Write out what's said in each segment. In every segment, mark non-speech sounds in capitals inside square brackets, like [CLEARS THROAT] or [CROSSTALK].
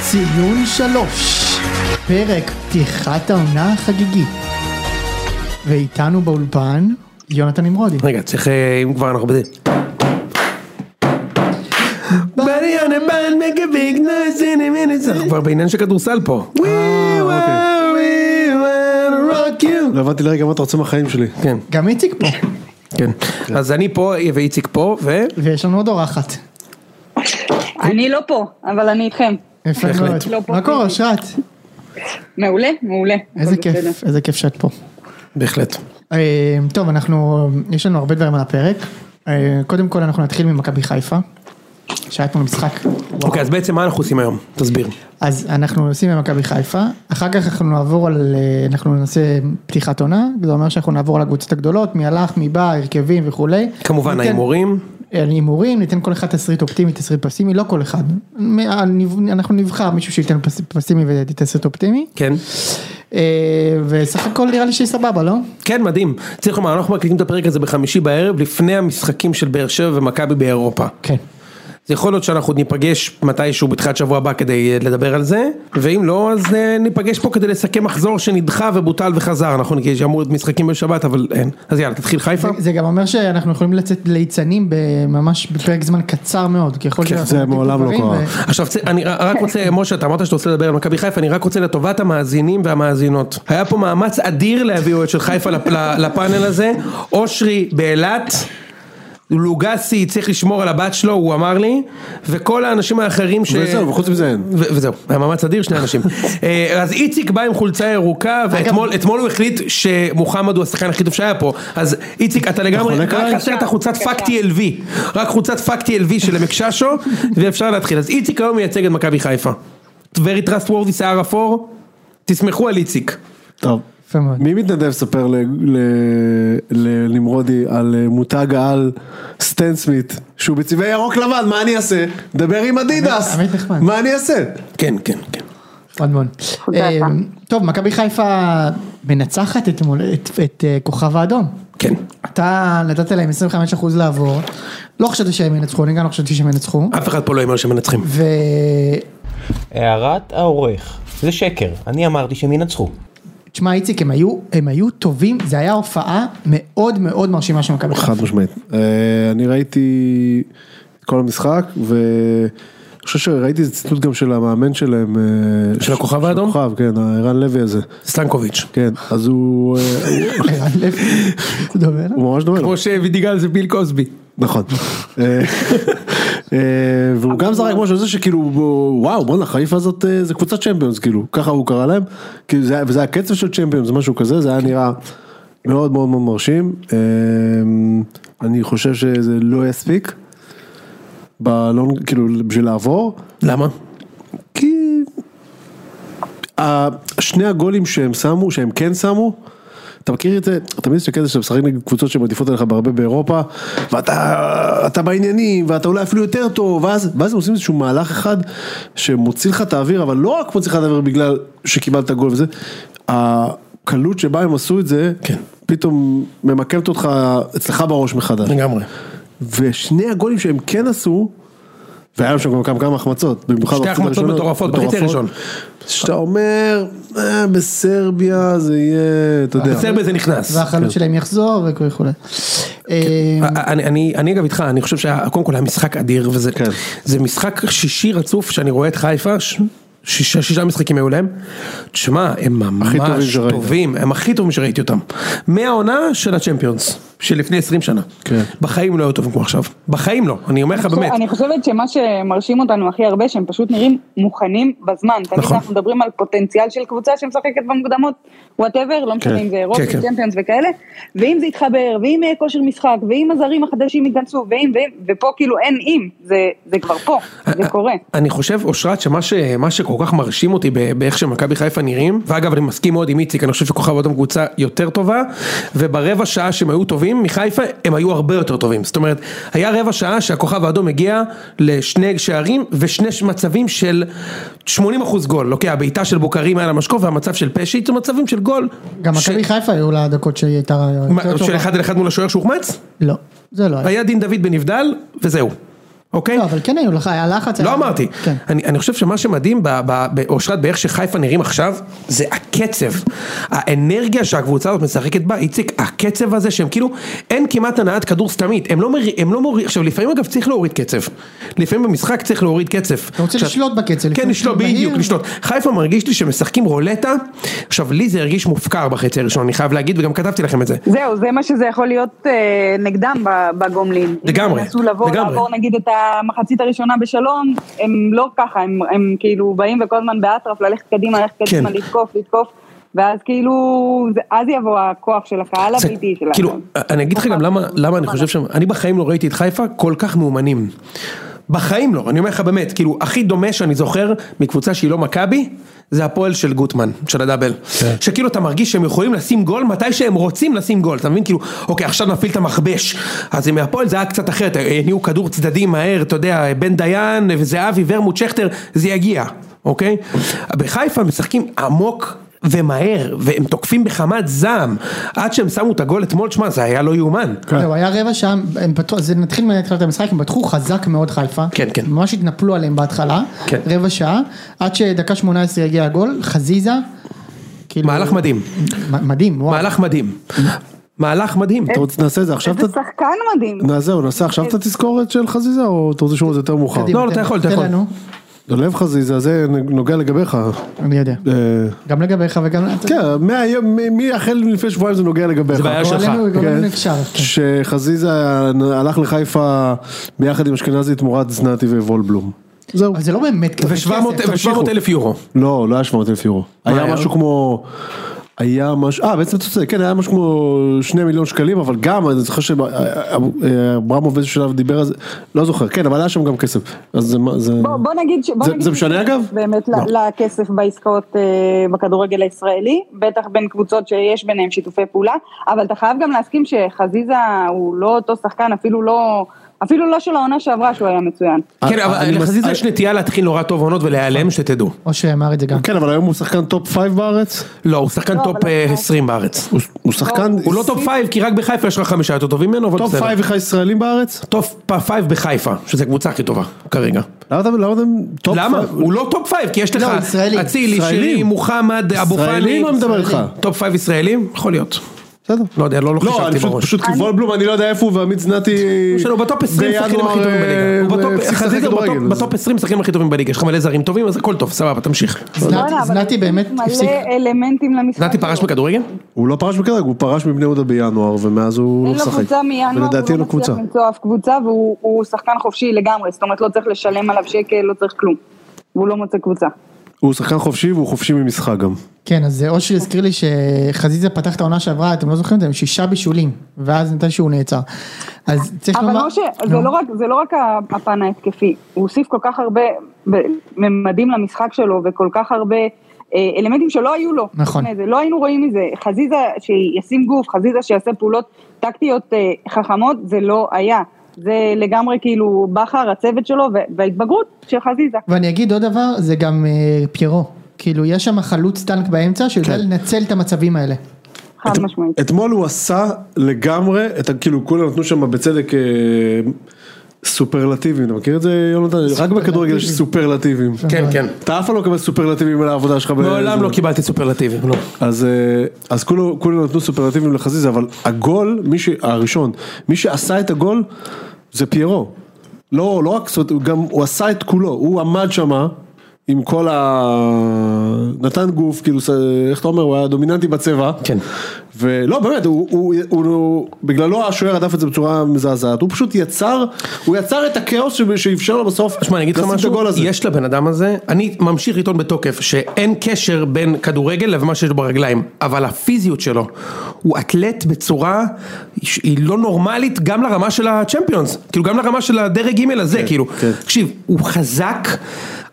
ציון שלוש, פרק פתיחת העונה החגיגית. ואיתנו באולפן, יונתן נמרודי. רגע, צריך, אה, אם כבר אנחנו בזה. בני הנבן מגביג נזיני מיניס, אנחנו כבר בעניין של כדורסל אה, פה. We were, we were rock you. אוקיי. לא הבנתי לרגע מה אתה רוצה מהחיים שלי. כן, גם איציק פה, כן. אז אני פה ואיציק פה, ו... ויש לנו עוד אורחת. אני לא פה, אבל אני איתכם. יפה בהחלט. מאוד. לא פה מה קורה, פיזית. אושרת? מעולה, מעולה. איזה הכל בסדר. כיף, איזה כיף שאת פה. בהחלט. אה, טוב, אנחנו, יש לנו הרבה דברים על הפרק. אה, קודם כל אנחנו נתחיל ממכבי חיפה, שהיה פה משחק. וואו. אוקיי, אז בעצם מה אנחנו עושים היום? תסביר. אז אנחנו נוסעים למכבי חיפה, אחר כך אנחנו נעבור על, אה, אנחנו נעשה פתיחת עונה, זה אומר שאנחנו נעבור על הקבוצות הגדולות, מי הלך, מי בא, הרכבים וכולי. כן. כמובן ניתן- ההימורים. על הימורים, ניתן כל אחד תסריט אופטימי, תסריט פסימי, לא כל אחד. מ- הנב- אנחנו נבחר מישהו שייתן פס- פסימי ותסריט אופטימי, כן. אה, וסך הכל נראה לי שהיא סבבה, לא? כן, מדהים. צריך לומר, אנחנו מקליטים את הפרק הזה בחמישי בערב, לפני המשחקים של באר שבע ומכבי באירופה. כן. אז יכול להיות שאנחנו עוד ניפגש מתישהו בתחילת שבוע הבא כדי אה, לדבר על זה, ואם לא, אז אה, ניפגש פה כדי לסכם מחזור שנדחה ובוטל וחזר, נכון? כי אמור להיות משחקים בשבת, אבל אין. אז יאללה, תתחיל חיפה. זה גם אומר שאנחנו יכולים לצאת ליצנים ממש בפרק זמן קצר מאוד, ככל כן, שאנחנו זה נותנים מעולם לא דברים, קרה. ו- עכשיו, צא- אני ר- רק רוצה, משה, אתה אמרת שאתה רוצה לדבר על מכבי חיפה, אני רק רוצה לטובת המאזינים והמאזינות. היה פה מאמץ אדיר להביאו את של חיפה לפ- לפאנל הזה. אושרי באילת, לוגסי צריך לשמור על הבת שלו, הוא אמר לי, וכל האנשים האחרים ש... וזהו, וחוץ מזה אין. ו- וזהו, היה מאמץ אדיר שני [LAUGHS] אנשים. אה, אז איציק בא עם חולצה ירוקה, ואתמול אתמול הוא החליט שמוחמד הוא השחקן הכי טוב שהיה פה. אז איציק, אתה לגמרי, חולק רק עליי? חסר את החולצת פאקטי LV, רק חולצת פאקטי LV של עמק ששו, ואפשר להתחיל. אז איציק היום מייצג את מכבי חיפה. Very trust worthy שיער אפור, תסמכו על איציק. טוב. יפה מאוד. מי מתנדב ספר ל- ל- לנמרודי על אה, מותג העל סטן סמית, שהוא בצבעי ירוק לבן, מה אני אעשה? דבר עם אדידס. עמית נחמד. מה אני אעשה? כן, כן, כן. עוד מאוד. תודה אה, לך. טוב, מכבי חיפה מנצחת אתמול את- את אה, כוכב האדום. כן. אתה נתת להם 25% לעבור, לא חשבתי שהם ינצחו, אני גם לא חשבתי שהם ינצחו, אף אחד פה לא אומר שמנצחים. ותשמע הערת העורך. זה שקר, אני אמרתי שהם ינצחו. איציק, הם היו, הם היו טובים, זה היה הופעה מאוד מאוד מרשימה של מכבי [LAUGHS] חיפה. [LAUGHS] חד משמעית. אה, אני ראיתי את כל המשחק ואני חושב שראיתי איזה ציטוט גם של המאמן שלהם. אה, של הכוכב של האדום? הכוכב, כן, הערן לוי הזה. סטנקוביץ'. כן, אז הוא... אה, הוא- ערן לוי, זה [LAUGHS] דומה לו? הוא ממש דומה. לו. כמו שווידיגל זה ביל קוסבי. נכון. אה, אה, והוא גם זרק משהו על זה שכאילו הוא- וואו בואנה חיפה זאת אה, זה קבוצת צ'מפיונס כאילו ככה הוא קרא להם כאילו זה היה- וזה הקצב של צ'מפיונס זה משהו כזה זה היה נראה מאוד מאוד מאוד מרשים אה, אני חושב שזה לא יספיק. בלונג כאילו בשביל לעבור למה? כי ה- שני הגולים שהם שמו, שהם כן שמו, אתה מכיר את זה, אתה מבין שאתה כזה שאתה משחק נגד קבוצות שמעדיפות עליך בהרבה באירופה, ואתה אתה בעניינים, ואתה אולי אפילו יותר טוב, ואז, ואז הם עושים איזשהו מהלך אחד שמוציא לך את האוויר, אבל לא רק מוציא לך את האוויר בגלל שקיבלת גול וזה, הקלות שבה הם עשו את זה, כן. פתאום ממקמת אותך אצלך בראש מחדש. לגמרי. ושני הגולים שהם כן עשו, והיה שם גם כמה כמה החמצות, במיוחד שתי בחצי החמצות הראשונה, מטורפות, בחצי הראשון. שאתה אומר, "אה, בסרביה זה יהיה, אתה יודע, בסרבי זה נכנס. והחלוץ שלהם יחזור וכולי. כן. אה, אני, אני, אני אגב איתך, אני חושב שקודם כל היה משחק אדיר, וזה כן. זה משחק שישי רצוף שאני רואה את חיפה, ש, שישה, שישה משחקים היו להם, תשמע, הם ממש הכי טובים טובים, שראית. הם הכי טובים שראיתי אותם, מהעונה של הצ'מפיונס, של לפני 20 שנה, כן. נכון, בחיים לא היו טובים כמו עכשיו, בחיים לא, אני אומר לך באמת, אני חושבת שמה שמרשים אותנו הכי הרבה, שהם פשוט נראים מוכנים בזמן. תמיד נכון. אנחנו מדברים על פוטנציאל של קבוצה שמשחקת במוקדמות, וואטאבר, לא משנה אם זה אירופה, כן, כן. צ'מפיונס וכאלה, ואם זה יתחבר, ואם יהיה כושר משחק, ואם הזרים החדשים ייכנסו, ואם, ואם, ופה כאילו אין אם, זה- זה כבר פה, אה, זה קורה. אני חושב, אושרת, שמה ש, מה שכל כך מרשים אותי ב- באיך שמכבי חיפה נראים, ואגב, אני מסכים מאוד עם איציק, אני חושב שכוכב אדום קבוצה יותר טובה, וברבע שעה שהם היו טובים, מחיפה הם היו הרבה יותר טובים. זאת אומרת, היה רבע שעה שהכוכב האדום הגיע לשני שערים ושני ש- מצבים של 80 אחוז גול. אוקיי, הבעיטה של בוקרים על המשקוף והמצב של פשיט, זה מצבים של גול. גם ש- מכבי חיפה היו לה דקות שהיא הייתה מה, יותר של טובה. אחד על אחד מול השוער שהוחמץ? לא, זה לא היה. היה דין דוד בנבדל, וזהו. אוקיי? לא, אבל כן היו לך, היה לחץ. לא היה- אמרתי. כן. אני, אני חושב שמה שמדהים ב- ב- באושרת, באיך שחיפה נראים עכשיו, זה הקצב. האנרגיה שהקבוצה הזאת משחקת בה, איציק, הקצב הזה שהם כאילו, אין כמעט הנעת כדור סתמית. הם לא, מר... הם לא מוריד, עכשיו לפעמים אגב צריך להוריד קצב. לפעמים במשחק צריך להוריד קצב. אתה רוצה עכשיו- לשלוט בקצב, כן, לפעמים לשלוט, מהיר. בדיוק, לשלוט. חיפה מרגיש לי שמשחקים רולטה, עכשיו לי זה הרגיש מופקר בחצי הראשון, אני חייב להגיד, וגם כתבתי לכם את זה. זהו, זה מה שזה יכול להיות אה, נגדם ב- בגומלין. לגמרי, אם הם ינסו לבוא, לגמרי. לעבור נגיד את המחצית הראשונה בשלום, הם לא ככה, הם, הם כאילו באים וכל הזמן באטרף, ללכת קדימה, ללכת קדימה, כן. לתקוף, לתקוף, ואז כאילו, זה- אז יבוא הכוח של הקהל זה- הביתי לא שלנו. כאילו, אני אגיד לך גם למה, למה אני חושב ש... אני בחיים לא ראיתי את חיפה כל כך מאומנים. בחיים לא, אני אומר לך באמת, כאילו, הכי דומה שאני זוכר מקבוצה שהיא לא מכבי, זה הפועל של גוטמן, של הדאבל. שכאילו אתה מרגיש שהם יכולים לשים גול מתי שהם רוצים לשים גול, אתה מבין? כאילו, אוקיי, עכשיו נפעיל את המכבש. אז עם הפועל זה היה קצת אחרת, הניעו כדור צדדי מהר, אתה יודע, בן דיין, וזהבי, ורמוט, שכטר, זה יגיע, אוקיי? בחיפה משחקים עמוק. ומהר, והם תוקפים בחמת זעם, עד שהם שמו את הגול אתמול, שמע, זה היה לא יאומן. זהו, היה רבע שעה, הם פתחו, אז נתחיל מהתחלת המשחק, הם פתחו חזק מאוד חיפה. כן, כן. ממש התנפלו עליהם בהתחלה. כן. רבע שעה, עד שדקה 18 הגיע הגול, חזיזה. כאילו- מהלך מדהים. מ- מדהים, וואו. מהלך מדהים. מהלך מדהים. אתה רוצה, נעשה את זה עכשיו? איזה אתה- שחקן מדהים. נעשה, או נעשה עכשיו את התזכורת של חזיזה, או אתה רוצה שהוא עוד יותר מאוחר? לא, קדימה, לא, אתה תן- יכול, אתה תן יכול. לנו. לב חזיזה, זה נוגע לגביך. אני יודע. אה, גם לגביך וגם... כן, מהיום, מ- מי החל מלפני שבועיים זה נוגע לגביך. זה בעיה הוא שלך. עלינו, הוא כן. עלינו אפשר. כן. שחזיזה אה, הלך לחיפה ביחד עם אשכנזי תמורת זנתי ווולבלום. זהו. אבל זה לא באמת כזה כסף. ו-700 אלף יורו. לא, לא היה 700 אלף יורו. מה היה היה? משהו כמו... היה משהו, אה בעצם אתה צודק, כן היה משהו כמו שני מיליון שקלים, אבל גם, אני זוכר שאברמוב באיזשהו שלב דיבר על זה, לא זוכר, כן, אבל היה שם גם כסף. אז זה מה, זה... בוא, בוא נגיד ש... בוא Mm. זה- נגיד זה משנה, שיש אגב? לא. באמת ל- לכסף בעסקאות אה, בכדורגל הישראלי, בטח בין קבוצות שיש ביניהם שיתופי פעולה, אבל אתה חייב גם להסכים שחזיזה הוא לא אותו שחקן, אפילו לא, אפילו לא של העונה שעברה שהוא היה מצוין. כן, אה, אבל אני מס- לחזיזה אה, יש נטייה להתחיל נורא טוב עונות ולהיעלם, שתדעו. אושרי אמר את זה גם. כן, אבל היום הוא שחקן טופ פייב בארץ, לא, הוא שחקן לא, טופ אבל- אה, 20 בארץ. הוא- הוא שחקן, הוא לא טופ 5, כי רק בחיפה יש לך חמישה יותר טובים ממנו, אבל אה, טופ בסדר. פייב ישראלים בארץ? טופ 5 בחיפה, שזו הקבוצה הכי טובה כרגע. למה אתם, למה אתם, טופ למה? פייב? הוא לא טופ 5, כי יש לך לא, ישראלי. אצילי, ישראלים. שירי, מוחמד, אבו פאני. ישראלים, אני מדבר איתך. טופ 5 ישראלים? יכול להיות. בסדר. לא יודע, לא לא לא, אני חשבתי פשוט, בראש. פשוט כי וולבלום, אני לא יודע איפה הוא, ועמית זנתי... שלו, הוא בטופ 20 שחקנים הכי טובים אה, בליגה. הוא בטופ- חזיזה הוא בטופ- בטופ 20 שחקנים הכי טובים בליגה. יש לך מלא זרים טובים, אז הכל טוב, סבבה, תמשיך. זנתי- בואנה, לא, אבל זנתי יש באמת הפסיק. מלא אלמנטים למשחק. נתי פרש שלו. בכדורגל? הוא לא פרש בכדרג, הוא פרש מבני יהודה בינואר, ומאז הוא לא אין לו משחק. קבוצה מינואר, ולדעתי הוא אין לא לו מצליח קבוצה. למצוא אף קבוצה, והוא הוא שחקן חופשי לגמרי, זאת אומרת לא צריך לשלם עליו שקל, לא צריך כלום. והוא לא מוצא קבוצה. הוא שחקן חופשי והוא חופשי ממשחק גם. כן, אז אושרי הזכיר לי שחזיזה פתח את העונה שעברה, אתם לא זוכרים את זה, עם שישה בישולים, ואז מתישהו הוא נעצר. אז צריך אבל לומר... משה, נו. זה לא רק, זה לא רק ה- הפן ההתקפי, הוא הוסיף כל כך הרבה ב- ממדים למשחק שלו וכל כך הרבה אה, אלמנטים שלא היו לו. נכון. לפני זה, לא היינו רואים מזה, חזיזה שישים גוף, חזיזה שיעשה פעולות טקטיות אה, חכמות, זה לא היה. זה לגמרי כאילו בכר, הצוות שלו ו- וההתבגרות של חזיזה. ואני אגיד עוד דבר, זה גם אה, פיירו. כאילו, יש שם חלוץ טנק באמצע, שיודע כן. לנצל את המצבים האלה. חד משמעית. אתמול הוא עשה לגמרי, את ה- כאילו כולם נתנו שם בצדק אה, סופרלטיבים, אתה מכיר את זה יונתן? רק בכדורגל יש סופרלטיבים. כן, כן. אתה אף פעם לא מקבל סופרלטיבים על העבודה שלך. ב- מעולם זה. לא קיבלתי סופרלטיבים, לא. אז, אה, אז כולו, כולו נתנו סופרלטיבים לחזיזה, אבל הגול, מי ש... הראשון, מי שעשה את הגול זה פיירו. לא, לא רק, זאת אומרת, הוא גם, הוא עשה את כולו, הוא עמד שמה. עם כל ה... נתן גוף, כאילו, ס- איך אתה אומר, הוא היה דומיננטי בצבע. כן. ולא, באמת, הוא, הוא, הוא, הוא, בגללו השוער הדף את זה בצורה מזעזעת. הוא פשוט יצר, הוא יצר את הכאוס ש- שאפשר לו בסוף. שמע, אני אגיד לך לשים את משהו, הגול לא הזה. יש לבן אדם הזה, אני ממשיך לטעון בתוקף שאין קשר בין כדורגל למה שיש לו ברגליים, אבל הפיזיות שלו, הוא אתלט בצורה שהיא לא נורמלית גם לרמה של הצ'מפיונס, כאילו גם לרמה של הדרג ג' הזה, כאילו, כן. תקשיב, הוא חזק.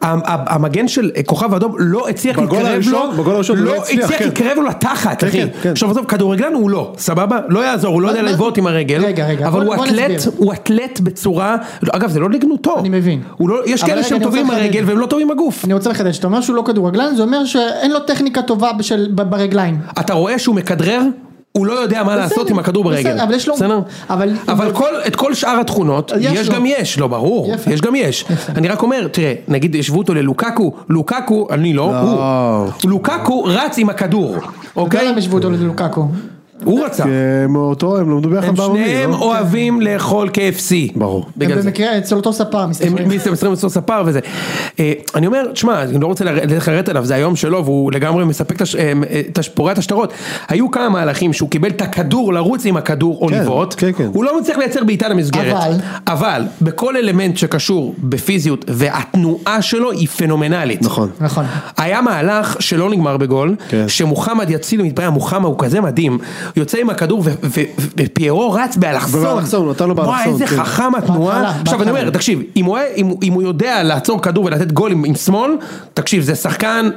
המ- המגן של כוכב אדום לא הצליח בגול להתקרב הראשון- לו, בגול הראשון הוא לא לא הצליח, הצליח כן. להתקרב לו לתחת, כן, אחי. כן, כן. עכשיו עזוב, כדורגלן הוא לא, סבבה? לא יעזור, הוא לא יודע מה- לבעוט עם הרגל, רגע, רגע, אבל בוא- הוא בוא אתלט, נסביר. הוא אתלט בצורה, אגב זה לא לגנותו, אני מבין. הוא לא, יש אבל כאלה רגע, שהם אני רוצה טובים עם לחדד. הרגל והם לא טובים עם הגוף, אני רוצה לחדש, אתה אומר שהוא לא כדורגלן, זה אומר שאין לו טכניקה טובה בשל- ב- ברגליים. אתה רואה שהוא מכדרר, הוא לא יודע מה לעשות עם הכדור בסדר, ברגל. אבל יש לו- בסדר? אבל- אבל כל- את כל שאר התכונות, יש יש לו. גם יש, לא ברור, יפה. יש גם יש. יפה. אני רק אומר, תראה, נגיד ישבו אותו ללוקקו, לוקקו, אני לא, הוא. לוקקו רץ עם הכדור, אתה יודע אוקיי? למה השוו אותו ללוקקו? הוא רצה. כי הם אותו, הם למדו ביחד הם בעממי, שניהם לא? אוהבים לאכול KFC. ברור. בגלל הם זה. במקרה אצל אותו ספר מסתכלים. הם מסתכלים מסתכלים לעשות ספר וזה. אה, אני אומר, תשמע, אני לא רוצה לר- לחרט עליו, זה היום שלו והוא לגמרי מספק את הש- אה, אה, את הש- פורע את השטרות. היו כמה מהלכים שהוא קיבל את הכדור לרוץ עם הכדור או כן, לבעוט, כן, כן. הוא לא מצליח לייצר בעיטה למסגרת. אבל- אבל בכל אלמנט שקשור בפיזיות והתנועה שלו היא פנומנלית. נכון. נכון. היה מהלך שלא נגמר בגול, כן. שמוחמד יציל מתברר, מוחמד הוא כזה מדהים, יוצא עם הכדור ו- ו- ו- ופיירו רץ באלכסון. ובאלכסון, נתן לו וואי, באלכסון, איזה כן. חכם התנועה. בהתחלה, עכשיו אני אומר, בהתחלה. תקשיב, אם הוא היה- אם- אם הוא יודע לעצור כדור ולתת גול עם עם שמאל, תקשיב, זה שחקן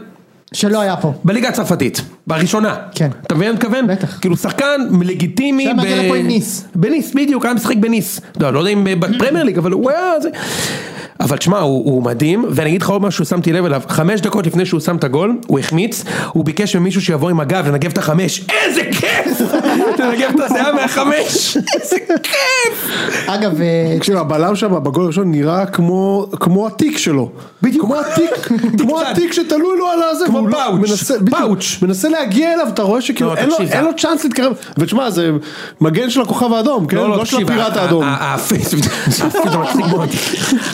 שלא היה פה. בליגה הצרפתית, בראשונה. כן. אתה מבין מה אני מתכוון? בטח. כאילו שחקן לגיטימי. שם היה פה עם ניס. בניס, בדיוק, היה משחק בניס. לא, לא יודע אם בפרמייר ליג, אבל הוא היה... זה... אבל תשמע, הוא, הוא מדהים, ואני אגיד לך עוד משהו ששמתי לב אליו, חמש דקות לפני שהוא שם את הגול, הוא החמיץ, הוא ביקש ממישהו שיבוא עם הגב לנגב את החמש, איזה כיף! [LAUGHS] לנגב את הזיעה מהחמש, איזה כיף! אגב, אה, תקשיב, הבלם שם בגול הראשון נראה כמו, כמו התיק שלו. בדיוק. כמו התיק, כמו צד. התיק שתלוי לו על הזה. כמו והוא לא- פאוץ', מנסה, בדיוק, פאוץ'. מנסה להגיע אליו, אתה רואה שכאילו לא, אין, לו, תקשיב, אין זה- לו צ'אנס להתקרב. ותשמע, זה מגן של הכוכב האדום, כן? לא של הפיראט ה- האדום. ה- ה- הפיזיות,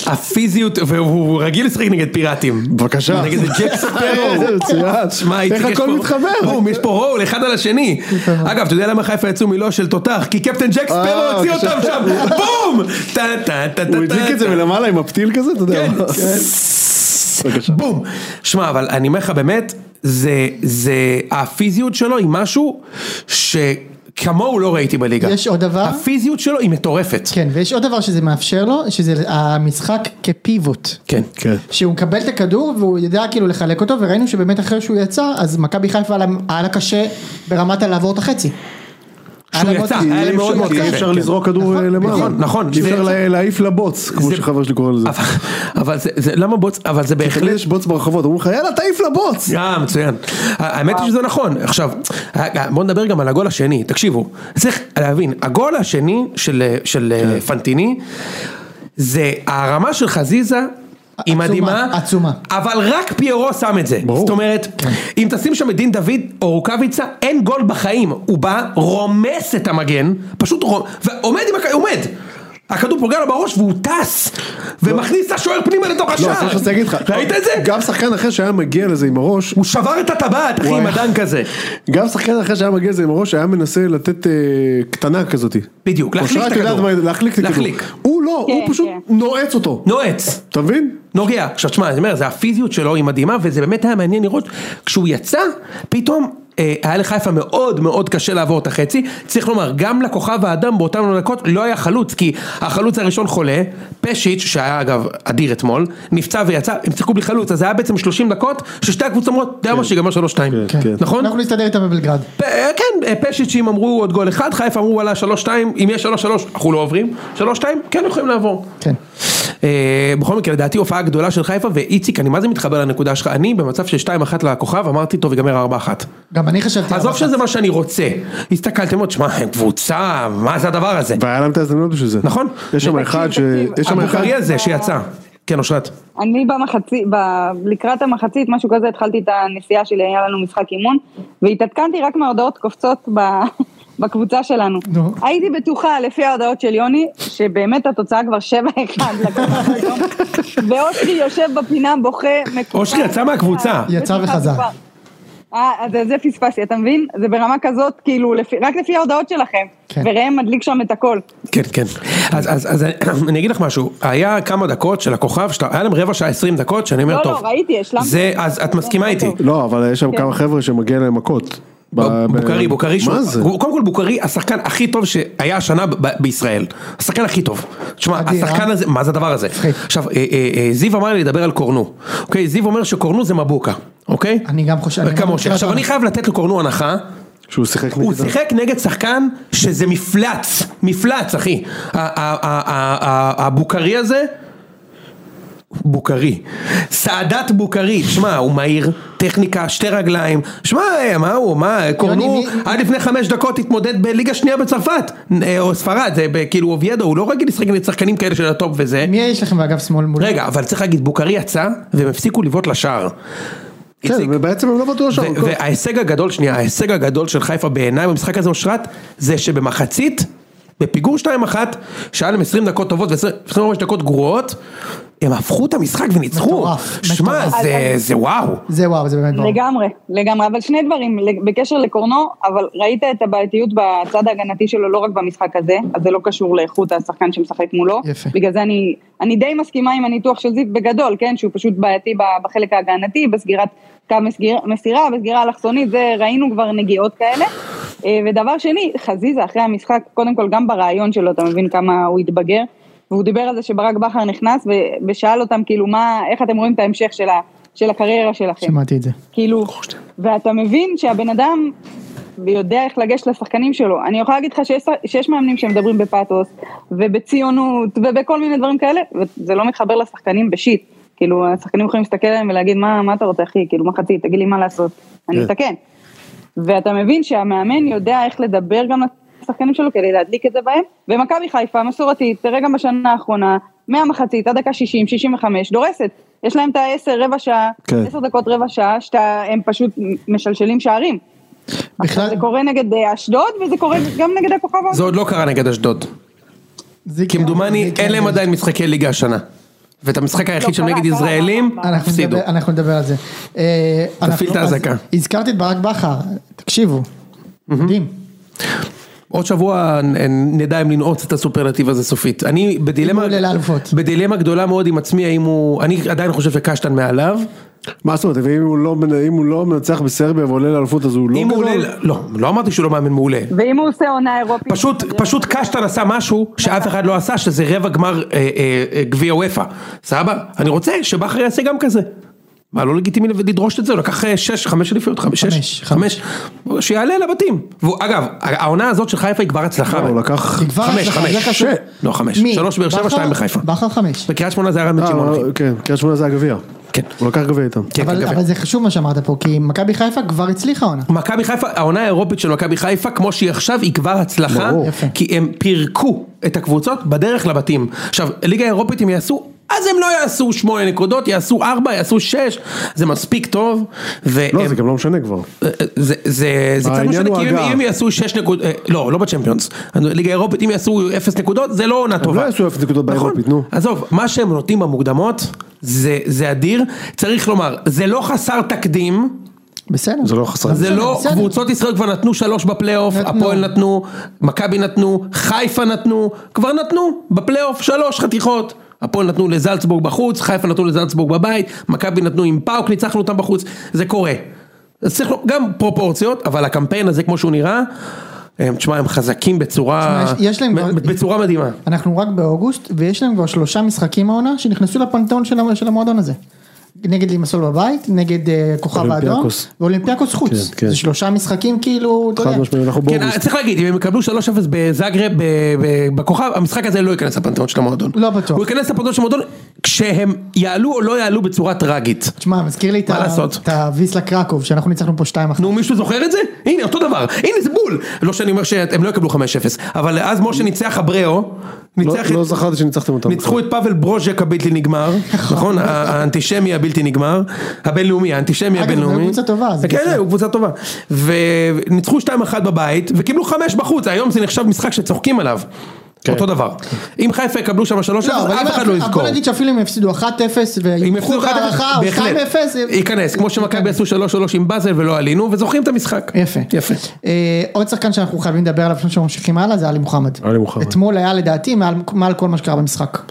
הפיזיות, והוא רגיל לשחק נגד פיראטים. בבקשה. נגד זה ג'ק [LAUGHS] ספרו. זה מצוין. שמע, איציק, איך יש הכל פה- מתחבר? בום, יש פה רול, אחד על השני. אגב, אתה יודע למה חיפה יצאו מלא של תותח? כי קפטן ג'ק ספרו אה, הוציא אותם בבקשה. שם, בום! טה טה טה טה הוא הדליק את זה מלמעלה עם הפתיל כזה, אתה יודע. כן. בבקשה. בום. שמע, אבל אני אומר לך באמת, זה, זה, הפיזיות שלו היא משהו שכמוהו לא ראיתי בליגה. יש עוד דבר? הפיזיות שלו היא מטורפת. כן, ויש עוד דבר שזה מאפשר לו, שזה המשחק כפיבוט. כן. כן. שהוא מקבל את הכדור והוא יודע כאילו לחלק אותו וראינו שבאמת אחרי שהוא יצא אז מכבי חיפה היה לה- היה לה קשה ברמת הלעבור את החצי. היה שהוא לה מאוד יצא, קשה. היה אי לי מאוד אפשר- מאוד אי קשה, אפשר כן. לזרוק כדור נכון, אה, למעלה. נכון, נכון. אי אפשר זה- לה- להעיף לבוץ, כמו זה- שחבר שלי קורא לזה. אבל, אבל זה, זה, למה בוץ, אבל זה תמיד בהחלט... יש בוץ ברחובות, אומרים לך יאללה תעיף לבוץ. אה, מצוין. האמת היא שזה נכון. עכשיו, אה, בוא נדבר גם על הגול השני. תקשיבו, צריך להבין, הגול השני של, של אה, כן. פנטיני, זה הרמה של חזיזה. היא עצומה, מדהימה, עצומה. אבל רק פיירו שם את זה, ברור. כן. זאת אומרת, אם תשים שם את דין דוד או רוקאביצה, אין גול בחיים, הוא בא, רומס את המגן, פשוט רומס, ועומד עם הכדור, עומד, הכדור פוגע לו בראש והוא טס, ומכניס את השוער פנימה לתוך לא, השער, זה מה שרציתי להגיד לך. [LAUGHS] ראית את זה? גם שחקן אחר שהיה מגיע לזה עם הראש, הוא שבר את הטבעת, אחי, וואי. עם אדן כזה. גם שחקן אחר שהיה מגיע לזה עם הראש היה מנסה לתת אה, קטנה כזאת. בדיוק, להחליק את אושרת יודעת הכדור. מה- להחליק את הכדור. להחליק. הוא לא, הוא כן, פשוט כן. נועץ אותו. נועץ. אתה מבין? נוגע. עכשיו תשמע, אני אומר, זה הפיזיות שלו היא מדהימה, וזה באמת היה מעניין לראות, כשהוא יצא, פתאום אה, היה לחיפה מאוד מאוד קשה לעבור את החצי, צריך לומר, גם לכוכב האדם באותן דקות לא היה חלוץ, כי החלוץ הראשון חולה, פשיץ', שהיה אגב אדיר אתמול, נפצע ויצא, הם שיחקו בלי חלוץ, אז זה היה בעצם 30 דקות, ששתי הקבוצות אומרות, אתה יודע מה שיגמר 3-2, כן, כן. נכון? אנחנו נסתדר איתם בבלגרד. פ- אה, כן, אה, פשיצ'ים אמרו עוד גול אחד, חיפה אמרו וואלה שלוש שתיים, אם יש שלוש שלוש, אנחנו לא עוברים, שלוש שתיים, כן יכולים לעבור. כן. אה, בכל מקרה, לדעתי הופעה גדולה של חיפה, ואיציק, אני מה זה מתחבר לנקודה שלך, אני במצב של שתיים אחת לכוכב, אמרתי טוב, ייגמר ארבע אחת. גם אני חשבתי. על עזוב זה. שזה מה שאני רוצה, הסתכלתם עוד, שמע, הם קבוצה, מה זה הדבר הזה, והיה להם את ההזדמנות בשביל זה. נכון? יש שם אחד ש... יש שם אחד... הבוכרי הזה שיצא, כן אושרת, אני במחצית, ב... לקראת המחצית, משהו כזה, התחלתי את הנסיעה שלי, היה לנו משחק אימון, והתעדכנתי רק מההודעות קופצות ב... [LAUGHS] בקבוצה שלנו. נו. הייתי בטוחה, לפי ההודעות של יוני, שבאמת התוצאה כבר [LAUGHS] 7-1 לקבוצה היום, ואושרי יושב בפינה, בוכה, מקופר. אושרי יצא מהקבוצה. יצא וחזר. אה, אז זה פספסתי, אתה מבין? זה ברמה כזאת, כאילו, לפי, רק לפי ההודעות שלכם. כן. וראם מדליק שם את הכל. כן, כן. אז, אז, [CLEARS THROAT] אז אני אגיד לך משהו, היה כמה דקות של הכוכב, שאתה, היה להם רבע שעה עשרים דקות, שאני אומר, לא, לא, טוב. ראיתי, השלמתי. זה, אז את מסכימה איתי. טוב. לא, אבל יש שם כן. כמה חבר'ה שמגיע להם מכות. ב- ב- בוקרי, בוקרי, שהוא- מה זה? קודם כל בוקרי השחקן הכי טוב שהיה השנה ב- ב- בישראל, השחקן הכי טוב, תשמע אדיר, השחקן אה? הזה, מה זה הדבר הזה, מצחיק. עכשיו אה, אה, אה, זיו אמר לי לדבר על קורנו, אוקיי, זיו אומר שקורנו זה מבוקה, אוקיי, אני גם חושב- אני גם כמוש. חושב- עכשיו אני חייב לתת לקורנו הנחה, שהוא שיחק הוא נגדם. שיחק נגד שחקן שזה מפלץ, מפלץ אחי, ה- ה- ה- ה- ה- הבוקרי הזה, בוקרי. סעדת בוקרי, שמע, הוא מהיר, טכניקה, שתי רגליים. שמע, אה, מה הוא, מה, קורנו, מי- עד לפני חמש דקות התמודד בליגה שנייה בצרפת, אה, או ספרד, זה ב- כאילו אוביידו, הוא לא רגיל לשחק נגד שחקנים כאלה של הטופ וזה. מי יש לכם באגף שמאל מול? רגע, אבל צריך להגיד, בוקרי יצא, והם הפסיקו לבעוט לשער. איציק, כן, ובעצם הם לא בטוח שם. ו- וההישג הגדול, שנייה, ההישג הגדול של חיפה בעיניי במשחק הזה אושרת, זה שבמחצית, בפיגור 2-1, שהיה להם 20 דקות טובות ו-25 דקות גרועות, הם הפכו את המשחק וניצחו. מטורף, שמע, מטורף. זה- זה וואו. זה וואו, זה באמת וואו. לגמרי, לגמרי, אבל שני דברים, לג- בקשר לקורנו, אבל ראית את הבעייתיות בצד ההגנתי שלו לא רק במשחק הזה, אז זה לא קשור לאיכות השחקן שמשחק מולו. יפה. בגלל זה אני, אני די מסכימה עם הניתוח של זיו בגדול, כן, שהוא פשוט בעייתי ב- בחלק ההגנתי, בסגירת קו מסגיר- מסירה, בסגירה אלכסונית, זה ראינו כבר נגיעות כאלה. אה, ודבר שני, חזיזה אחרי המשחק, קודם כל גם ברעיון שלו, אתה מבין כמה הוא התבגר. והוא דיבר על זה שברק בכר נכנס ו- ושאל אותם כאילו מה, איך אתם רואים את ההמשך של, ה, של הקריירה שלכם. שמעתי את זה. כאילו, ואתה מבין שהבן אדם יודע איך לגשת לשחקנים שלו. אני יכולה להגיד לך שיש, שיש מאמנים שמדברים בפאתוס, ובציונות, ובכל מיני דברים כאלה, וזה לא מתחבר לשחקנים בשיט. כאילו, השחקנים יכולים להסתכל עליהם ולהגיד, מה, מה אתה רוצה, אחי? כאילו, מה חצי? תגיד לי מה לעשות. אני כן. מתקן. ואתה מבין שהמאמן יודע איך לדבר גם לשחקנים שלו כדי להדליק את זה בהם. ומכבי חיפה מסורתית, תראה גם בשנה האחרונה, מהמחצית עד דקה 60, 65, דורסת. יש להם את ה-10 רבע שעה, כן. 10 דקות רבע שעה, שאתה- הם פשוט משלשלים שערים. בכלל, זה קורה נגד אה, אשדוד וזה קורה גם נגד הכוכב זה עוד לא קרה נגד אשדוד. זיקי- כמדומני, זיקי- אין להם עדיין משחקי ליגה השנה. ואת המשחק היחיד לא שהם קרה, נגד קרה, ישראלים, קרה. אנחנו הפסידו. נדבר- אנחנו נדבר על זה. אה, אנחנו- את האזעקה. אז הזכרתי את ברק בכר, תקשיבו, מדהים. עוד שבוע נ- נדע אם לנעוץ את הסופרלטיב הזה סופית. אני אם הוא בדילמה, עולה לאלופות. בדילמה גדולה מאוד עם עצמי, האם הוא, אני עדיין חושב שקשטן מעליו. מה זאת אומרת, ואם הוא לא מנ- אם הוא לא מנצח בסרביה ועולה לאלפות אז הוא לא אם הוא גדול? עולה, לא, לא אמרתי שהוא לא מאמן מעולה. ואם הוא עושה עונה אירופית... אה, פשוט, פשוט קשטן עשה משהו שאף אחד לא עשה, שזה רבע גמר אה, אה, אה, גביע וופא. סבבה? אני רוצה שבכר יעשה גם כזה. מה, לא לגיטימי לדרוש את זה? הוא לקח אה, שש, חמש אליפיות, חמש, חמש, שש, חמש. שיעלה לבתים. והוא- אגב, העונה הזאת של חיפה היא כבר הצלחה. לא, הוא לקח... היא כבר חמש, הצלחה, זה חמש. חשוב. לא, חמש. מי? שלוש באר שבע, בכר? שתיים בחיפה. כן, בכר חמש. בקריית שמונה זה היה רמת אה, שמעון. אחי. כן, קריית שמונה זה הגביע. כן. הוא לקח גביע איתם. כן, אבל כן, אבל זה חשוב מה שאמרת פה, כי מכבי חיפה כבר הצליחה עונה. מכבי חיפה, העונה האירופית של מכבי חיפה, כמו שהיא עכשיו, היא כבר הצלחה, ברור. יפה. כי הם פירקו את הקבוצות בדרך לבתים. עכשיו, ליגה אירופית הם יעשו, אז הם לא יעשו שמונה נקודות, יעשו ארבע, יעשו שש, זה מספיק טוב, והם... לא, זה גם לא משנה כבר. זה- אה, זה- זה זה קצת העניין משנה, הוא כי אם- הגעה. אם יעשו שש נקודות, אה, לא, לא בצ'מפיונס, ליגה אירופית, אם יעשו אפס נקודות, זה לא עונה טובה. לא יעשו אפס נקודות נכון. באירופית, נו. עזוב, מה שהם נותנים במוקדמות, זה זה אדיר, צריך לומר, זה לא חסר תקדים. בסדר. זה לא חסר. זה בסדר, לא, בסדר. קבוצות ישראל כבר נתנו שלוש בפלייאוף, נתנו. הפועל נתנו, מכבי נתנו, חיפה נתנו, כבר נתנו, בפלייאוף שלוש חתיכות. הפועל נתנו לזלצבורג בחוץ, חיפה נתנו לזלצבורג בבית, מכבי נתנו עם פאוק, ניצחנו אותם בחוץ, זה קורה. אז צריך לו- גם פרופורציות, אבל הקמפיין הזה כמו שהוא נראה, הם, תשמע, הם חזקים בצורה, תשמע, יש- יש להם מ- כבר- בצורה מדהימה. אנחנו רק באוגוסט, ויש להם כבר שלושה משחקים העונה שנכנסו לפנתאון של, המ- של המועדון הזה. נגד לימסול בבית, נגד אה, כוכב האדום, אולימפיאקוס. ואולימפיאקוס חוץ. כן, כן. זה שלושה משחקים כאילו, אתה חד יודע. משמעית, אנחנו כן, באוגוסט. צריך להגיד, אם הם יקבלו 3-0 בזאגרב, ב- ב- בכוכב, המשחק הזה לא ייכנס לפנתיאון של המועדון. לא בטוח. הוא ייכנס לפנתיאון של המועדון כשהם יעלו או לא יעלו בצורה טראגית. תשמע, מזכיר לי את מה ה- לעשות? את הוויסלה קרקוב, שאנחנו ניצחנו פה 2-1. נו, מישהו זוכר את זה? הנה, אותו דבר. הנה, זה בול. לא שאני אומר שהם לא יקבלו 5-0, אבל אז משה ניצח אבריאו, לא- ניצח לא את... זכרתי שניצחתם אותם. ניצחו את פאבל ברוז'ק הבלתי נגמר, נכון? ה- האנטישמי הבלתי נגמר, הבינלאומי, האנטישמי אגב, הבינלאומי. הוא קבוצה טובה, זה כן, בסדר. הוא קבוצה טובה. וניצחו 2-1 בבית, וקיבלו 5 בחוץ, היום זה נחשב משחק שצוחקים עליו. אותו דבר. אם חיפה יקבלו שם 3 לא, אבל אם אף אחד אנחנו- לא אבל יזכור. בוא נגיד שאפילו אם יפסידו 1-0, אם ויפסידו יפסידו 1-0, בהערכה או 2-0, ייכנס, כן. כמו שמכבי עשו 3-3 עם באזל ולא עלינו, וזוכרים את המשחק. יפה. יפה. אה, עוד שחקן שאנחנו חייבים לדבר עליו לפני שממשיכים הלאה זה עלי מוחמד. עלי מוחמד. אתמול היה לדעתי מעל מעל כל מה שקרה במשחק.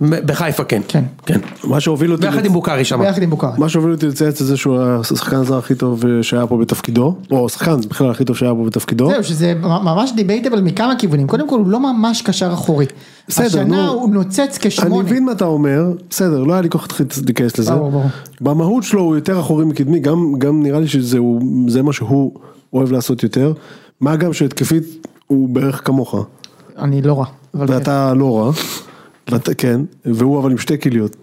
בחיפה כן. כן. כן. מה שהוביל אותי... ביחד עם בוקארי שם. ביחד עם בוקארי. מה שהוביל אותי לצייץ את זה שהוא השחקן הזר הכי טוב אה, שהיה פה בתפקידו, או השחקן בכלל הכי טוב שהיה פה בתפקידו. זהו, שזה ממש דיבייטבל מכמה כיוונים. קודם כל, הוא לא ממש קשר אחורי. בסדר, השנה נו. הוא נוצץ אני כשמונה. מבין מה אתה אומר, בסדר, לא היה לי כוח להתחיל להיכנס לזה. ברור, ברור. במהות שלו הוא יותר אחורי מקדמי, גם, גם נראה לי שזה הוא, זה מה שהוא אוהב לעשות יותר. מה גם שהתקפית הוא בערך כמוך, אני לא רע. אבל כן. ואתה לא רע. לת- כן, והוא אבל עם שתי כליות,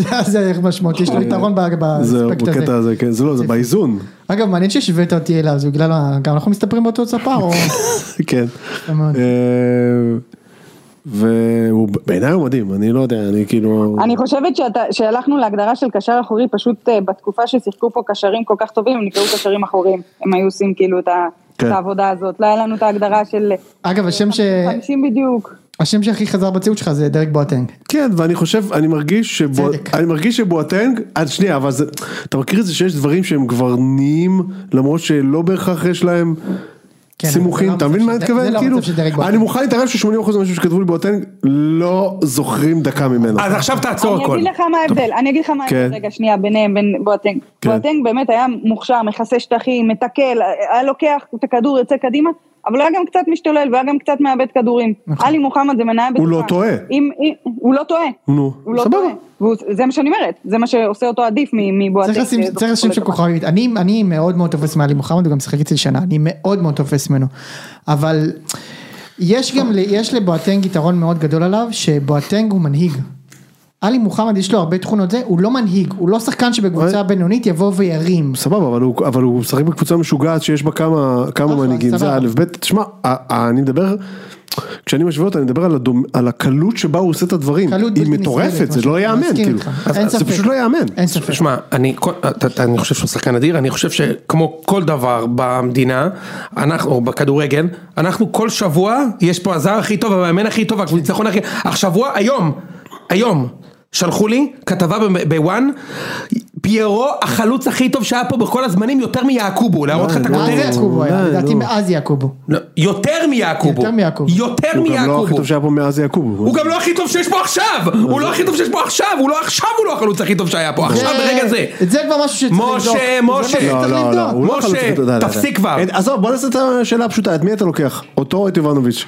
[LAUGHS] כן. זה- זה הערך משמעות, יש לו יתרון ב- אה, זהו, באספקט בקטע הזה. הזה, כן, זה לא, זה באיזון, [LAUGHS] אגב, מעניין שהשווית אותי אליו, זה בגלל, ה- גם אנחנו מסתפרים באותו ספר, [LAUGHS] או... כן. יפה מאוד. אה, והוא בעיניי הוא מדהים, אני לא יודע, אני כאילו... אני חושבת שאתה- שהלכנו להגדרה של קשר אחורי, פשוט אה, בתקופה ששיחקו פה קשרים כל כך טובים, הם נקראו קשרים אחוריים. הם היו עושים כאילו את ה- את כן. העבודה הזאת. לא היה לנו את ההגדרה של אגב, השם ש... אה, 50 בדיוק. השם שהכי חזר בציוד שלך זה דרק בואטנג. כן, ואני חושב, אני מרגיש שבוע- צדק. אני מרגיש שבואטנג, אז שנייה, אבל זה, אתה מכיר את זה שיש דברים שהם כבר נהיים, למרות שלא בהכרח יש להם כן, סימוכים, אבל זה אתה לא מבין מה אני המצב של- זה מתכוון? לא כאילו, המצב של דרג בואטנג. אני מוכן להתערב ש-80% מהאנשים שכתבו לי בואטנג לא זוכרים דקה ממנו. אז עכשיו תעצור אני הכל. אגיד לך מה ההבדל, אני אגיד לך מה כן. ההבדל, רגע, שנייה, ביניהם, בין בואטנג. כן. בואטנג באמת היה מוכשר, מכסה שטחים, מתקל, היה לוקח את הכדור, יוצא קדימה, אבל היה גם קצת משתולל, והיה גם קצת מאבד כדורים. עלי מוחמד זה מניה בטוחה. נכון. הוא לא טועה. אם- אם- הוא לא טועה. נו, הוא לא סבבה. טועה. והוא- זה מה שאני אומרת, זה מה שעושה אותו עדיף מ- מבואטנג. צריך לשים, שזוכר צריך לשים כל שם דבר. כוכבית, אני, אני מאוד מאוד תופס מעלי מוחמד, הוא גם משחק אצלי שנה, אני מאוד מאוד תופס ממנו, אבל יש גם, ל- יש לבואטנג יתרון מאוד גדול עליו, שבואטנג הוא מנהיג. עלי מוחמד יש לו הרבה תכונות זה, הוא לא מנהיג, הוא לא שחקן שבקבוצה הבינונית יבוא וירים. סבבה, אבל הוא, אבל הוא משחק בקבוצה משוגעת שיש בה כמה, כמה אחלה, מנהיגים, זה נכון, סבבה. א', ב', תשמע, ה- ה- אני מדבר, כשאני משווה אותה, אני מדבר על, הדומ, על הקלות שבה הוא עושה את הדברים, קלות היא בלתי נסבלת, מטורפת, זה משהו. לא ייאמן, מסכים כאילו, איתך. אז- אין אז זה ספק. פשוט לא ייאמן, אין ספק. שמע, אני, כל- אתה- אתה- אני חושב שהוא שחקן אדיר, אני חושב שכמו כל דבר במדינה, אנחנו, או בכדורגל, אנחנו כל שבוע, יש פה הזר הכי טוב, המאמן הכי טוב, הניצחון הכי... השבוע, היום, היום, שלחו לי כתבה ב- בוואן, פיירו החלוץ הכי טוב שהיה פה בכל הזמנים, יותר מיעקובו, להראות לך את מאז הכותרת. יעקובו היה, אולי, לדעתי לא. מאז יעקובו. לא, יותר מיעקובו. יותר מיעקובו. יותר הוא גם לא הכי מיעקובו. טוב שהיה פה מאז יעקובו, הוא גם לא הכי טוב שיש פה עכשיו! הוא לא הכי טוב שיש פה עכשיו! הוא לא עכשיו הוא לא החלוץ הכי טוב שהיה פה, עכשיו ברגע זה! את זה כבר משהו שצריך לבדוק. זה משה, משהו משה. שצריך לא, לא, לא, לבדוק. הוא לא משה, חלוץ, אתה יודע, אתה יודע. תפסיק כבר. את- עזוב, בוא נעשה את השאלה הפשוטה, את מי אתה לוקח? אותו או את יובנוביץ'?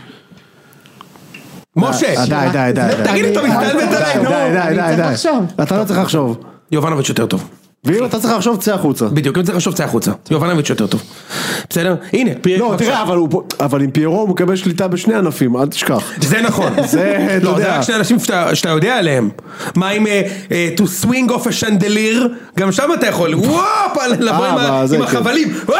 משה! אה, די, די, די, די. אה, תגיד לי, אתה מתעלמת די, עליי, נו! די, די, אני צריך די, לחשוב. די, אתה לא צריך לחשוב, יובנוביץ' יותר טוב. ואם אתה צריך לחשוב, צא החוצה. בדיוק, אם צריך לחשוב צא החוצה. יובנוביץ' יותר טוב. בסדר? הנה, פיר... אה. לא, תראה, אבל הוא פה- אבל עם פיירו הוא מקבל שליטה בשני ענפים, אל תשכח. זה נכון. [LAUGHS] זה, אתה לא, זה יודע. רק שני אנשים שאתה שאתה יודע עליהם. מה עם אה, אה, to swing off a chandelier? גם שם אתה [LAUGHS] יכול, וואפ, לבוא עם ה- אבל זה עם כן. נכון. החבלים, וואו,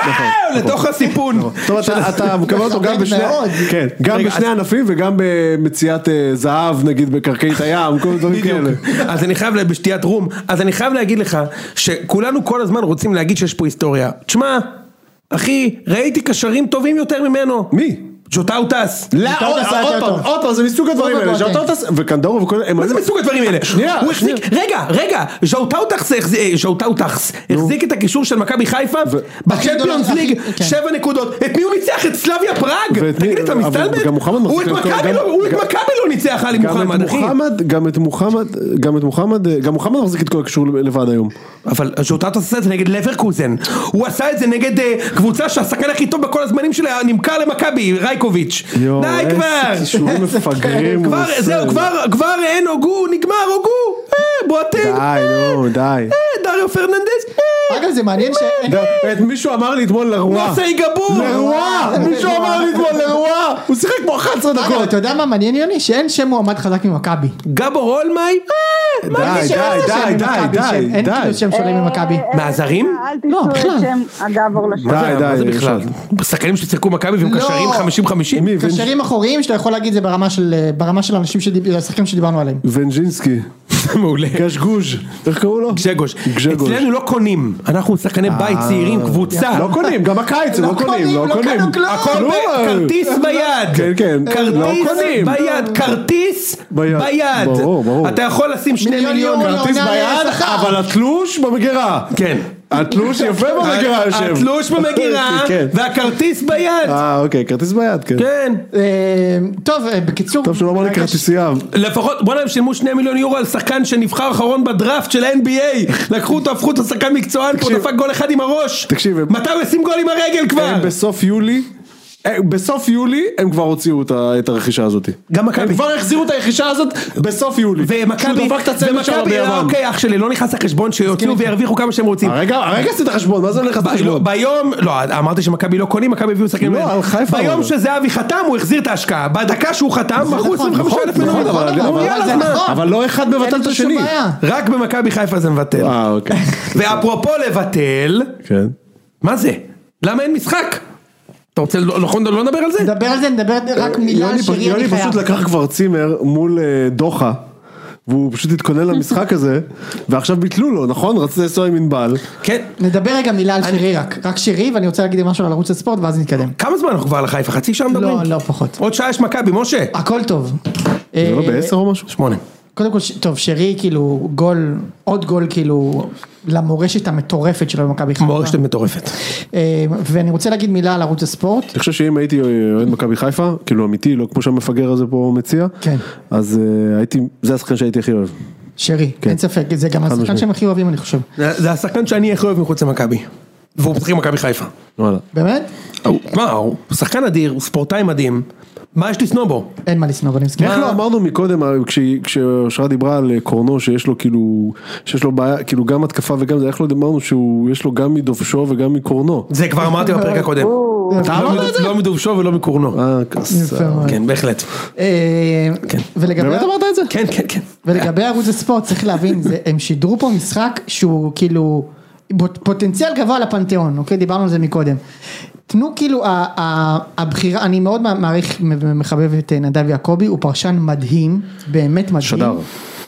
לתוך הסיפון. [LAUGHS] טוב, אתה- אתה מקבל אותו גם מכבד בשני, מאוד. כן, גם רגע, בשני אז- ענפים וגם במציאת אה, זהב, נגיד, בקרקעית הים, כל מיני דברים כאלה. אז אני חייב, לה- בשתיית רום, אז אני חייב להגיד לך שכולנו כל הזמן רוצים להגיד שיש פה היסטוריה. תשמע, אחי, ראיתי קשרים טובים יותר ממנו. מי? ג'וטאו טס. לא, איתו עוד אתה עשה עוד יותר פעם, טוב. עוד פעם, זה מסוג הדברים טוב, האלה, בואטנג. שאתה טס, וקנדורו וכל, הם מה זה היו- מסוג הדברים האלה? שנייה, הוא שנייה. החזיק, רגע, רגע, ז'אוטאו טאקס, ז'אוטאו טאקס, החזיק את הקישור של מכבי חיפה, בצ'מפיונס הכי גדול, ליג, הכי- כן. שבע נקודות, את מי הוא ניצח? את סלאביה פראג? ואת מי- תגיד לי, אתה אבל מסתלבט? גם מוחמד הוא את מחזיק אותו, מכבי גם- לא- הוא את גם- מכבי לא ניצח עלי גם את מוחמד, אחי. מוחמד, גם את מוחמד, גם את מוחמד, אה, גם מוחמד מחזיק את כל הקישור לבד היום. אבל ז'וטאט עשה את זה נגד לברקוזן, הוא עשה את זה נגד אה, קבוצה שהשחקן הכי טוב בכל הזמנים שלה נמכר למכבי, רייקוביץ'. יואו, די איזה כבר! [LAUGHS] קישורים מפגרים. הוא כבר, עושה. זהו, כבר, כבר אין הוגו, נגמר הוגו! אה, בועטים! די, נו, די. אה, דריו פרננדס! אה, אגב זה מעניין שאין את מישהו אמר לי אתמול לרואה. נוסי גבור! לרואה! מישהו אמר לי אתמול לרואה! הוא שיחק פה 11 אגב, דקות. לא, אתה יודע מה מעניין יוני? שאין שם מועמד חזק ממכבי. גבור אולמאי? אה, מה די, זה ש- די, די, די, די, אין די. אה, כאילו שם שונה ממכבי. מהזרים? אל לא, תיסעו בכלל. את שם הגבור לשם. מה זה- די, מה זה די, בכלל? שחקנים ששיחקו במכבי והם לא. קשרים 50-50? מי? ונ- קשרים אחוריים שאתה יכול להגיד זה ברמה של אה, ברמה של אנשים שדיב- אה, השחקנים שדיברנו עליהם. ונג'ינסקי. מעולה. גשגוז'. איך קראו לו? גשגוש. גשגוש. אצלנו לא קונים, אנחנו שחקנים בית צעירים, קבוצה. אה, לא קונים, גם הקיץ הם לא קונים, לא קונים. קנו כלום. הכל כלום. ב- כרטיס ביד, כן, כן. לא כרטיס קונים. ביד, כרטיס ביד. ביד, ברור, ברור. אתה יכול לשים שני מיליון מיליון, יורו. כרטיס עונה ביד, לשכר. אבל התלוש במגירה. כן, התלוש יפה במגירה יושב. התלוש במגירה [LAUGHS] כן. והכרטיס ביד, אה, אוקיי, כרטיס ביד, כן. כן, אה, טוב אה, בקיצור. טוב שהוא לא אמר לי ברגע ש- כרטיסייה. לפחות בואנה הם שילמו שני מיליון יורו על שחקן שנבחר אחרון בדראפט של ה-NBA, לקחו אותו, הפכו אותו לשחקן מקצוען, פה תקשיב. דפק גול אחד עם הראש, תקשיב, הם- אה. מתי הוא ישים גול עם הרגל כבר? הם בסוף יולי אה, בסוף יולי הם כבר הוציאו את ה- את הרכישה הזאת. גם מכבי. הם כבר החזירו את הרכישה הזאת בסוף יולי. ומכבי, כשהוא דפק את הצמד שלו ומכבי, אה, ביוון. אוקיי אח שלי, לא נכנס לחשבון שיוציאו וירוויחו כמה שהם רוצים. הרגע הרגע עשית חשבון, מה זה הולך לעשות ב- לא, חשבון? ביום, לא, אמרתי שמכבי לא קונים, מכבי הביאו שחקנים. לא, מעל. על חיפה ביום אבל. שזהבי חתם, הוא החזיר את ההשקעה. בדקה שהוא חתם, מכרו 25 אלף נכון, מנויים. אבל- נכון, אבל- אבל- יאללה, זה מה? נכון. אבל לא אחד מבטל אין את פה שום השני. בעיה. רק במכבי חיפה זה מבטל. אה, אוקיי. ואפרופו לבטל, כן. מה זה? למה אין משחק? אתה רוצה, לא נכון, לא נדבר על זה? נדבר על זה, נדבר רק מילה על אה, יוני פ- שירי, יוני אני חייב. פשוט לקח כבר צימר מול אה, דוחה. והוא פשוט התכונן למשחק הזה, ועכשיו ביטלו לו, נכון? רצית לנסוע עם ענבל. כן. נדבר רגע מילה על שירי רק, רק שירי, ואני רוצה להגיד משהו על ערוץ הספורט ואז נתקדם. כמה זמן אנחנו כבר על חיפה? חצי שעה מדברים? לא, אה, לא פחות. עוד שעה יש מכבי, משה. הכל טוב. זה לא אה, בעשר או משהו? שמונה. קודם כל, ש- טוב, שרי כאילו גול, עוד גול כאילו למורשת המטורפת שלו במכבי חיפה. מורשת מטורפת. אה, ואני רוצה להגיד מילה על ערוץ הספורט. אני חושב שאם הייתי אה, אוהד מכבי חיפה, כאילו אמיתי, לא כמו שהמפגר הזה פה מציע, כן. אז אה, הייתי, זה השחקן שהייתי הכי אוהב. שרי, כן. אין ספק, זה גם השחקן משמעית. שהם הכי אוהבים אני חושב. זה זה השחקן שאני הכי אוהב מחוץ למכבי. והוא משחק עם מכבי חיפה. אה, וואלה. באמת? הוא- מה, הוא שחקן אדיר, הוא ספורטאי מדהים. מה יש לשנוא בו? אין מה לשנוא, ואני מסכים. איך לא אמרנו מקודם, אה, כש- כשאושרה דיברה על אה, קורנו, שיש לו כאילו, שיש לו בעיה, כאילו גם התקפה וגם זה, איך לא אמרנו שהוא, יש לו גם מדובשו וגם מקורנו. זה כבר אמרתי בפרק הקודם. אה, אתה לא מד- לא מדובשו ולא מקורנו. אה, כס... יפה מאוד. כן, בהחלט. אה, כן. ולגבי- באמת אמרת את זה? כן, כן, כן. ולגבי ערוץ הספורט צריך להבין, זה- הם שידרו פה משחק שהוא כאילו בוט- פוטנציאל גבוה לפנתיאון, אוקיי? דיברנו על זה מקודם. תנו כאילו ה- ה- הבחירה, אני מאוד מעריך ומחבב את אה, נדב יעקבי, הוא פרשן מדהים, באמת מדהים. שדר.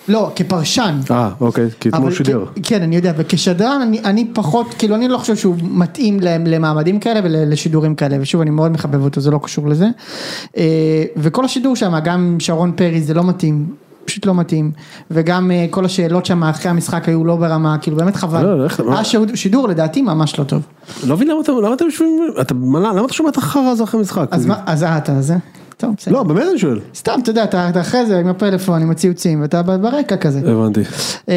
לא, כפרשן. אה, אוקיי, כי אתמול אבל שידר. כ- כן, אני יודע, וכשדרן אני, אני פחות, כאילו אני לא חושב שהוא מתאים להם- למעמדים כאלה ולשידורים כאלה, ושוב אני מאוד מחבב אותו, זה לא קשור לזה. אה, וכל השידור שם, גם שרון פרי זה לא מתאים, פשוט לא מתאים, וגם אה, כל השאלות שם אחרי המשחק היו לא ברמה, כאילו באמת חבל. לא, לא, איך- היה שידור- שידור לדעתי ממש לא טוב. לא מבין למה אתה- למה אתם יושבים, אתה- מה- למה אתה שומע את החרא הזה אחרי משחק? אז מה, אז אה, אתה זה? טוב, בסדר. לא, באמת אני שואל. סתם, אתה יודע, אתה אתה אחרי זה עם הפלאפון, עם הציוצים, ואתה ברקע כזה. הבנתי. אה,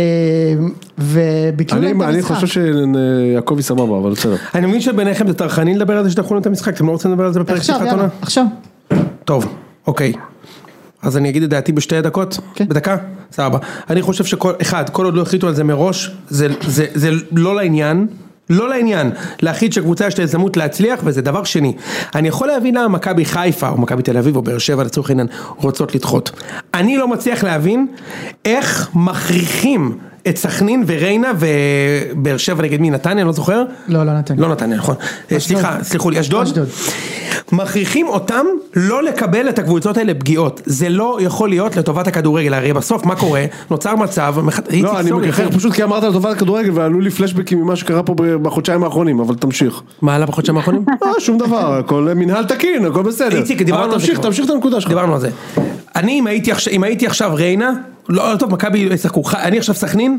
וביטלו אני להם את אני המשחק. חושב שיעקבי סבבה, אבל בסדר. אני מבין שביניכם זה טרחני לדבר על זה שדחו לנו את המשחק, אתם לא רוצים לדבר על זה בפרק עכשיו, שלך, יאללה, עונה? עכשיו. טוב, אוקיי. אז אני אגיד את דעתי בשתי דקות? כן. בדקה? סבבה. אני חושב שכל, אחד, כל עוד לא החליטו על זה מראש, זה, זה, זה לא לעניין. לא לעניין, להחליט שקבוצה יש לה הזדמנות להצליח וזה דבר שני. אני יכול להבין למה מכבי חיפה או מכבי תל אביב או באר שבע לצורך העניין רוצות לדחות. אני לא מצליח להבין איך מכריחים את סכנין וריינה ובאר שבע נגד מי נתניה, אני לא זוכר. לא, לא נתניה. לא נתניה, נכון. אה, סליחה, סלחו לי, אשדוד. אשדוד. מכריחים אותם לא לקבל את הקבוצות האלה פגיעות. זה לא יכול להיות לטובת הכדורגל, הרי בסוף מה קורה? נוצר מצב, מח- איציק, לא, אני סורי, מככב אחי. פשוט כי אמרת על טובת הכדורגל ועלו לי פלשבקים ממה שקרה פה ב- בחודשיים האחרונים, אבל תמשיך. [LAUGHS] מה עלה בחודשיים [LAUGHS] האחרונים? לא, שום דבר, הכל מנהל תקין, הכל בסדר. איציק, דיברנו על אבל זה תמשיך, כבר. תמשיך את הנקודה שלך. דיברנו על זה. אני אם הייתי עכשיו, אם הייתי עכשיו ריינה, לא, לא טוב, מכבי לא ישחקו, ח- אני עכשיו סכנין,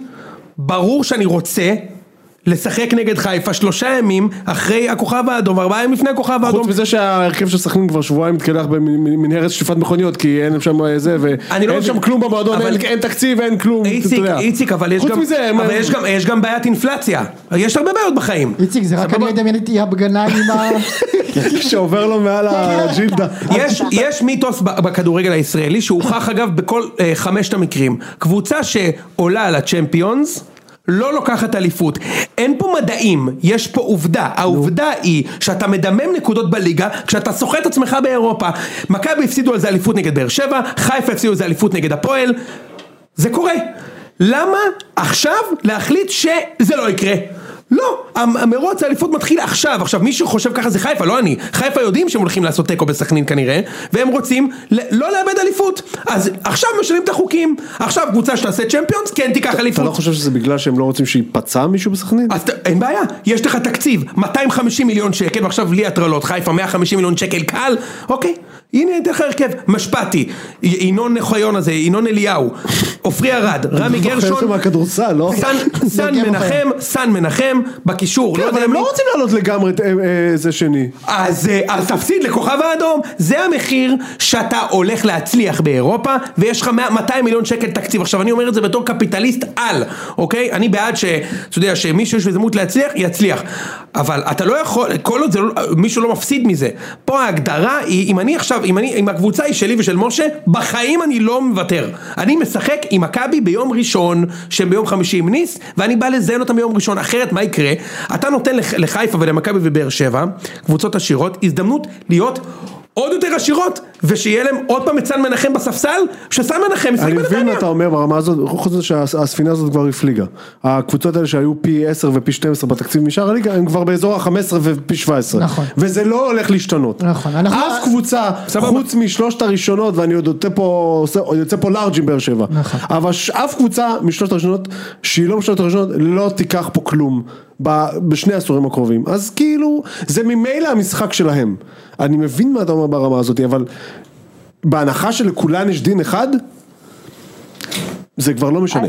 ברור שאני רוצה. לשחק נגד חיפה שלושה ימים אחרי הכוכב האדום, ארבעה ימים לפני הכוכב האדום. חוץ מזה שההרכב של סכנין כבר שבועיים מתקלח במנהרת שטיפת מכוניות, כי אין שם אה, זה, אני לא מבין. ואין שם כלום במועדון, אבל- אין- אין תקציב, אין כלום. אתה איציק, יודע. איציק, אבל יש חוץ גם, מזה, אבל מה- יש גם, יש גם בעיית אינפלציה. יש הרבה בעיות בחיים. איציק, זה רק סבבה? אני מדמיין את יאב גנאים עם ה... [LAUGHS] שעובר לו מעל הג'ילדה. יש, יש מיתוס ב- בכדורגל הישראלי שהוכח אגב בכל אה, חמשת המקרים. קבוצה שעולה על הצ'מפיונס לא לוקחת אליפות. אין פה מדעים, יש פה עובדה. העובדה היא שאתה מדמם נקודות בליגה כשאתה סוחט את עצמך באירופה. מכבי הפסידו על זה אליפות נגד באר שבע, חיפה הפסידו על זה אליפות נגד הפועל. זה קורה. למה עכשיו להחליט שזה לא יקרה? לא, המ- המרוץ האליפות מתחיל עכשיו. עכשיו, מי שחושב ככה זה חיפה, לא אני. חיפה יודעים שהם הולכים לעשות תיקו בסכנין כנראה, והם רוצים ל- לא לאבד אליפות. אז עכשיו משנים את החוקים. עכשיו קבוצה שתעשה צ'מפיונס, כן תיקח אתה לא אליפות. חושב שזה בגלל שהם לא רוצים שייפצע מישהו בסכנין? אז ת- אין בעיה, יש לך תקציב, 250 מיליון שקל, ועכשיו בלי הטרלות, חיפה 150 מיליון שקל קל, אוקיי, הנה אני אתן לך הרכב, משפטי, י- ינון אוחיון הזה, ינון אליהו, עופרי ארד, רמי זוכר אותו גרשון, מהכדורסל, לא? סן- סן גם מנחם, סן מנחם, בקישור, לא אבל יודע הם מי, לא רוצים לעלות לגמרי את אה, אה, זה שני. אז, אה, אז תפסיד לכוכב האדום, זה המחיר שאתה הולך להצליח באירופה, ויש לך 100 200 מיליון שקל תקציב. עכשיו אני אומר את זה בתור קפיטליסט על, אוקיי? אני בעד ש... אתה יודע, שמישהו יש לו הזדמנות להצליח, יצליח. אבל אתה לא יכול, כל עוד זה לא, מישהו לא מפסיד מזה. פה ההגדרה היא, אם אני עכשיו, אם, אני, אם הקבוצה היא שלי ושל משה, בחיים אני לא מוותר. אני משחק עם מכבי ביום ראשון, שהם ביום חמישי עם ניס, ואני בא לזיין אותם ביום ראשון, אחרת מה יקרה? אתה נותן לח- לחיפה ולמכבי ובאר שבע, קבוצות עשירות, הזדמנות להיות עוד יותר עשירות, ושיהיה להם עוד פעם את סן מנחם בספסל, שסן מנחם ישחק אני מבין מה בנתניה. אתה אומר ברמה הזאת, חוץ מזה שהספינה הזאת כבר הפליגה. הקבוצות האלה שהיו פי 10 ופי 12 בתקציב משאר הליגה, הם כבר באזור ה-15 ופי 17. נכון. וזה לא הולך להשתנות. נכון, אנחנו- אף קבוצה, סבבה. חוץ משלושת הראשונות, ואני עוד יוצא פה, עושה- עוד יוצא פה לארג' עם באר שבע. נכון. אבל ש- אף קבוצה משלושת הראשונות, שהיא לא משלושת הראשונות, לא תיקח פה כלום. ב- בשני העשורים הקרובים. אז כאילו, זה ממילא המשחק שלהם. אני מבין מה אתה אומר ברמה הזאת, אבל... בהנחה שלכולן יש דין אחד, זה כבר לא אה, משנה.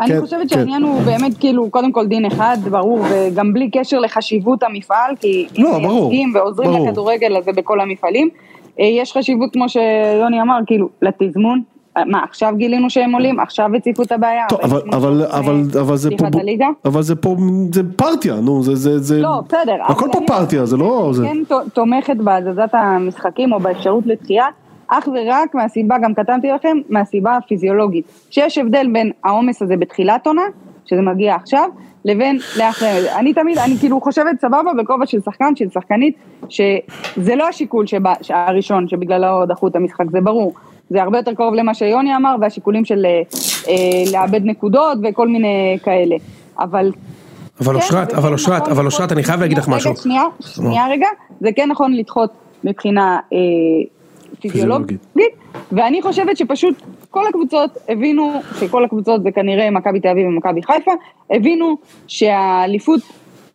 אני כן, חושבת כן. שהעניין הוא באמת כאילו, קודם כל דין אחד, ברור, וגם בלי קשר לחשיבות המפעל, כי אם לא, ברור, מייצגים ועוזרים ברור. לכדורגל הזה בכל המפעלים, אה, יש חשיבות, כמו שיוני אמר, כאילו, לתזמון. אה, מה, עכשיו גילינו שהם עולים, עכשיו הציפו את הבעיה. טוב, אבל אבל, התזמון אבל, לפני אבל, אבל זה פה, פתיחת הליגה. אבל זה פה, זה פרטיה, נו, זה, זה, זה, לא, בסדר. הכל אבל פה אני- פרטיה, זה לא, זה, כן ת- תומכת בהזזת המשחקים או באפשרות לדחייה, אך ורק מהסיבה, גם כתבתי לכם, מהסיבה הפיזיולוגית. שיש הבדל בין העומס הזה בתחילת עונה, שזה מגיע עכשיו, לבין לאחרי. אני תמיד, אני כאילו חושבת סבבה בכובע של שחקן, של שחקנית, שזה לא השיקול שבא, הראשון שבגללו דחו את המשחק, זה ברור. זה הרבה יותר קרוב למה שיוני אמר, והשיקולים של אה, אה, לאבד נקודות וכל מיני כאלה. אבל אבל כן, אושרת, זה אבל כן אושרת, נכון אבל לדחות- אושרת, אני חייב להגיד לך רגע, משהו. שנייה, שנייה רגע, זה כן נכון לדחות מבחינה אה, פיזיולוגית. פיזיולוגית, ואני חושבת שפשוט כל הקבוצות הבינו, שכל הקבוצות זה כנראה מכבי תל אביב ומכבי חיפה, הבינו שהאליפות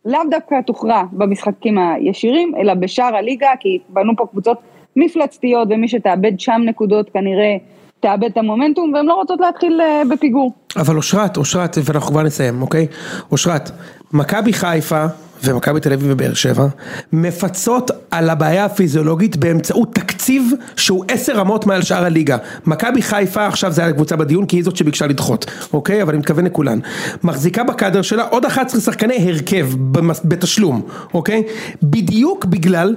לאו דווקא תוכרע במשחקים הישירים, אלא בשאר הליגה, כי בנו פה קבוצות מפלצתיות, ומי שתאבד שם נקודות כנראה תאבד את המומנטום, והן לא רוצות להתחיל אה, בפיגור. אבל אושרת, אושרת, ואנחנו כבר נסיים, אוקיי? אושרת, מכבי חיפה ומכבי תל אביב ובאר שבע מפצות על הבעיה הפיזיולוגית באמצעות תקציב שהוא עשר רמות מעל שאר הליגה. מכבי חיפה, עכשיו זה היה קבוצה בדיון כי היא זאת שביקשה לדחות, אוקיי? אבל אני מתכוון לכולן. מחזיקה בקאדר שלה עוד 11 שחקני הרכב במס- בתשלום, אוקיי? בדיוק בגלל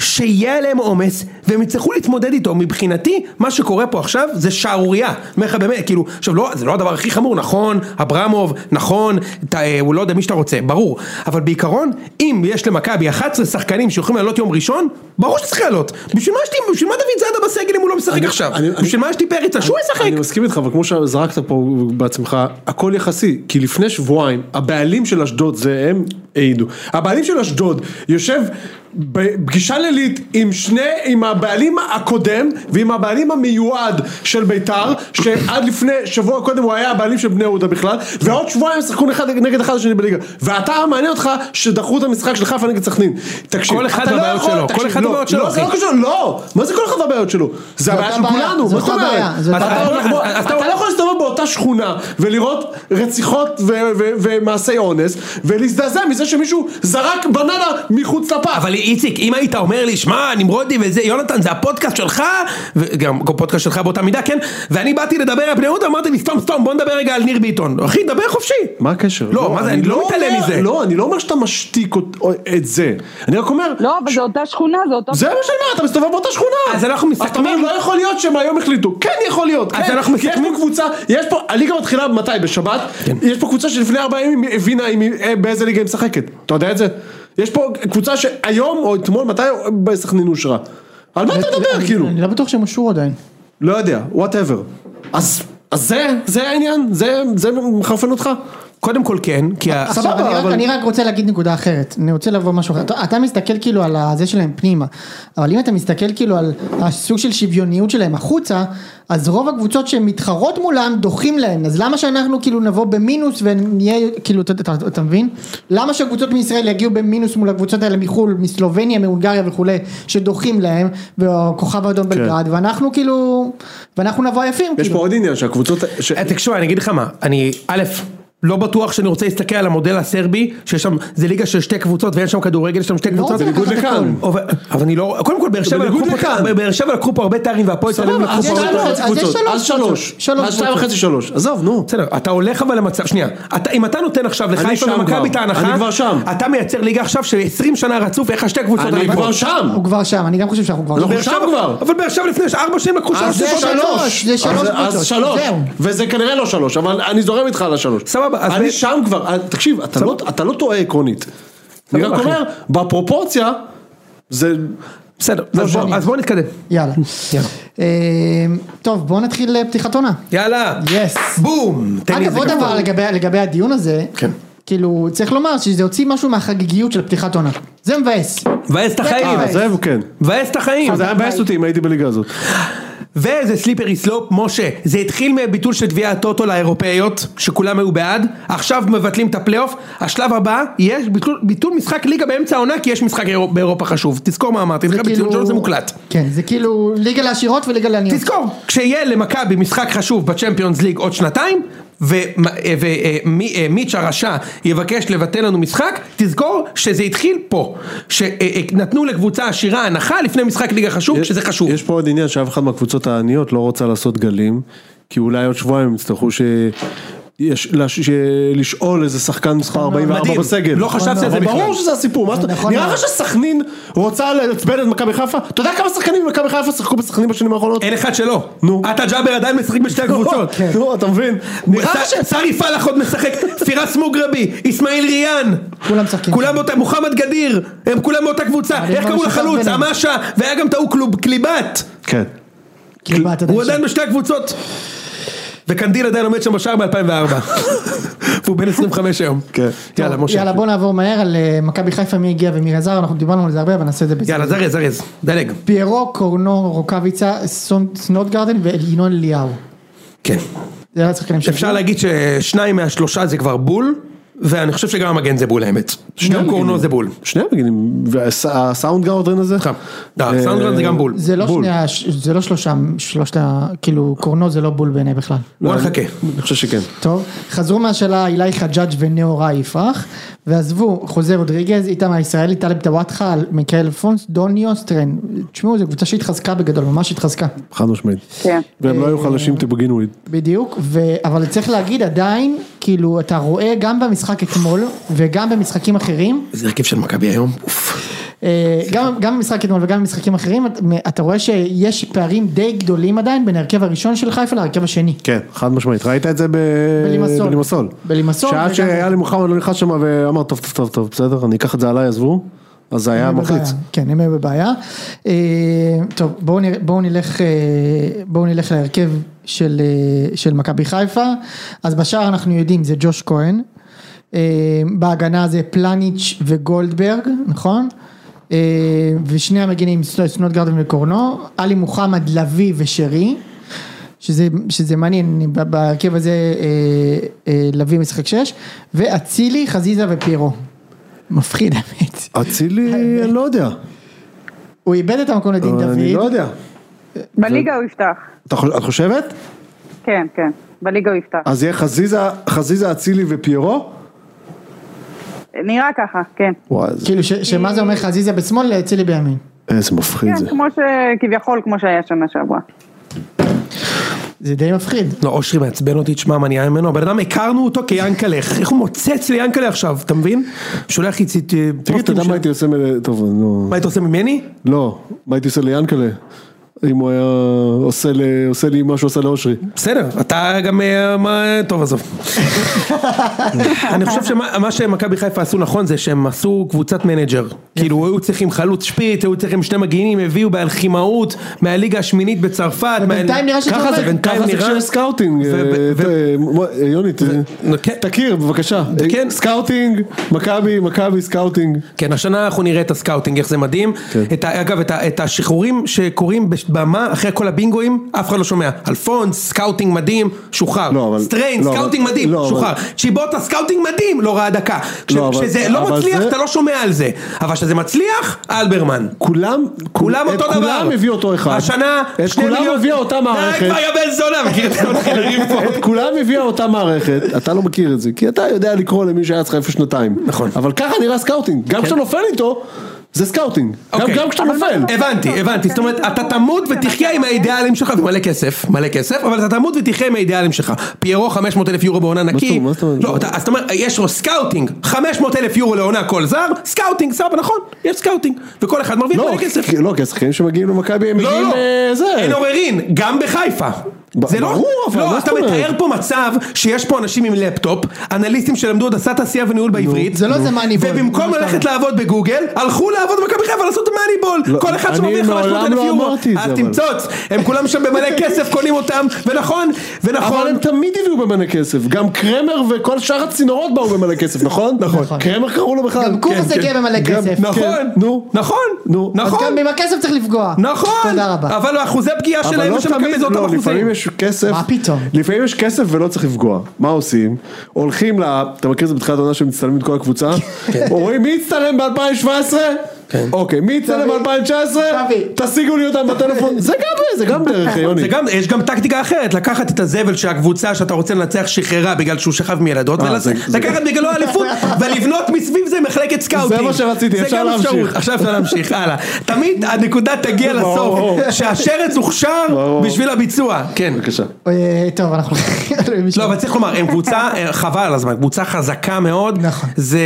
שיהיה עליהם עומס והם יצטרכו להתמודד איתו מבחינתי מה שקורה פה עכשיו זה שערורייה אומר לך באמת כאילו עכשיו לא זה לא הדבר הכי חמור נכון אברמוב נכון ת, אה, הוא לא יודע מי שאתה רוצה ברור אבל בעיקרון אם יש למכבי 11 שחקנים שיכולים לעלות יום ראשון ברור שצריך לעלות בשביל מה יש לי בשביל מה דוד זאדה בסגל אם הוא לא משחק אני- עכשיו אני- בשביל אני- מה יש לי פריצה שהוא ישחק אני מסכים איתך, אבל כמו שזרקת פה בעצמך, הכל יחסי, כי לפני שבועיים, הבעלים של אשדוד, זה הם העידו, הבעלים של אשדוד יושב בפגישה לילית עם שני, עם הבעלים הקודם ועם הבעלים המיועד של ביתר, שעד לפני שבוע קודם הוא היה הבעלים של בני יהודה בכלל, ועוד שבועיים שחקו אחד נגד אחד השני בליגה, ואתה מעניין אותך שדחו את המשחק של חיפה נגד סכנין, תקשיב, כל אחד אתה לא והבעיות יכול- שלו, כל תקשיב, אחד לא, והבעיות שלו, לא, זה לא אחי. לא, קשור, לא, מה זה כל אחד והבעיות שלו, זה הבעיה של אותה בעיה, כולנו, זו מה זאת אותה אומרת, בעיה, זו אתה אותה לא בעיה. יכול לקבוע- אז אתה אתה לא יכול להסתובב באותה שכונה ולראות רציחות ו- ו- ומעשי אונס ולהזדעזע מזה שמישהו זרק בננה מחוץ לפח. אבל איציק, אם היית אומר לי, שמע, נמרודי וזה, יונתן, זה הפודקאסט שלך, וגם פודקאסט שלך באותה מידה, כן? ואני באתי לדבר על בני יהודה, אמרתי לי, סתום, סתום, בוא נדבר רגע על ניר ביטון. אחי, דבר חופשי. מה הקשר? לא, מה זה, אני לא מתעלם אומר- מזה. לא, אני לא אומר שאתה משתיק אות- את זה. אני רק אומר... לא, אבל זו אותה שכונה, זה אותו... זה מה שאני אומר, אתה מסתובב באותה שכונה. אז אנחנו אתה אומר, מסתכמים- לא יכול להיות שהם היום החליטו. כן יכול להיות. אז כן. אנחנו כי יש מסתכמים- פה קבוצה, יש פה, הליגה מתחילה מתי? בשבת? כן. יש פה קבוצה שלפני ארבעה ימים היא הבינה עם מי- אה, באיזה ליגה היא משחקת. אתה יודע את זה? יש פה קבוצה שהיום או אתמול, מתי בסכנין אושרה? על מה [LAUGHS] אתה מדבר אני- כאילו? אה, אני לא בטוח שהם אושרו עדיין. לא יודע, וואטאבר. אז אז זה, זה העניין? זה זה מחרפן אותך? קודם כל כן, כי ה... עכשיו, אני רק- אני רק רוצה להגיד נקודה אחרת, אני רוצה לבוא משהו אחר, אתה- אתה מסתכל כאילו על זה שלהם פנימה, אבל אם אתה מסתכל כאילו על הסוג של שוויוניות שלהם החוצה, אז רוב הקבוצות שמתחרות מולם דוחים להם, אז למה שאנחנו כאילו נבוא במינוס ונהיה, כאילו, אתה- אתה אתה מבין? למה שהקבוצות מישראל יגיעו במינוס מול הקבוצות האלה מחו"ל, מסלובניה, מהונגריה וכולי, שדוחים להם, והכוכב האדום בלגרד, ואנחנו כאילו, ואנחנו נבוא עייפים, כן. יש פה כאילו. עוד עניין שהקבוצות... ש- אה, תקשיב, אני אגיד לך מה, אני, א', לא בטוח שאני רוצה להסתכל על המודל הסרבי, שיש שם, זה ליגה של שתי קבוצות ואין שם כדורגל, יש שם שתי קבוצות. רוצה לקחת לא, את בניגוד לכאן. הכל. אבל אבל אני לא, קודם כל באר שבע לקחו בניגוד פה- לכאן. באר שבע לקחו פה הרבה תארים והפועל תל אביב סבבה, לקחו אז פה יש הרבה לנו- תארים. אז יש קבוצות. שלוש אז שלוש. קבוצות. שלוש אז שתיים קבוצות. וחצי שלוש. עזוב, נו. בסדר, אתה הולך אבל למצב, שנייה, אתה, אם אתה נותן עכשיו לחיפה שם ומכבי את כבר. ההנחה, אני כבר שם. אתה מייצר ליגה עכשיו של 20 שנה רצוף, איך השתי קבוצות אני האלה פה? כבר שם. הוא כבר שם, אני גם חושב שאנחנו כבר אנחנו שם. באר שם שבע- כבר. אבל באר שבע לפני ארבע שנים לקחו אז שלוש זה זה ליגות. שלוש, שלוש, זה שלוש אז- קבוצות, אז שלוש, זהו. וזה כנראה לא שלוש, אבל אני זורם איתך על השלוש. סבבה, אז ב- אני שם כבר, אה, תקשיב, אתה לא- אתה לא טועה עקרונית. אני רק אחי. אומר, בפרופורציה, זה... בסדר, לא אז בוא- אז בואו נתקדם. יאללה. יאללה. אמ, טוב, בואו נתחיל אה, פתיחת עונה. יאללה. יס. בום. תן לי אגב, איזה עוד כפול. דבר לגבי- לגבי הדיון הזה, כן. כאילו, צריך לומר שזה הוציא משהו מהחגיגיות של פתיחת עונה. זה מבאס. מבאס את החיים. אה, אה, זה כן. מבאס את החיים. זה היה מבאס אותי אם הייתי בליגה הזאת. וזה סליפרי סלופ, משה, זה התחיל מביטול של גביע הטוטו לאירופאיות, שכולם היו בעד, עכשיו מבטלים את הפלייאוף, השלב הבא יהיה ביטול, ביטול משחק ליגה באמצע העונה, כי יש משחק אירופ, באירופה חשוב, תזכור מה אמרתי, לך כאילו- בציון שלו זה מוקלט. כאילו- כן, זה כאילו ליגה לעשירות וליגה לעניות. תזכור, כשיהיה למכבי משחק חשוב בצ'מפיונס ליג עוד שנתיים, אה, ומיץ' הרשע יבקש לבטל לנו משחק, תזכור שזה התחיל פה, שנתנו לקבוצה עשירה הנחה לפני משחק ליגה חשוב, שזה חשוב. יש פה עוד עניין שאף אחת מהקבוצות העניות לא רוצה לעשות גלים, כי אולי עוד שבועיים יצטרכו ש... יש, לש, ש... לשאול איזה שחקן מספר 44 מדהים. בסגל. לא חשבתי על זה אבל בכלל. ברור שזה הסיפור, מה זאת- נכון נראה מאוד. לך שסכנין רוצה לעצבן את מכבי חיפה? אתה יודע כמה שחקנים במכבי חיפה שיחקו בסכנין בשנים האחרונות? [LAUGHS] אין אחד שלא. נו. לא, אתה ג'אבר עדיין משחק [LAUGHS] בשתי הקבוצות. כן. נו, אתה מבין? נראה לך ש... ס- סרי פלח עוד משחק, פירס מוגרבי, אסמאעיל ריאן. כולם משחקים. כולם באותה, מוחמד גדיר, הם כולם מאותה קבוצה. אבל יש איך משהו קראו שחק לחלוץ? ביניהם. אמשה, והיה גם את ההוא קלוב, קליבת. כן. כאילו, מה, אתה יודע, הוא עדיין בשתי הקבוצות. וקנדיל עדיין עומד שם בשער ב-2004. והוא בן 25 היום. כן. יאללה, טוב, משה. יאללה, בואו נעבור מהר על אה, מכבי חיפה, מי הגיע ומי עזר, אנחנו דיברנו על זה הרבה, אבל נעשה את זה בזה. יאללה, זרז, זרז. דלג. פיירו, קורנו, רוקאביצה, סונ- סנוטגרדן וינון אליהו. כן. זה היה השחקנים שהגיעו. אפשר להגיד ששניים מהשלושה זה כבר בול, ואני חושב שגם המגן זה בול האמת. גם קורנו זה בול. שני המגינים, והסאונד גאודרן הזה? סליחה. לא, סאונדרן זה גם בול. זה לא בול. שנייה, ש- זה לא שלושה, שלושת ה... כאילו, קורנו זה לא בול בעיניי בכלל. בוא נחכה. אני חושב שכן. טוב, חזרו מהשאלה אילי חג'אג' ונאורה יפרח, ועזבו חוזה רודריגז, איתם הישראלי, טלב טוואטחה, מיכאל פונס, דוני אוסטרן. תשמעו, זו קבוצה שהתחזקה בגדול, ממש התחזקה. חד משמעית. כן. והם לא היו חלשים to begin with. בדיוק, ו... אבל צריך להגיד עדיין, כאילו, אתה רואה גם במשחק אתמול, וגם במשחקים אחרים, זה הרכב של מכבי היום. אוף. אה, גם, גם במשחק אתמול וגם במשחקים אחרים, אתה- אתה רואה שיש פערים די גדולים עדיין בין ההרכב הראשון של חיפה להרכב השני. כן, חד משמעית, ראית את זה ב... בלימסול. בלימסול. בלימסול, וגם- שעד שהיה לי מוחמד לא נכנס שם ואמר טוב טוב טוב טוב בסדר אני אקח את זה עליי עזבו. אז זה היה הם היו מלחיץ. בבעיה. כן, הם היו בבעיה. אה, טוב, בואו נראה- בואו נלך, אה, בואו נלך להרכב של, אה, של מכבי חיפה. אז בשער אנחנו יודעים, זה ג'וש כהן. אה, בהגנה זה פלניץ' וגולדברג, נכון? אה, ושני המגינים, סנודגרדן וקורנו. עלי מוחמד, לביא ושרי. שזה, שזה מעניין, ב- בהרכב הזה אה, אה, לביא משחק 6, ואצילי, חזיזה ופירו. מפחיד האמת. אצילי אני לא יודע. הוא איבד את המקום לדין אה, דוד. אני לא יודע. בליגה הוא יפתח. אתה חוש- את חושבת? כן, כן. בליגה הוא יפתח. אז יהיה חזיזה, חזיזה אצילי ופיירו? אה. נראה ככה, כן. וואי איזה- כאילו ש- שמה אה. זה אומר חזיזה בשמאל, אצילי בימין. איזה מפחיד זה. כן, כמו ש... כביכול, כמו שהיה שנה שעברה. זה די מפחיד. לא, אושרי מעצבן אותי, תשמע מה נהיה ממנו, הבן אדם הכרנו אותו כיאנקלך, איך הוא מוצץ ליאנקלך עכשיו, אתה מבין? שולח לי אה, ציט... תגיד אתה יודע מה הייתי עושה מ... טוב נו. מה היית עושה ממני? לא. מה הייתי עושה ליאנקלה? אם הוא היה עושה, ל... עושה לי מה שהוא עשה לאושרי. בסדר, אתה גם, אה, מה, טוב עזוב. [LAUGHS] אני חושב שמה מה שמכבי חיפה עשו נכון זה שהם עשו קבוצת מנג'ר. כאילו היו צריכים חלוץ שפיץ, היו צריכים שני מגינים, הביאו בהלחימאות מהליגה השמינית בצרפת. ובינתיים מה- נראה שזה ככה זה, עובד. בינתיים ככה זה נראה. כשיש סקאוטינג, ו- ו- אה, אה, מ- אה, יוני, ת- נו, כן. תכיר בבקשה, כן. אה, סקאוטינג, מכבי, מכבי סקאוטינג, כן, השנה אנחנו נראה את הסקאוטינג, איך זה מדהים. כן. את ה, אגב, את, ה, את השחרורים שקורים בבמה, אחרי כל הבינגואים, אף אחד לא שומע. אלפונס, סקאוטינג מדהים, שוחרר. לא, אבל- סטריין, לא, סקאוטינג אבל- מדהים, לא, אבל- שוחרר. צ'יבוטה, סקאוטינג מדהים, לא ראה דקה. כש- לא, אבל- כשזה לא אבל מצליח, זה- אתה לא שומע על זה. אבל כשזה מצליח, אלברמן. כולם, כולם את אותו דבר. כולם הביא אותו אחד, השנה, את שני כולם מיליון- הביאה אותה די כבר מערכת, יא בן זונה, מכיר את המחירים פה. את כולם הביאה אותה [LAUGHS] מערכת, אתה לא מכיר את זה, כי אתה יודע לקרוא למי שהיה אצלך איפה שנתיים, נכון. כן. אבל ככה נראה סקאוטינג, גם כשאתה נופל איתו, זה סקאוטינג, גם- אוקיי. גם כשאתה אבל נופל, מה- הבנתי, הבנתי, זאת אומרת, אתה תמות ותחיה עם האידיאלים שלך, ומלא כסף, מלא כסף, אבל אתה תמות ותחיה עם האידיאלים שלך. פיירו 500 אלף יורו בעונה נקי, זאת- מה זאת אומרת? לא, אתה- אז אתה אומר, יש לו סקאוטינג, 500 אלף יורו לעונה כל זר, סקאוטינג, סבבה, נכון, יש סקאוטינג, וכל אחד מרוויח לא, מלא כסף. כי- לא, כי השחקנים שמגיעים למכבי הם לא, מגיעים, לא, אה, זה, אין עוררין, גם בחיפה. ב- זה לא, ברור, אבל לא, מה אתה זאת אומרת? מתאר פה מצב שיש פה אנשים עם לפטופ, אנליסטים שלמדו הנדסת תעשייה וניהול בעברית, זה לא זה מאניבול. ובמקום זה מה שאתה ללכת לעבוד בגוגל, הלכו לעבוד במכבי חיפה לעשות מאניבול. לא, כל אחד אני שמרוויח 500 מעולם אלף לא יורו, אמרתי את אז זה, אבל. תמצוץ, הם כולם שם במלא כסף, קונים אותם, ונכון, אבל ונכון. הם תמיד הביאו במלא כסף, גם קרמר וכל שאר הצינורות באו במלא [LAUGHS] כסף, נכון? נכון. [LAUGHS] קרמר קראו לו בכלל. כן, גם קורס הגיע במלא גם- כסף. נכון, כן, נו. נכון, נו, אז אז נכון, גם עם הכסף צריך לפגוע. נכון, תודה רבה. אבל אחוזי פגיעה אבל שלהם לא ושל מכבי תמיד, זה אותם לא, לפעמים אחוזים. יש כסף, מה פתאום? לפעמים יש כסף ולא צריך לפגוע, מה עושים? הולכים ל... אתה מכיר את זה בתחילת העונה שמצטלמים את כל הקבוצה? כן. [LAUGHS] רואים מי הצטלם ב-2017? אוקיי, מי הצטלם תביא. ב-2019? תביא. תשיגו לי אותם בטלפון, זה גם זה גם [LAUGHS] דרך יוני. זה גם, יש גם טקטיקה אחרת, לקחת את הזבל שהקבוצה שאתה רוצה לנצח שחררה בגלל שהוא שכב מילדות, אה, זה- זה- ולקחת בגללו [LAUGHS] אליפות, ולבנות מסביב זה מחלקת סקאוטינג. זה מה שרציתי, זה אפשר גם להמשיך. אפשרות. עכשיו אפשר להמשיך, הלאה. תמיד הנקודה תגיע לסוף, ברור. שהשרץ הוכשר ברור. בשביל הביצוע. כן. בבקשה. אה, טוב, אנחנו... [LAUGHS] לא, אבל צריך לומר, הם קבוצה, אה, חבל על הזמן, קבוצה חזקה מאוד. נכון. זה,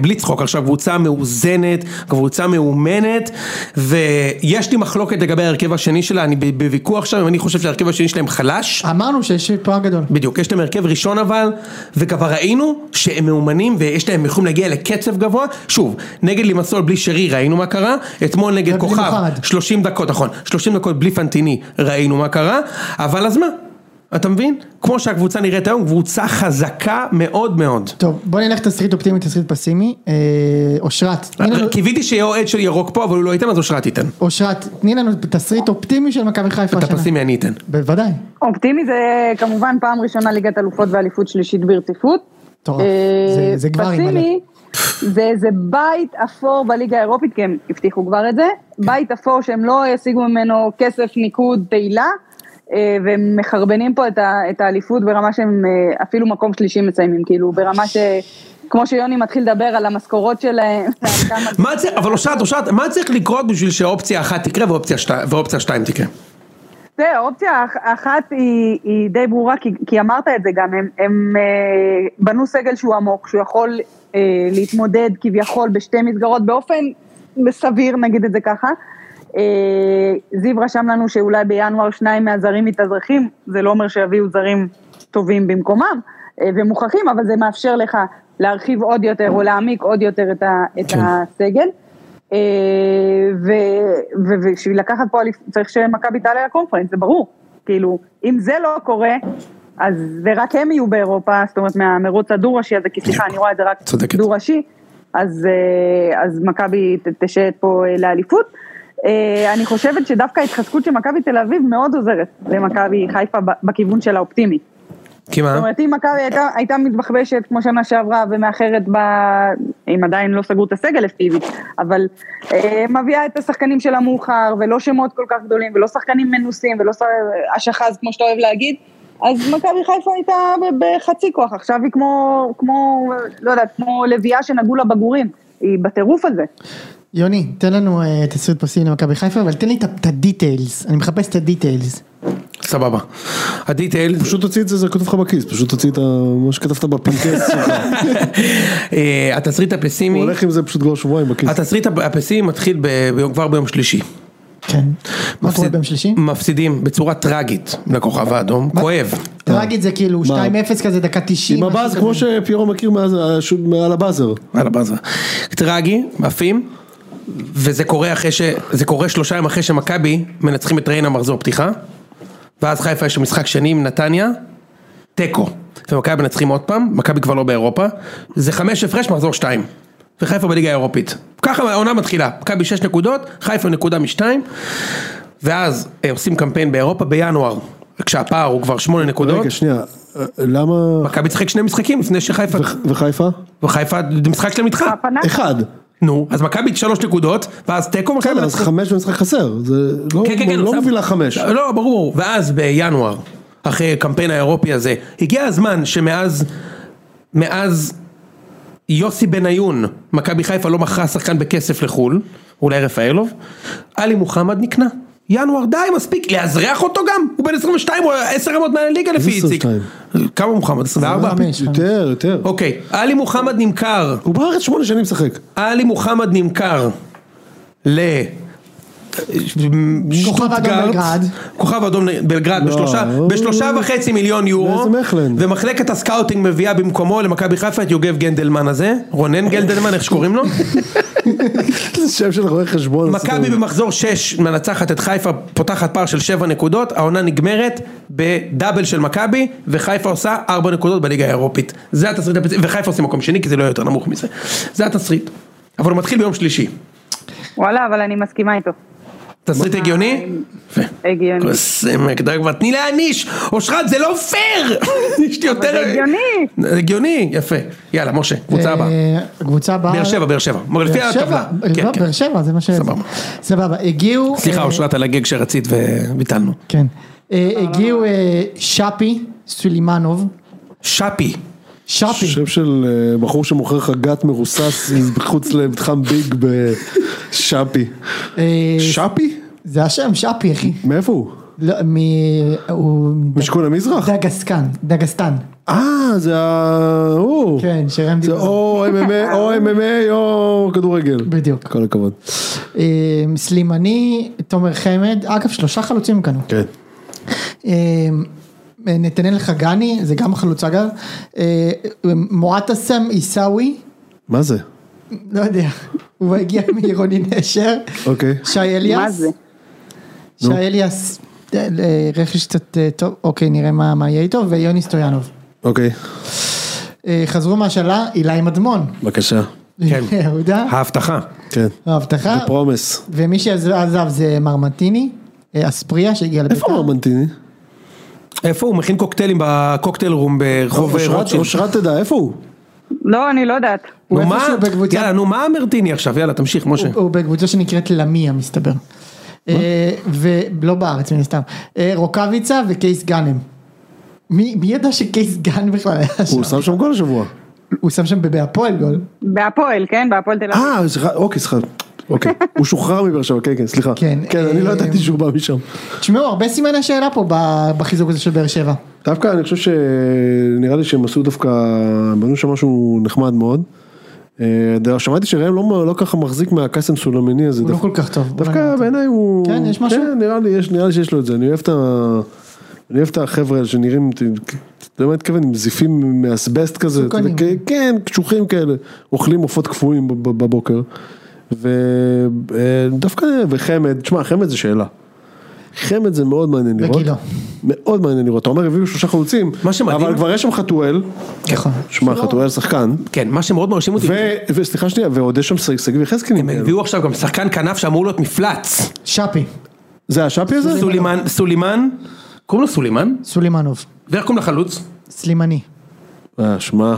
בלי צחוק, עכשיו קבוצה מאוזנת, קבוצה מאומנת, ויש לי מחלוקת לגבי ההרכב השני שלה, אני ב- בוויכוח שם, אם אני חושב שההרכב השני שלהם חלש. אמרנו שיש פער גדול. בדיוק, יש להם הרכב ראשון אבל, וכבר ראינו שהם מאומנים ויש להם, יכולים להגיע לקצב גבוה. שוב, נגד לימסול בלי שרי ראינו מה קרה, אתמול נגד ובלי כוכב, מוחמד. 30 דקות, נכון, 30 דקות בלי פנטיני ראינו מה קרה, אבל אז מה? אתה מבין? כמו שהקבוצה נראית היום, קבוצה חזקה מאוד מאוד. טוב, בוא נלך תסריט אופטימי, תסריט פסימי. אה, אושרת, תני לנו- קיוויתי שיהיה אוהד של ירוק פה, אבל הוא לא ייתן, אז אושרת ייתן. אושרת, תני לנו תסריט אופטימי של מכבי חיפה אתה השנה. פסימי, אני אתן. בוודאי. אופטימי זה כמובן פעם ראשונה ליגת אלופות ואליפות שלישית ברציפות. מטורף. אה, זה- זה כבר עם פסימי, זה איזה בית אפור בליגה האירופית, כי הם הבטיחו כבר את זה, בית אפור שהם לא ישיגו ממנו כסף, ניקוד, תהילה, אה, והם מחרבנים פה את ה- את האליפות ברמה שהם אה, אפילו מקום שלישי מסיימים, כאילו ברמה ש... כמו שיוני מתחיל לדבר על המשכורות שלהם, [LAUGHS] ועל כמה מה צריך, אבל אושרת, אושרת, מה צריך לקרות בשביל שאופציה אחת תקרה ואופציה שתי- ואופציה שתיים תקרה? תראה, אופציה אח- אחת היא, היא די ברורה, כי, כי אמרת את זה גם, הם, הם אה, בנו סגל שהוא עמוק, שהוא יכול אה, להתמודד כביכול בשתי מסגרות באופן סביר, נגיד את זה ככה. אה, זיו רשם לנו שאולי בינואר שניים מהזרים מתאזרחים, זה לא אומר שיביאו זרים טובים במקומם אה, ומוכחים, אבל זה מאפשר לך להרחיב עוד יותר או להעמיק עוד יותר את, ה, את כן. הסגל. אה, ו- ו- ובשביל לקחת פה, אליפ- צריך שמכבי תעלה לקונפרנס, זה ברור. כאילו, אם זה לא קורה, אז ורק הם יהיו באירופה, זאת אומרת מהמרוץ הדו-ראשי הזה, כי סליחה, אני רואה את זה רק צודקת. דו-ראשי, אז, אה, אז מכבי ת- תשייט פה אה, לאליפות. אה, אני חושבת שדווקא ההתחזקות של מכבי תל אביב מאוד עוזרת למכבי חיפה ב- בכיוון של האופטימי. כי מה? זאת אומרת, אם מכבי הייתה, הייתה מתבחבשת כמו שנה שעברה ומאחרת ב... אם עדיין לא סגרו את הסגל אפקטיבית, אבל אה, מביאה את השחקנים שלה מאוחר, ולא שמות כל כך גדולים, ולא שחקנים מנוסים, ולא ש- אשחז, כמו שאתה אוהב להגיד, אז מכבי חיפה הייתה ב- בחצי כוח, עכשיו היא כמו, כמו, לא יודעת, כמו לביאה שנגעו לה בגורים, היא בטירוף הזה. יוני, תן לנו אה, תסריט פסימי למכבי חיפה, אבל תן לי את ה- את הדיטיילס. אני מחפש את הדיטיילס. סבבה. הדיטייל, פשוט תוציא את זה, זה כתוב לך בכיס, פשוט תוציא את ה- מה שכתבת [LAUGHS] בפנקס שלך. אה, התסריט הפסימי, הוא הולך עם זה פשוט כבר שבועיים בכיס. התסריט הפ- הפסימי מתחיל ב- ביום- כבר ביום שלישי. כן. מה קורה מפסיד- ביום שלישי? מפסידים בצורה טרגית לכוכב האדום, כואב. טראגית זה כאילו 2-0 מה? כזה דקה 90. עם משהו הבאז, כזה. כמו שפיירו מכיר מאז, ש- על הבאזר. על הבאזר. טרגי, עפים, וזה קורה אחרי ש... זה קורה שלושה ימים אחרי שמכבי מנצחים את ריינה מחזור פתיחה, ואז חיפה יש משחק שני עם נתניה, תיקו. ומכבי מנצחים עוד פעם, מכבי כבר לא באירופה, זה חמש הפרש מחזור שתיים. וחיפה בליגה האירופית. ככה העונה מתחילה, מכבי שש נקודות, חיפה נקודה משתיים, ואז אה, עושים קמפיין באירופה בינואר, כשהפער הוא כבר שמונה נקודות, רגע, שנייה, אה, למה... מכבי צחק שני משחקים לפני שחיפה, וח- וחיפה? וחיפה, זה משחק שלהם איתך. הפנה? אחד. נו, אז מכבי שלוש נקודות, ואז תיקו מכבי בסדר, אז מנצחים. חמש במשחק חסר. זה לא- כן, כן, כן, לא סבבה. מובילה חמש. לא, ברור, ואז בינואר, אחרי הקמפיין האירופי הזה, הגיע הזמן שמאז, מאז יוסי בניון, מכבי חיפה לא מכרה שחקן בכסף לחו"ל, אולי רפאלוב, עלי מוחמד נקנה. ינואר די מספיק, לאזרח אותו גם, הוא בן 22, הוא 10 רמות מעל הליגה לפי איציק. 22? כמה מוחמד? 24? חמש. יותר, יותר. אוקיי, עלי מוחמד נמכר הוא בארץ שמונה שנים משחק. עלי מוחמד נמכר ל... כוכב אדום שטוטגרט, בלגרד. כוכב אדום בלגרד לא, בשלושה, הוא- בשלושה וחצי מיליון יורו, באיזה מכלן? ומחלקת הסקאוטינג מביאה במקומו למכבי חיפה את יוגב גנדלמן הזה, רונן גנדלמן איך [LAUGHS] שקוראים לא לו, איזה שם של רואה חשבון. כאילו מכבי עשית. במחזור 6 מנצחת את חיפה, פותחת פער של 7 נקודות, העונה נגמרת בדאבל של מכבי, וחיפה עושה 4 נקודות בליגה האירופית. זה התסריט, הבסיסי, וחיפה עושים מקום שני כי זה לא יהיה יותר נמוך מזה, זה התסריט, אבל הוא מתחיל ביום שלישי. וואלה, אבל אני מסכימה איתו. תסריט הגיוני? יפה. הגיוני. קוסמק דג כבר תני להעניש! אושרת זה לא [LAUGHS] פייר! יש לי יותר... זה הגיוני. זה הגיוני, יפה. יאללה משה, קבוצה הבאה. אה, קבוצה הבאה. באר שבע, באר שבע. לפי באר שבע, הטבלה. כן, לא, כן. באר שבע, זה מה ש... סבבה. סבבה, הגיעו... סליחה אה, אושרת על הגג שרצית וביטלנו. כן. אה, הגיעו אה, שפי, סולימנוב. שפי. שפי. שם של אה, בחור שמוכר חגת מרוסס [LAUGHS] מחוץ למתחם ביג בשאפי. אה, שאפי? זה השם, שפי, אחי. מאיפה הוא? לא, מ... הוא... משכון המזרח? דגסקן, דגסטן. אה, זה ה... הוא. כן, שרם זה דיבר. או MMA או MMA או כדורגל. בדיוק. כל הכבוד. אה, סלימני, תומר חמד, אגב שלושה חלוצים קנו. כן. אה, נתנאל חגני, זה גם חלוץ אגב. אה, מועטסם עיסאווי, מה זה? לא יודע, הוא הגיע [LAUGHS] מעירוני נשר. אוקיי. שי אליאס. מה זה? שי אליאס, אה, אה, רכש קצת אה, טוב, אוקיי, נראה מה מה יהיה איתו, ויוני סטויאנוב. אוקיי. אה, חזרו מהשאלה, אילי מדמון. בבקשה. כן. [LAUGHS] יהודה, ההבטחה. כן. אה. ההבטחה. פרומס. ומי שעזב זה מרמנטיני, אה, אספריה שהגיע לביתר. איפה מרמנטיני? איפה הוא מכין קוקטיילים בקוקטייל רום ברחוב אה, אוקיי, אושרת- רוטשילד? אושרת תדע, איפה הוא? לא, אני לא יודעת. נו הוא מה? איפשהו בקבוצה- יאללה נו מה מרטיני עכשיו? יאללה תמשיך משה. הוא בקבוצה שנקראת למיה מסתבר. אה, ולא בארץ מן הסתם. אה, רוקאביצה וקייס גאנם. מי מי ידע שקייס גאנם בכלל היה שם? הוא שם שם כל השבוע. הוא שם שם בהפועל גול. בהפועל, כן? בהפועל תל אביב. אה, סליחה, אוקיי, סליחה. אוקיי. הוא שוחרר מבאר שבע, כן, כן, סליחה. כן, כן, אני לא אה, ידעתי שהוא בא משם. תשמעו הרבה סימני השאלה פה ב- בחיזוק הזה של באר שבע. דווקא אני חושב שנראה לי שהם עשו דווקא, בנו שם משהו נחמד מאוד. אה, דו- שמעתי שראם לא, לא ככה מחזיק מהקאסם סולמני הזה. הוא לא דווקא, כל כך טוב. בוא נגיד. דווקא בעיניי הוא... כן, יש משהו? כן, נראה לי, יש, נראה לי שיש לו את זה. אני אוהב את, ה... אני אוהב את החבר'ה האלה שנראים, אתה יודע מה התכוון, עם זיפים מאסבסט כזה. אתה יודע, מסוכנים. כ- כן, קשוחים כאלה. אוכלים עופות קפואים בב- בבוקר. ודווקא, וחמד, תשמע, חמד זה שאלה. חמד זה מאוד מעניין לראות. וגילו. מאוד מעניין לראות, אתה אומר הביאו שלושה חלוצים, מה שמדהים- אבל כבר יש שם חתואל, נכון. שמע חתואל שחקן, כן מה שמאוד מרשים אותי. ו- וסליחה שנייה, ועוד יש שם ש- שגיב יחזקאל, עם הם כאלו. הביאו עכשיו גם שחקן כנף שאמור להיות מפלץ. שפי, זה השאפי הזה? סולימן, סולימן, קוראים לו סולימן? סולימנוב, ואיך קוראים לחלוץ? סלימני. אה, שמע,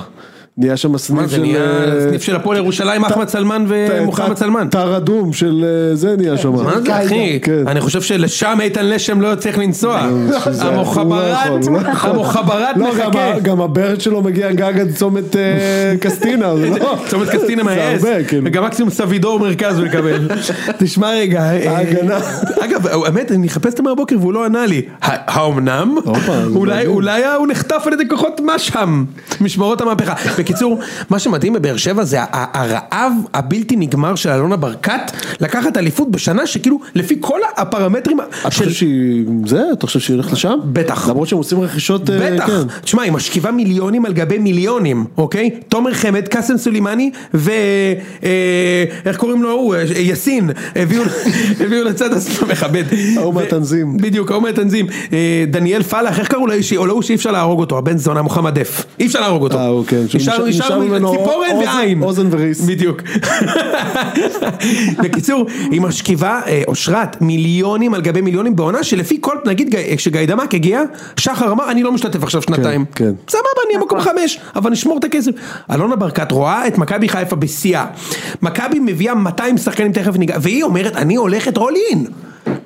נהיה שם מה סניף זה של... נהיה אה, סניף של הפועל ירושלים, אחמד סלמן ומוחמד ת- סלמן. תר אדום של אה, זה נהיה שם. מה זה אחי? כן. אני חושב שלשם איתן לשם לא צריך לנסוע. [LAUGHS] שזה- המוחברט, הוא לא יכול, הוא לא יכול. המוחברט לא, גם ה- מחכה. גם הברד שלו מגיע גג עד צומת אה, קסטינה, זה לא... צומת קסטינה מהאס, זה הרבה, כאילו. וגם מקסימום סבידור מרכז הוא [LAUGHS] יקבל. תשמע רגע, אה, ההגנה. אגב, האמת, אני מחפש אותו מהבוקר והוא לא ענה לי. הא- האומנם? הופה, זה אולי- מדהים. אולי הוא נחטף על ידי כוחות משהם, משמרות המהפכה. בקיצור, מה שמדהים בבאר שבע זה ה- ה- הרעב הבלתי נגמר של אלונה ברקת לקחת אליפות בשנה שכאילו לפי כל הפרמטרים אתה של... חושב שהיא... זה? אתה חושב שהיא הולכת לשם? בטח. למרות שהם עושים רכישות... אה, בטח, כן. תשמע, היא משכיבה מיליונים על גבי מיליונים, אוקיי? תומר חמד, קאסם סולימני, ו... אה, איך קוראים לו ההוא? אה, יאסין, הביאו, [LAUGHS] הביאו לצד השמאל, מכבד. ההוא ו- מהתנזים. בדיוק, ההוא מהתנזים. אה, דניאל פלאח, איך קראו לאיש, או להוא שאי אפשר להרוג אותו, הבן זונה מוחמד דף. אי אפשר להרוג אותו. אה, אוקיי. נשאר- שנשאר- נשאר נשארנו עם ממנו ציפורן אוזן- ועין. אוזן וריס. בדיוק. בקיצור, היא משכיבה, אה, אושרת, מיליונים על גבי מיליונים בעונה שלפי כל, נגיד גיא- כשגיידמק הגיע, שחר אמר אני לא משתתף עכשיו שנתיים. כן. סבבה, אני במקום חמש, אבל נשמור את הכסף. אלונה ברקת רואה את מכבי חיפה בשיאה. מכבי מביאה 200 שחקנים תכף ניגע, והיא אומרת אני הולכת רול אין.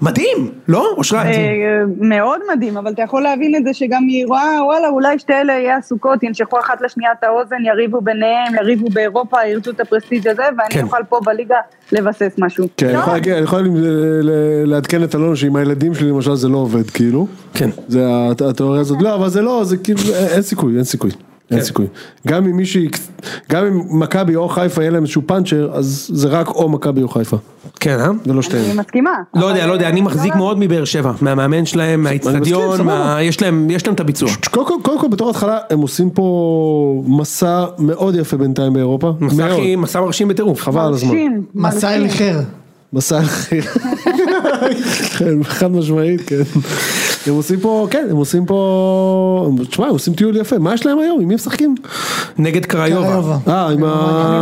מדהים, לא? אושרת? אה, מאוד מדהים, אבל אתה יכול להבין את זה שגם היא רואה, וואלה, אולי שתי אלה יהיה עסוקות, ינשכו אחת לשנייה את האוזן, יריבו ביניהם, יריבו באירופה, ירצו את הפרסטיג' הזה, כן. ואני אוכל פה בליגה לבסס משהו. כן, לא. אני יכול להגיד- אני יכול ל- ל- לעדכן את אלון שעם הילדים שלי למשל זה לא עובד, כאילו. כן. זה הת- התיאוריה הזאת, לא, אבל זה לא, זה כאילו, א- אין סיכוי, אין סיכוי. כן. אין סיכוי. גם אם מישהי, גם אם מכבי או חיפה יהיה להם איזשהו פאנצ'ר, אז זה רק או מכבי או חיפה, כן, אה? ולא אני שתיהן. מסכימה. לא יודע, אבל- לא יודע, אני מחזיק מאוד מבאר שבע, מהמאמן שלהם, מהאיצטדיון, מסכים, מה- סבבה. יש להם יש להם את הביצוע. קודם כל, קודם כל בתור התחלה הם עושים פה מסע מאוד יפה בינתיים באירופה, מסע מאוד, הכי- מסע מרשים בטירוף. חבל על הזמן, מרשים, מסע מרשים. אל חר. מסע הכי, כן, חד משמעית, כן, הם עושים פה, כן, הם עושים פה, תשמע, הם עושים טיול יפה, מה יש להם היום, עם מי הם משחקים? נגד קריובה. קריובה. אה, עם ה-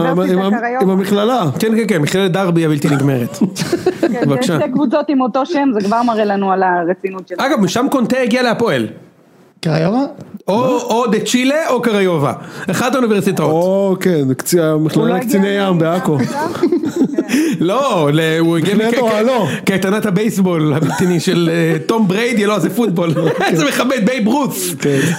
עם ה- עם ה- עם המכללה, כן, כן, כן, מכללת דרבי הבלתי נגמרת. [LAUGHS] כן, זה בבקשה. שתי קבוצות עם אותו שם, זה כבר מראה לנו על הרצינות שלהם. אגב, משם קונטה הגיע להפועל. קריובה? או או דה צ'ילה או קריובה. אחת האוניברסיטאות. לא. או כן, קצי- הוא לא המכללה הגיע לקציני מ- ים בעכו, לא, ל- הוא הגיע מכללת אוהלו. מקייטנת הבייסבול הבלתי של אה, תום בריידי, לא, זה פוטבול. [LAUGHS] כן. איזה מכבד, בייב רוס.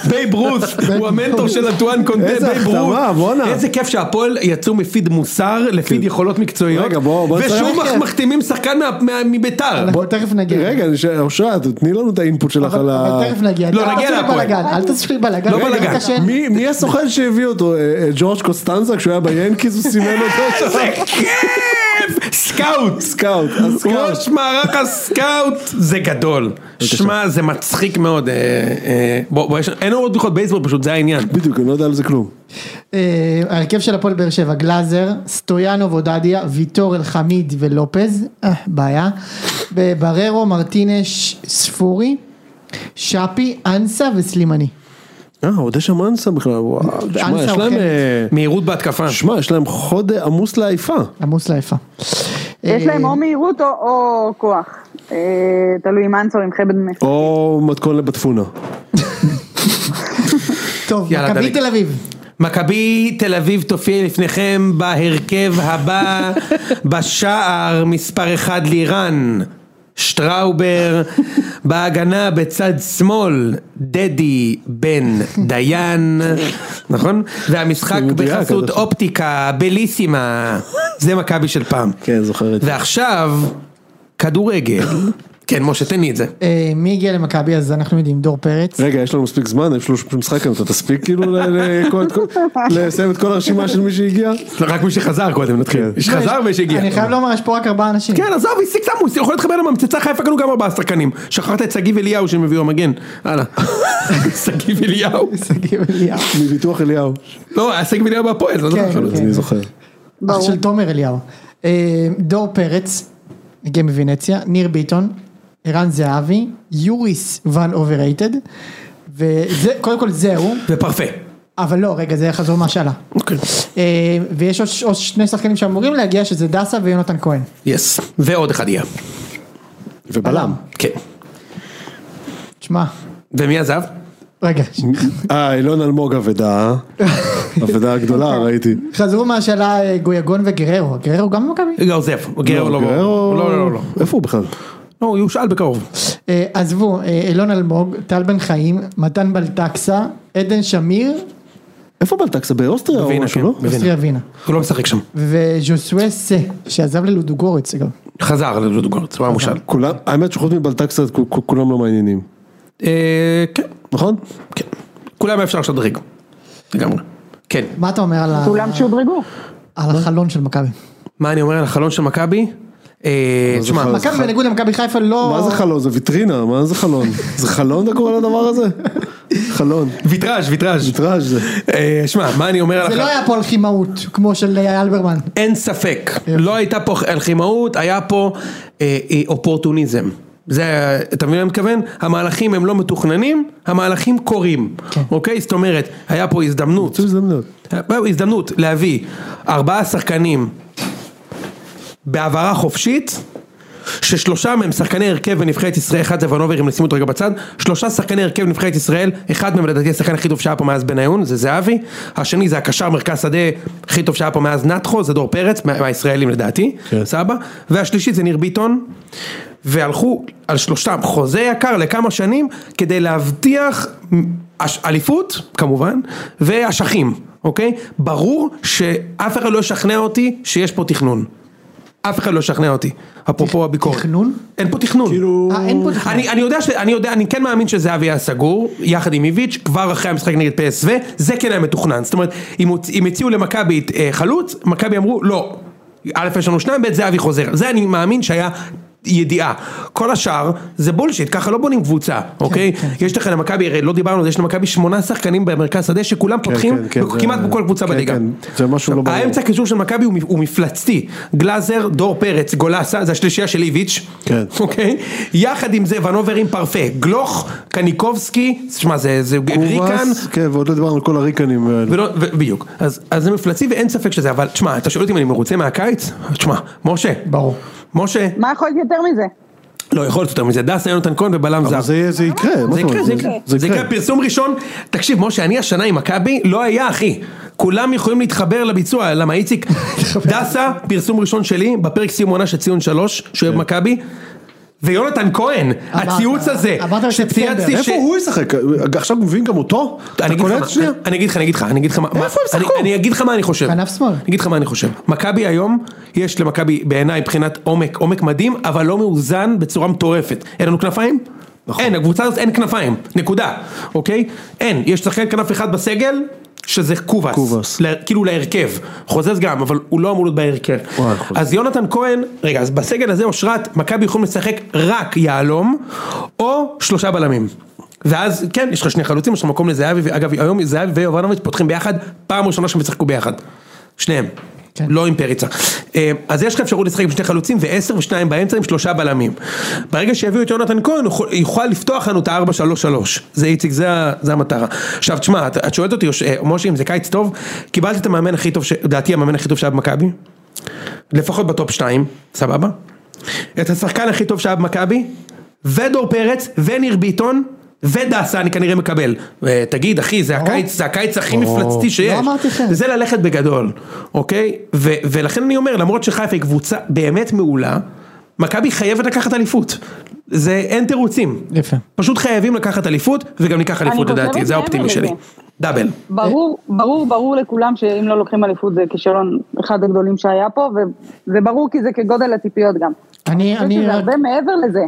בייב רוס, הוא המנטור של אנטואן קונטה, איזה בייב רוס. החתמה, בואנה. כן. איזה כיף שהפועל יצאו מפיד מוסר לפיד יכולות מקצועיות. רגע, בוא- בוא ושוב נצטרך- מח- מחתימים שחקן מה- מה- מביתר. אנחנו תכף נגיע. רגע, אני שואל, אושרת, תני לנו את האינפוט שלך אבל על אבל ה... תכף נגיע. לא, אל נגיע תעשו לי להפועל. בלאגן, אל תעשו לי בלאגן. לא רגע, בלאגן. רגע, שאין- מי מי הסוכן שהביא אותו? אה, אה, ג'ורג' קוסטנזה כשהוא היה ביאנקיז הוא סימן [LAUGHS] אותו? איזה כיף! סקאוט! סקאוט, הסקאוט. ראש מערך הסקאוט זה גדול. שמע, זה מצחיק מאוד. אה, אה, בוא, בוא, יש- אין עוד בכלל בייסבול פשוט, זה העניין. בדיוק, אני לא יודע על זה כלום. אה, ההרכב של הפועל באר שבע, גלאזר, סטויאנוב עודדיה, ויטור אלחמיד ולופז, אה, בעיה, ב- בררו, מרטינש, ספורי, שפי, אנסה וסלימני. אה, עוד יש שם אנסה בכלל, וואו. שמע, יש להם... אוכל. אה, מהירות בהתקפה. שמע, יש להם חוד אה, עמוס לעייפה. עמוס אה, לעיפה. יש להם או מהירות או- או כוח. אה, תלוי אם אנסו, אם חבד מ... או מתכון לבת פונה. טוב, יאללה, מכבי דני. תל אביב. מכבי תל אביב תופיע לפניכם בהרכב [LAUGHS] הבא, בשער מספר 1 לירן, שטראובר, בהגנה בצד שמאל, דדי בן דיין, נכון? והמשחק הוא מדויק, בחסות אז- אופטיקה, בליסימה, זה מכבי של פעם. כן, זוכר את זה. ועכשיו, כדורגל. כן, משה, תן לי את זה. אה, מי הגיע למכבי אז אנחנו יודעים, דור פרץ. רגע, יש לנו מספיק זמן, יש לנו משחק היום, אתה תספיק כאילו ל- ל- כל- כל- לסיים את כל הרשימה של מי שהגיע? רק מי שחזר קודם נתחיל. כן. יש חזר ויש הגיע. אני חייב לומר, יש פה רק ארבעה אנשים. כן, עזוב, הסיק סמו, הוא יכול להתחבר לממצצה חיפה קנו גם ארבעה שחקנים. שכחת את שגיב אליהו שהם הביאו המגן. [LAUGHS] הלאה. שגיב אליהו. שגיב אליהו. מביטוח אליהו. לא, היה שגיב אליהו בהפועל, לא כן. זוכר. אז אני זוכר. אח של תומר אליהו. אה, דור פרץ, הגיע מוונציה, ניר ביטון, ערן זהבי, יוריס ון אוברייטד, וזה, קודם כל זהו, ופרפה. אבל לא, רגע, זה חזור מהשאלה. אוקיי. אה, ויש עוד, עוד שני שחקנים שאמורים להגיע, שזה דסה ויונתן כהן. יס. ועוד אחד יהיה. ובלם. כן. תשמע, ומי עזב? רגע, אה, אילון אלמוג אבדה. אבדה גדולה, אוקיי. ראיתי. חזרו מהשאלה אה, גויגון וגררו, גררו גם במכבי? לא, עוזב. גררו לא. גררו- לא, לא, לא, לא. איפה הוא בכלל? לא, הוא יושאל בקרוב. אה, עזבו, אה, אילון אלמוג, טל בן חיים, מתן בלטקסה, עדן שמיר, איפה בלטקסה? באוסטריה או בווינה, משהו, כן, לא? בווינה. אוסטריה ווינה, הוא לא משחק שם. וז'וסווה סה, שעזב ללודוגורץ אגב. חזר ללודוגורץ, הוא היה מושל. כולם, האמת שחוץ מבלטקסה כ- כ- כולם לא מעניינים, אה, כן, נכון? כן. כולם אפשר לשדרג. לגמרי. כן. מה אתה אומר על ה- כולם שודרגו. על החלון של מכבי? מה אני אומר על החלון של מכבי? אה, מה זה תשמע, חלון? מכבי חל- בניגוד למכבי חיפה לא... מה זה חלון? זה ויטרינה, מה זה חלון? זה חלון אתה קורא לדבר הזה? חלון. ויטראז' ויטראז'. ויטראז' זה. אה, שמע, מה אני אומר על זה לא החלון? היה פה על כימהות, כמו של אה, אלברמן. אין ספק, לא הייתה פה הלחימאות, היה פה אה, אה, אופורטוניזם. זה, היה- אתה מבין מה אני מתכוון? המהלכים הם לא מתוכננים, המהלכים קורים. כן. אוקיי? זאת אומרת, היה פה הזדמנות, זו הזדמנות. היה פה אה, הזדמנות להביא ארבעה שחקנים בהעברה חופשית, ששלושה מהם שחקני הרכב בנבחרת ישראל, אחד זה ונובר, אם נשים אותו רגע בצד, שלושה שחקני הרכב בנבחרת ישראל, אחד מהם לדעתי השחקן הכי טוב שהיה פה מאז בניון, זה זהבי, השני זה הקשר מרכז שדה הכי טוב שהיה פה מאז נטחו, זה דור פרץ, מה- מהישראלים לדעתי, כן. סבא, והשלישי זה ניר ביטון, והלכו על שלושתם חוזה יקר לכמה שנים, כדי להבטיח אש- אליפות, כמובן, ואשכים, אוקיי? ברור שאף אחד לא ישכנע אותי שיש פה תכנון. אף אחד לא ישכנע אותי, אפרופו הביקורת. תכנון? אין פה תכנון. כאילו... אה, אין פה... אני, אני יודע, ש, אני יודע, אני כן מאמין שזהבי היה סגור, יחד עם איביץ', כבר אחרי המשחק נגד PSV, זה כן היה מתוכנן. זאת אומרת, אם, הוצ- אם הציעו למכבי אה, חלוץ, מכבי אמרו, לא. א', יש לנו שניים, ב', זהבי חוזר. זה אני מאמין שהיה ידיעה. כל השאר זה בולשיט, ככה לא בונים קבוצה, כן, אוקיי? יש לך למכבי, הרי לא דיברנו על זה, יש למכבי שמונה שחקנים במרכז שדה שכולם פותחים, כן, כן, זה- כמעט בכל קבוצה כן, בליגה. כן, זה משהו לא ברור. האמצע הקישור של מכבי הוא מ- הוא מפלצתי. גלאזר, דור פרץ, גולסה, זה השלישייה של איביץ'. כן. [LAUGHS] אוקיי? יחד עם זה ונובר עם פרפה, גלוך, קניקובסקי, שמע זה, זה ריקן, קובס, כן, ועוד לא דיברנו על כל הריקנים האלה. ולא, ו- בדיוק, אז, אז זה מפלצי ואין ספק שזה, אבל תשמע, אתה שואל אותי אם אני מרוצה מהקיץ? תשמע, משה, ברור. משה, מה יכול להיות יותר מזה? לא יכול להיות יותר מזה, דסה יונתן כהן ובלם זר. אבל זה זה יקרה, מה זה זאת יקרה, אומרת? זה יקרה, זה יקרה, פרסום ראשון, תקשיב משה, אני השנה עם מכבי, לא היה אחי, כולם יכולים להתחבר לביצוע, למה איציק, דסה, פרסום ראשון שלי, בפרק סיום עונה של ציון שלוש, שהוא כן. אוהב מכבי, ויונתן כהן, אמרת, הציוץ הזה, אמרת בספטמבר. שצייצתי איפה הוא ישחק? עכשיו מביאים גם אותו? אתה אני אגיד לך קולט מה- שנייה? אני- אני אגיד לך, אני אגיד לך, אני אגיד לך, מה- מה- איפה הם אני- שיחקו? אני אגיד לך מה אני חושב, כנף שמאל. אני אגיד לך מה אני חושב, מכבי היום, יש למכבי בעיניי מבחינת עומק, עומק מדהים, אבל לא מאוזן בצורה מטורפת, אין לנו כנפיים? נכון. אין, הקבוצה הזאת אין כנפיים, נקודה, אוקיי? אין, יש שחקן כנף אחד בסגל, שזה קובאס, קובאס. לה- כאילו להרכב, חוזז גם, אבל הוא לא אמור להיות בהרכב, וואי, חוזז. אז יונתן כהן, רגע, אז בסגל הזה אושרת, מכבי יכולים לשחק רק יהלום, או שלושה בלמים. ואז כן, יש לך שני חלוצים, יש לך מקום לזהבי, ואגב, היום זהבי ויובנוביץ' פותחים ביחד, פעם ראשונה שהם ישחקו ביחד. שניהם. כן. לא עם פריצה. אה, אז יש לך אפשרות לשחק עם שני חלוצים ועשר ושניים באמצע עם שלושה בלמים. ברגע שיביאו את יונתן כהן, הוא יכול- יוכל לפתוח לנו את ה-4-3-3. זה איציק, זה, ה- זה המטרה. עכשיו תשמע, את, את שואלת אותי, יוש- אה, משה, אם זה קיץ טוב, קיבלתי את המאמן הכי טוב, ש- לדעתי המאמן הכי טוב שהיה במכבי, לפחות בטופ 2, סבבה? את השחקן הכי טוב שהיה במכבי, ודור פרץ, וניר ביטון, ודסה אני כנראה מקבל. אה, תגיד אחי, זה הקיץ, זה הקיץ הכי מפלצתי שיש. לא אמרתי כן. אחרת. זה ללכת בגדול, אוקיי? ו- ולכן אני אומר, למרות שחיפה היא קבוצה באמת מעולה, מכבי חייבת לקחת אליפות. זה אין תירוצים. יפה. פשוט חייבים לקחת אליפות, וגם ניקח אליפות חושבת לדעתי, זה מעבר האופטימי לזה. שלי. דאבל. ברור, ברור, ברור לכולם שאם לא לוקחים אליפות זה כישלון אחד הגדולים שהיה פה, וזה ברור כי זה כגודל הציפיות גם. אני, אני חושבת אני שזה רק... הרבה מעבר לזה.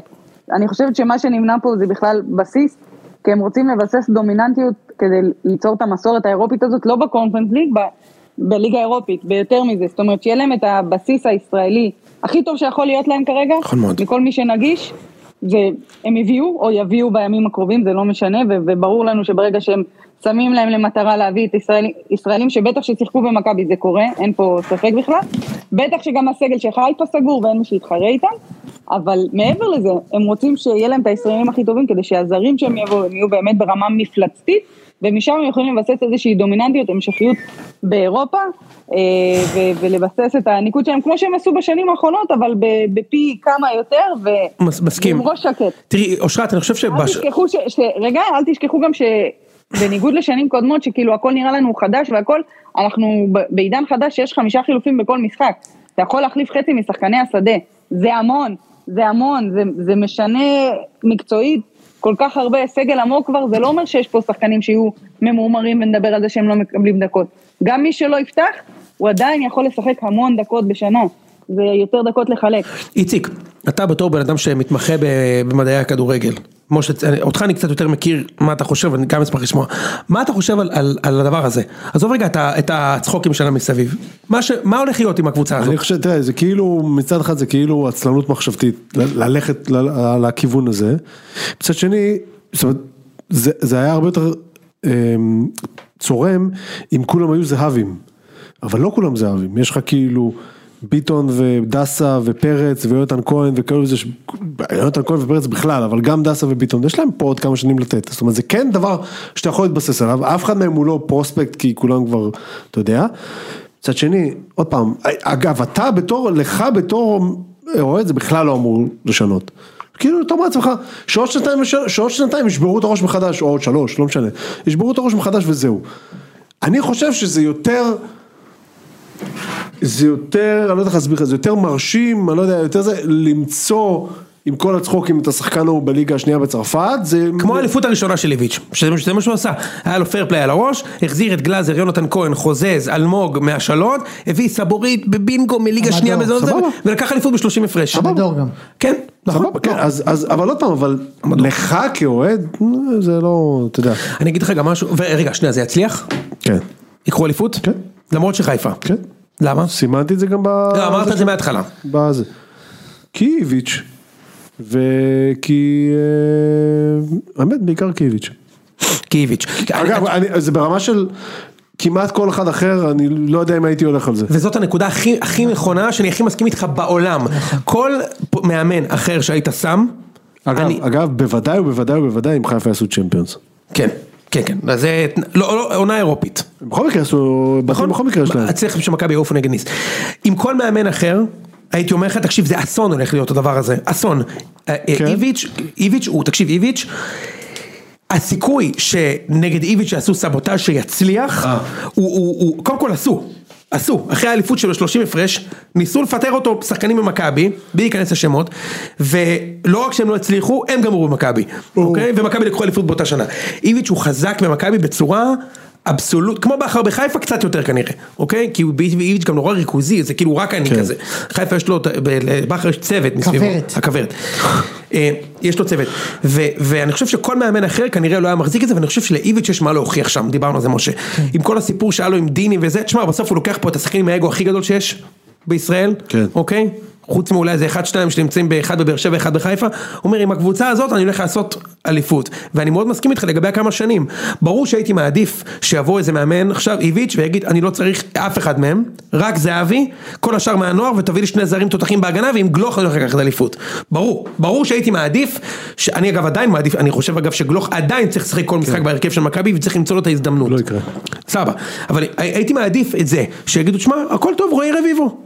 אני חושבת שמה שנמנע פה זה בכלל בסיס, כי הם רוצים לבסס דומיננטיות כדי ליצור את המסורת האירופית הזאת, לא בקונפרנס ליג, ב- בליגה האירופית, ביותר מזה. זאת אומרת, שיהיה להם את הבסיס הישראלי הכי טוב שיכול להיות להם כרגע, נכון מאוד. מכל מי שנגיש, והם הביאו או יביאו בימים הקרובים, זה לא משנה, ו- וברור לנו שברגע שהם שמים להם למטרה להביא את ישראלים, ישראלים שבטח ששיחקו במכבי זה קורה, אין פה ספק בכלל, בטח שגם הסגל שלך פה סגור ואין מי שיתחרה איתם, אבל מעבר לזה, הם רוצים שיהיה להם את הישראלים הכי טובים כדי שהזרים שהם יבואו, הם יהיו באמת ברמה מפלצתית, ומשם הם יכולים לבסס איזושהי דומיננטיות, המשכיות באירופה, אה, ו- ולבסס את הניקוד שלהם, כמו שהם עשו בשנים האחרונות, אבל ב- בפי כמה יותר, ו- מס- מסכים. ועם ראש שקט. תראי, אושרת, אני חושב אל שבש... תשכחו ש... ש... רגע, אל תשכחו גם שבניגוד לשנים קודמות, שכאילו הכל נראה לנו חדש והכל, אנחנו ב- בעידן חדש שיש חמישה חילופים בכל משחק. אתה יכול להחליף חצי משחקני השדה. זה המון, זה המון, זה, זה משנה מקצועית כל כך הרבה. סגל עמוק כבר, זה לא אומר שיש פה שחקנים שיהיו ממורמרים ונדבר על זה שהם לא מקבלים דקות. גם מי שלא יפתח, הוא עדיין יכול לשחק המון דקות בשנה. זה יותר דקות לחלק. איציק, אתה בתור בן אדם שמתמחה ב- במדעי הכדורגל, משה, אני- אותך אני קצת יותר מכיר מה אתה חושב, אני גם אשמח לשמוע, מה אתה חושב על, על, על הדבר הזה? עזוב רגע את, ה- את הצחוקים שלה מסביב, מה, ש, מה הולך להיות עם הקבוצה הזאת? אני חושב, תראה, זה כאילו, מצד אחד זה כאילו עצלנות מחשבתית, ל- ללכת ל- ל- לכיוון הזה. מצד שני, זאת אומרת, זה, זה היה הרבה יותר אמ, צורם אם כולם היו זהבים, אבל לא כולם זהבים, יש לך כאילו... ביטון ודסה ופרץ ויונתן כהן וכאלו זה, ש- יונתן כהן ופרץ בכלל, אבל גם דסה וביטון, יש להם פה עוד כמה שנים לתת, זאת אומרת זה כן דבר שאתה יכול להתבסס עליו, אף אחד מהם הוא לא פרוספקט כי כולם כבר, אתה יודע, מצד שני, עוד פעם, אגב, אתה בתור, לך בתור אוהד זה בכלל לא אמור לשנות. כאילו, אתה אומר לעצמך, שעוד שנתיים, שעוד שנתיים ישברו את הראש מחדש, או עוד שלוש, לא משנה, ישברו את הראש מחדש וזהו. אני חושב שזה יותר, זה יותר, אני לא יודע איך להסביר לך, זה יותר מרשים, אני לא יודע, יותר זה למצוא עם כל הצחוקים את השחקן ההוא בליגה השנייה בצרפת, זה... כמו האליפות הראשונה של איביץ', שזה שזה מה שהוא עשה, היה לו פייר פליי על הראש, החזיר את גלאזר, יונתן כהן, חוזז, אלמוג מהשלון, הביא סבורית בבינגו מליגה המדור, שנייה בזמן זה, סבבה. ולקח אליפות ב-30 הפרש. המדור גם. כן, נכון. סבבה, כן, לא. אז, אז, אבל עוד פעם, אבל לך כאוהד, זה לא, אתה יודע, אני אגיד לך גם משהו, ורגע, שנייה, זה יצליח? כן. יקחו אליפות? כן. למרות שחיפה? כן. למה? סימנתי את זה גם ב... לא, אמרת את זה מההתחלה. בזה. כי איביץ', וכי... אה, האמת, בעיקר כי איביץ'. כי איביץ'. אגב, אני- זה ברמה של כמעט כל אחד אחר, אני לא יודע אם הייתי הולך על זה. וזאת הנקודה הכי, הכי נכון. נכונה שאני הכי מסכים איתך בעולם. כל פ- מאמן אחר שהיית שם, אגב, אני- אגב, בוודאי ובוודאי ובוודאי אם חיפה יעשו צ'מפיונס. כן, כן, כן, אז זה, לא, לא, עונה אירופית. הם בכל מקרה יעשו, נכון. בתים נכון, בכל מקרה יש להם. צריך שמכבי יעופו נגד ניס. עם כל מאמן אחר, הייתי אומר לך, תקשיב, זה אסון הולך להיות הדבר הזה, אסון. אה, אה, כן. איביץ', איביץ', הוא, תקשיב, איביץ', הסיכוי שנגד איביץ' יעשו סבוטאז' שיצליח, הוא, הוא, הוא, קודם כל עשו. עשו, אחרי האליפות שלו 30 הפרש, ניסו לפטר אותו שחקנים במכבי, בלי להיכנס לשמות, ולא רק שהם לא הצליחו, הם גמרו במכבי, אוקיי? ומכבי לקחו אליפות באותה שנה. איביץ' הוא חזק במכבי בצורה אבסולוט, כמו בכר בחיפה קצת יותר כנראה, אוקיי? כי הוא- איביץ' גם נורא ריכוזי, זה כאילו רק אני כן. כזה. חיפה יש לו, את- ב- לבכר יש צוות מסביבו. כוורת. הכוורת. אה, יש לו צוות, ו- ואני חושב שכל מאמן אחר כנראה לא היה מחזיק את זה, ואני חושב שלאיביץ' יש מה להוכיח שם, דיברנו על זה משה. עם כל הסיפור שהיה לו עם דיני וזה, תשמע, בסוף הוא לוקח פה את השחקנים עם האגו הכי גדול שיש בישראל, כן. אוקיי? חוץ מאולי איזה אחד שניים שנמצאים באחד בבאר שבע ואחד בחיפה, הוא אומר עם הקבוצה הזאת אני הולך לעשות אליפות. ואני מאוד מסכים איתך לגבי הכמה שנים. ברור שהייתי מעדיף שיבוא איזה מאמן עכשיו איביץ' ויגיד אני לא צריך אף אחד מהם, רק זהבי, כל השאר מהנוער ותביא לי שני זרים תותחים בהגנה ועם גלוך אני הולך לקחת אליפות. ברור, ברור שהייתי מעדיף, ש- אני אגב עדיין מעדיף, אני חושב אגב שגלוך עדיין צריך לשחק כל משחק בהרכב של מכבי וצריך למצוא לו את ההזדמנות. כן. לא יקרה. סבבה, אבל הי- הייתי מעדיף את זה, שיגידו, שמע, הכל טוב, רועי רביבו.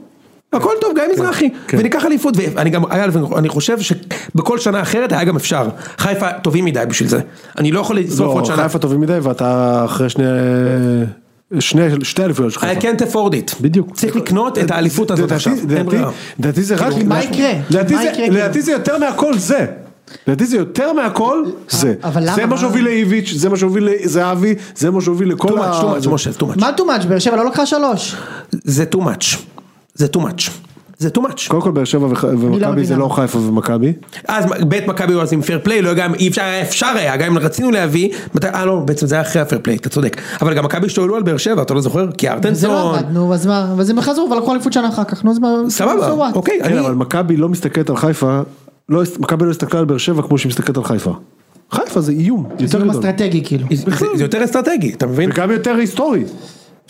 הכל טוב, גיא מזרחי, כן. וניקח אליפות, ואני גם, אגב, אני חושב שבכל שנה אחרת היה גם אפשר, חיפה טובים מדי בשביל זה, אני לא יכול לשרוף לא, עוד שנה, חיפה טובים מדי ואתה אחרי שני... שני, שתי אליפויות שלך. I can't afford it, בדיוק. צריך לקנות את האליפות הזאת לדעתי- עכשיו, אין לדעתי- ברירה. לדעתי זה רק... מה יקרה? לדעתי מה זה- יקרה, לדעתי כאילו? זה יותר מהכל זה. לדעתי זה יותר מהכל זה. אבל למה? זה מה מה? שהוביל לאיביץ', זה מה שהוביל לזהבי, זה מה שהוביל too לכל much, too much, זה- משה, too much, מה too much? באר שבע לא לקחה שלוש. זה too much, זה too much, זה too much. קודם כל באר שבע וח- ומכבי מבינה. זה לא חיפה ומכבי. אז בית מכבי הוא אז עם פייר פליי, לא גם אי אפשר היה, אפשר היה, גם אם רצינו להביא, מת- אה לא, בעצם זה היה אחרי הפייר פליי, אתה צודק, אבל גם מכבי השתוללו על באר שבע, אתה לא זוכר? כי זה לא ארטנסון, עבד, נו, אז מה? ואז הם חזרו ולקחו אליפות שנה אחר כך, נו, אז מה? סבבה, so what? אוקיי, כן, אני, אבל מכבי לא מסתכלת על חיפה, לא הס- מכבי לא הסתכלה על באר שבע כמו שהיא מסתכלת על חיפה. חיפה זה איום, זה יותר גם גדול. אסטרטגי כאילו. זה- זה יותר אסטרטגי, אתה מבין? וגם יותר היסטורי.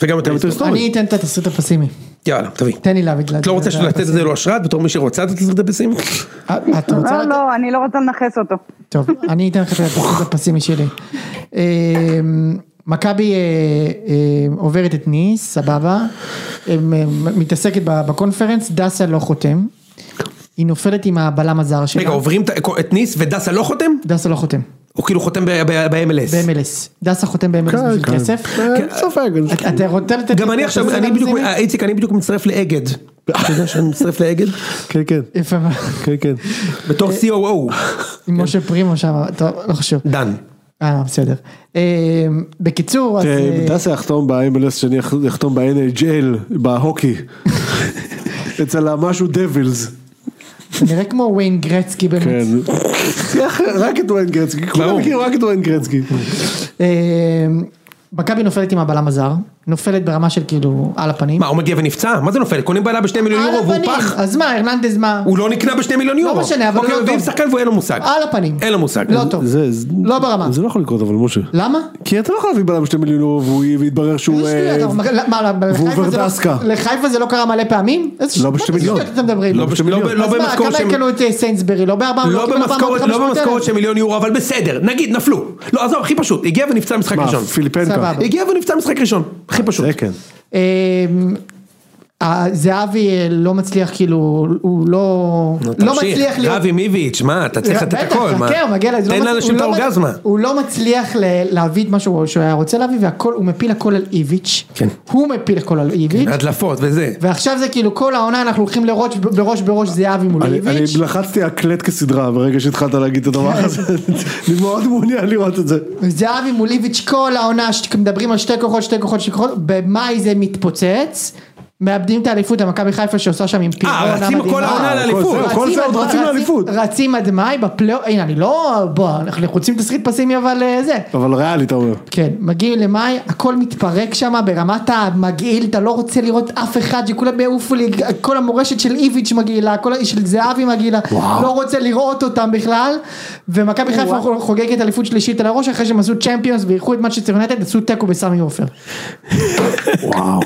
וגם יותר יותר היסטוריה. היסטוריה. אני אתן את התסריט הפסימי. יאללה, תביא. תן לי להביא את זה. כן. את לא רוצה לתת את זה לאושרת בתור מי שרוצה לתת את זה בסים? אה, את רוצה לא, לתת? לא, אני לא רוצה לנכס אותו. טוב, אני אתן לך את התסריט הפסימי שלי. אמ, מכבי אה, אה, עוברת את ניס, סבבה. אמ, אה, מתעסקת ב- בקונפרנס, דסה לא חותם. היא נופלת עם הבלם הזר שלה. רגע, עוברים את- את ניס ודסה לא חותם? דסה לא חותם, הוא כאילו חותם ב-MLS. ב-MLS. דסה חותם ב-MLS בשביל כן. כסף. אה, אין ספק. אני- אתה- אתה רוצה לתת... גם לי אני את עכשיו, התסריט אני בדיוק, הפסימי? אה, איציק, אני בדיוק מצטרף לאגד. אתה יודע שאני מצטרף לאגד? כן, כן, יפה מאוד. כן, כן. בתור COO. עם משה פרימו שם, טוב, לא חשוב. דן. אה, בסדר. אמ, בקיצור, אז... אה, אה, דסה יחתום ב-MLS שאני יחתום ב-NHL, בהוקי. [LAUGHS] אצל המשהו דבילס. נראה כמו וויין גרצקי כן. באמת. שיח רק את וויין גרצקי, כולם ברור. מכירים רק את וויין גרצקי. אה, מכבי נופלת עם הבלם הזר, נופלת ברמה של כאילו על הפנים. מה, הוא מגיע ונפצע? מה זה נופל? קונים בעלה בשני מיליון על יורו והוא הפנים. פח? אז מה, הרננדז מה? הוא לא נקנה בשני מיליון יורו. משנה, אבל אוקיי, לא מביאים טוב. שחקן והוא אין לו מושג. על הפנים. אין לו מושג. לא טוב. זה, לא ברמה. זה לא יכול לקרות אבל משה. למה? כי אתה לא יכול להביא בלם שתי מיליון יורו והוא- ויתברר שהוא... איזה שטויות, אה, אבל מה, מה, לחיפה זה לא- ורדסקה. לחיפה זה לא קרה מלא פעמים? איזה לא שטויות בשתי מיליון. אתם מדברים? לא בש- לא ב- לא אז מה, במשכורת כמה שהם- הם קנו את אה, סיינסברי? לא בארבע... לא קיבלו במשכורת, 450,000? לא במשכורת של מיליון יורו, אבל בסדר, נגיד, נפלו. לא, עזוב, הכי פשוט, הגיע ונפצע משחק מה, ראשון. פיליפנקה. סבבה. הגיע ונפצע משחק ראשון, הכי פשוט. זה כן. אמ, אה, זהבי אה, לא מצליח כאילו, הוא לא, נו, לא תמשיך. מצליח רבי מיביץ', מה, אתה צריך לתת בטח, הכל, מה? חכה, הוא מגיע לזה, הוא תן לא מצ- לאנשים הוא את לא מצ- האורגזמה. הוא לא מצליח ל- להביא את מה שהוא שהוא היה רוצה להביא, והכל, הוא מפיל הכל על איביץ', כן. הוא מפיל הכל על איביץ', הדלפות וזה. ועכשיו זה כאילו כל העונה אנחנו הולכים לראש בראש בראש זהבי מול אני אני איביץ', לחצתי הקלט כסדרה ברגע שהתחלת להגיד את כן. הדבר הזה. אני מאוד מעוניין לראות את זה. זהבי מול איביץ' כל העונה שמדברים על שתי כוחות, שתי כוחות, שתי כוחות, במאי זה מתפוצץ. מאבדים את האליפות, המכבי חיפה שעושה שם עם פירון אה, רצים כל העונה אה, לאליפות. כל זה, כל זה עד עוד מאי, רצים לאליפות. רצים עד מאי בפלייאוף, הנה אני לא, בוא, אנחנו רוצים תסריט פסימי אבל אה, זה, אבל ריאלי אתה אומר. כן, מגיעים למאי, הכל מתפרק שם ברמת המגעיל, אתה לא רוצה לראות אף אחד, שכולם יעופו לי, כל המורשת של איביץ' מגעילה, כל ה- של זהבי מגעילה, לא רוצה לראות אותם בכלל, ומכבי חיפה חוגגת אליפות שלישית על הראש, אחרי שהם עשו צ'מפיונס ואירחו את מצ'סטר יונטד, עשו תיקו בסמי עופר. וואו.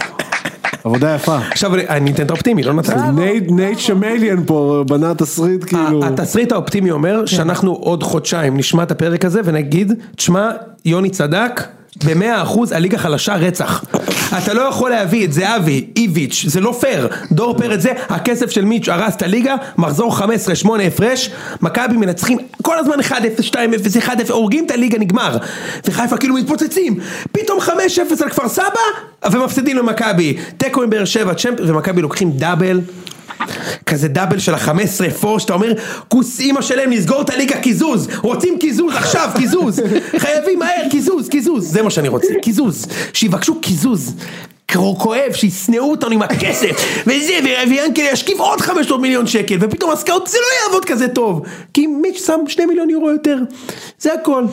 עבודה יפה. עכשיו אני- אני אתן את האופטימי, לא נתן. נייט- נייט שמליאן פה בנה תסריט כאילו. ה- התסריט האופטימי אומר שאנחנו עוד חודשיים נשמע את הפרק הזה ונגיד, תשמע, יוני צדק. במאה אחוז הליגה חלשה רצח. אתה לא יכול להביא את זהבי, איביץ', זה לא פייר. דור פרץ זה, הכסף של מיץ' הרס את הליגה, מחזור 15-8 הפרש, מכבי מנצחים כל הזמן 1-0, 2-0, 1-0, הורגים את הליגה, נגמר. וחיפה כאילו מתפוצצים, פתאום 5-0 על כפר סבא, ומפסידים למכבי. תיקו עם באר שבע, צ'מפ, ומכבי לוקחים דאבל. כזה דאבל של ה-15 אפור, שאתה אומר, כוס אימא שלהם, נסגור את הליגה, קיזוז, רוצים קיזוז עכשיו, קיזוז, חייבים מהר, קיזוז, קיזוז, זה מה שאני רוצה, קיזוז, שיבקשו קיזוז. קרו- כואב, שישנאו אותנו עם הכסף, וזה, ו- ויאנקל ישכיב עוד 500 מיליון שקל, ופתאום הסקאוט זה לא יעבוד כזה טוב, כי מיץ' שם 2 מיליון יורו יותר, זה הכל.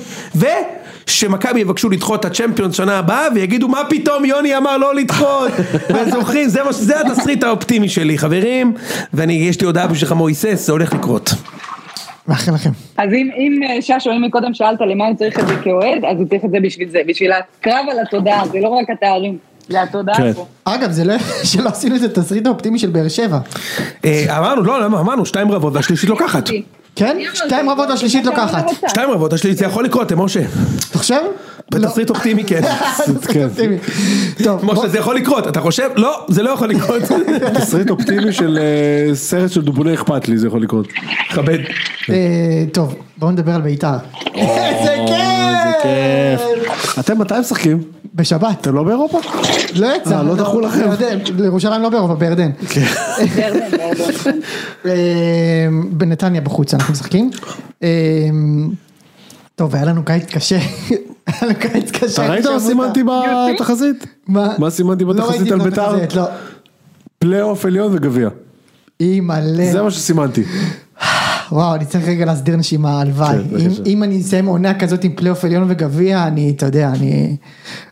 ושמכבי יבקשו לדחות את הצ'מפיונס שנה הבאה, ויגידו מה פתאום יוני אמר לא לדחות, [LAUGHS] וזוכרים, זה, מה- זה התסריט האופטימי שלי חברים, ואני, יש לי הודעה בשבילך מויסס, זה הולך לקרות. מאחל לכם. אז אם, אם אה, ששו, אם מקודם שאלת למה הוא צריך את זה כאוהד, אז הוא צריך את זה בשביל זה, בשביל הקרב על התודעה, זה לא רק התארים, זה התודעה כן. פה. אגב, זה לא, [LAUGHS] שלא עשינו את התסריט האופטימי של באר שבע. אה, אמרנו, לא, למה, אמרנו, שתיים רבות והשלישית לוקחת. כן? לא שתיים רבות והשלישית לוקחת. שתיים רבות, השלישית, זה יכול לקרות, אה, משה. אתה חושב? לא. בתסריט אופטימי כן. תסריט אופטימי. טוב, בוא- משה, זה יכול לקרות, אתה חושב? לא, זה לא יכול לקרות. תסריט אופטימי של אה, סרט של דובוני אכפת לי זה יכול לקרות. כן! כבד. אה, טוב, בואו נדבר על בית"ר. [LAUGHS] איזה כיף. כיף! אתם מתי משחקים? בשבת, אתם לא באירופה? לא יצא. אה, לא דחו לכם. אוקיי. בירדן, לירושלים לא באירופה, בירדן. [LAUGHS] אה, בנתניה בחוץ אנחנו משחקים. אה, טוב, היה לנו קיץ קשה. [LAUGHS] היה לנו קיץ קשה. אתה ראית מה עכשיו סימנתי בתחזית? מה? מה סימנתי לא בתחזית ראיתי על את בית"ר? התחזית, לא. פלייאוף עליון וגביע. אימא'לה. זה מה שסימנתי. וואו, אני צריך רגע להסדיר נשימה, הלוואי. כן, אם- בבקשה. אם אני אסיים עונה כזאת עם פלייאוף עליון וגביע, אני, אתה יודע, אני...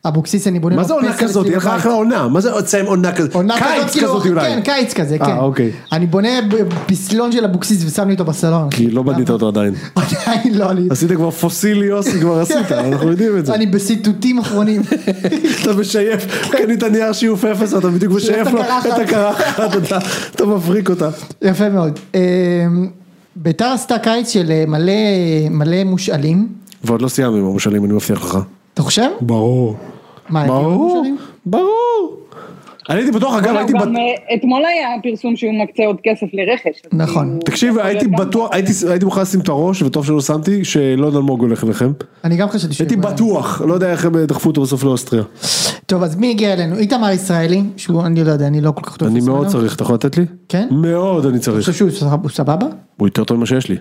אבוקסיס, אני בונה... מה לו זה עונה פסל אצלי כזאת? יהיה לך בבית. אחלה עונה. מה זה תסיים עונה כזאת? לא עונה כזאת, קיץ כאילו, כזאת אולי. כן, קיץ כזה, אה, כן. אוקיי. אני בונה ב- פסלון של אבוקסיס ושם לי אותו בסלון. כי לא בנית אותו עדיין. עדיין לא, אני... עשית כבר פוסילי יוסי כבר עשית, אנחנו יודעים את זה. כן. אני בסיטוטים [LAUGHS] אחרונים. אתה משייף, קנית נייר שיוף אפס, אתה בדיוק משייף לו הקרחת. את הקרחת, אתה- אתה מבריק אותה. יפה מאוד. אמ, ביתר עשתה קיץ של אה, מלא מלא מושאלים. ועוד לא סיימנו עם המושאלים, אני מבטיח לך. אתה חושב? ברור. מה, הם כאילו ברור, מושאלים? ברור. אני הייתי בטוח, אגב, הייתי גם בטוח, אה, אתמול היה פרסום שהוא מקצה עוד כסף לרכש. אז נכון. כאילו, תקשיב, יכול להיות הייתי גם- בטוח, הייתי הייתי מוכן לשים את הראש, וטוב שלא שמתי, שלון אלמוג הולך אליכם. אני גם חשבתי ש... הייתי בטוח, לא יודע איך הם דחפו אותו בסוף לאוסטריה. טוב, אז מי הגיע אלינו? איתמר ישראלי, שהוא, אני לא יודע, אני לא כל כך טוב. אני בזמנו. מאוד צריך, אתה יכול לתת לי? כן? מאוד אני אני צריך. חושב שהוא סבב- הוא סבבה. הוא יותר טוב ממה שיש לי.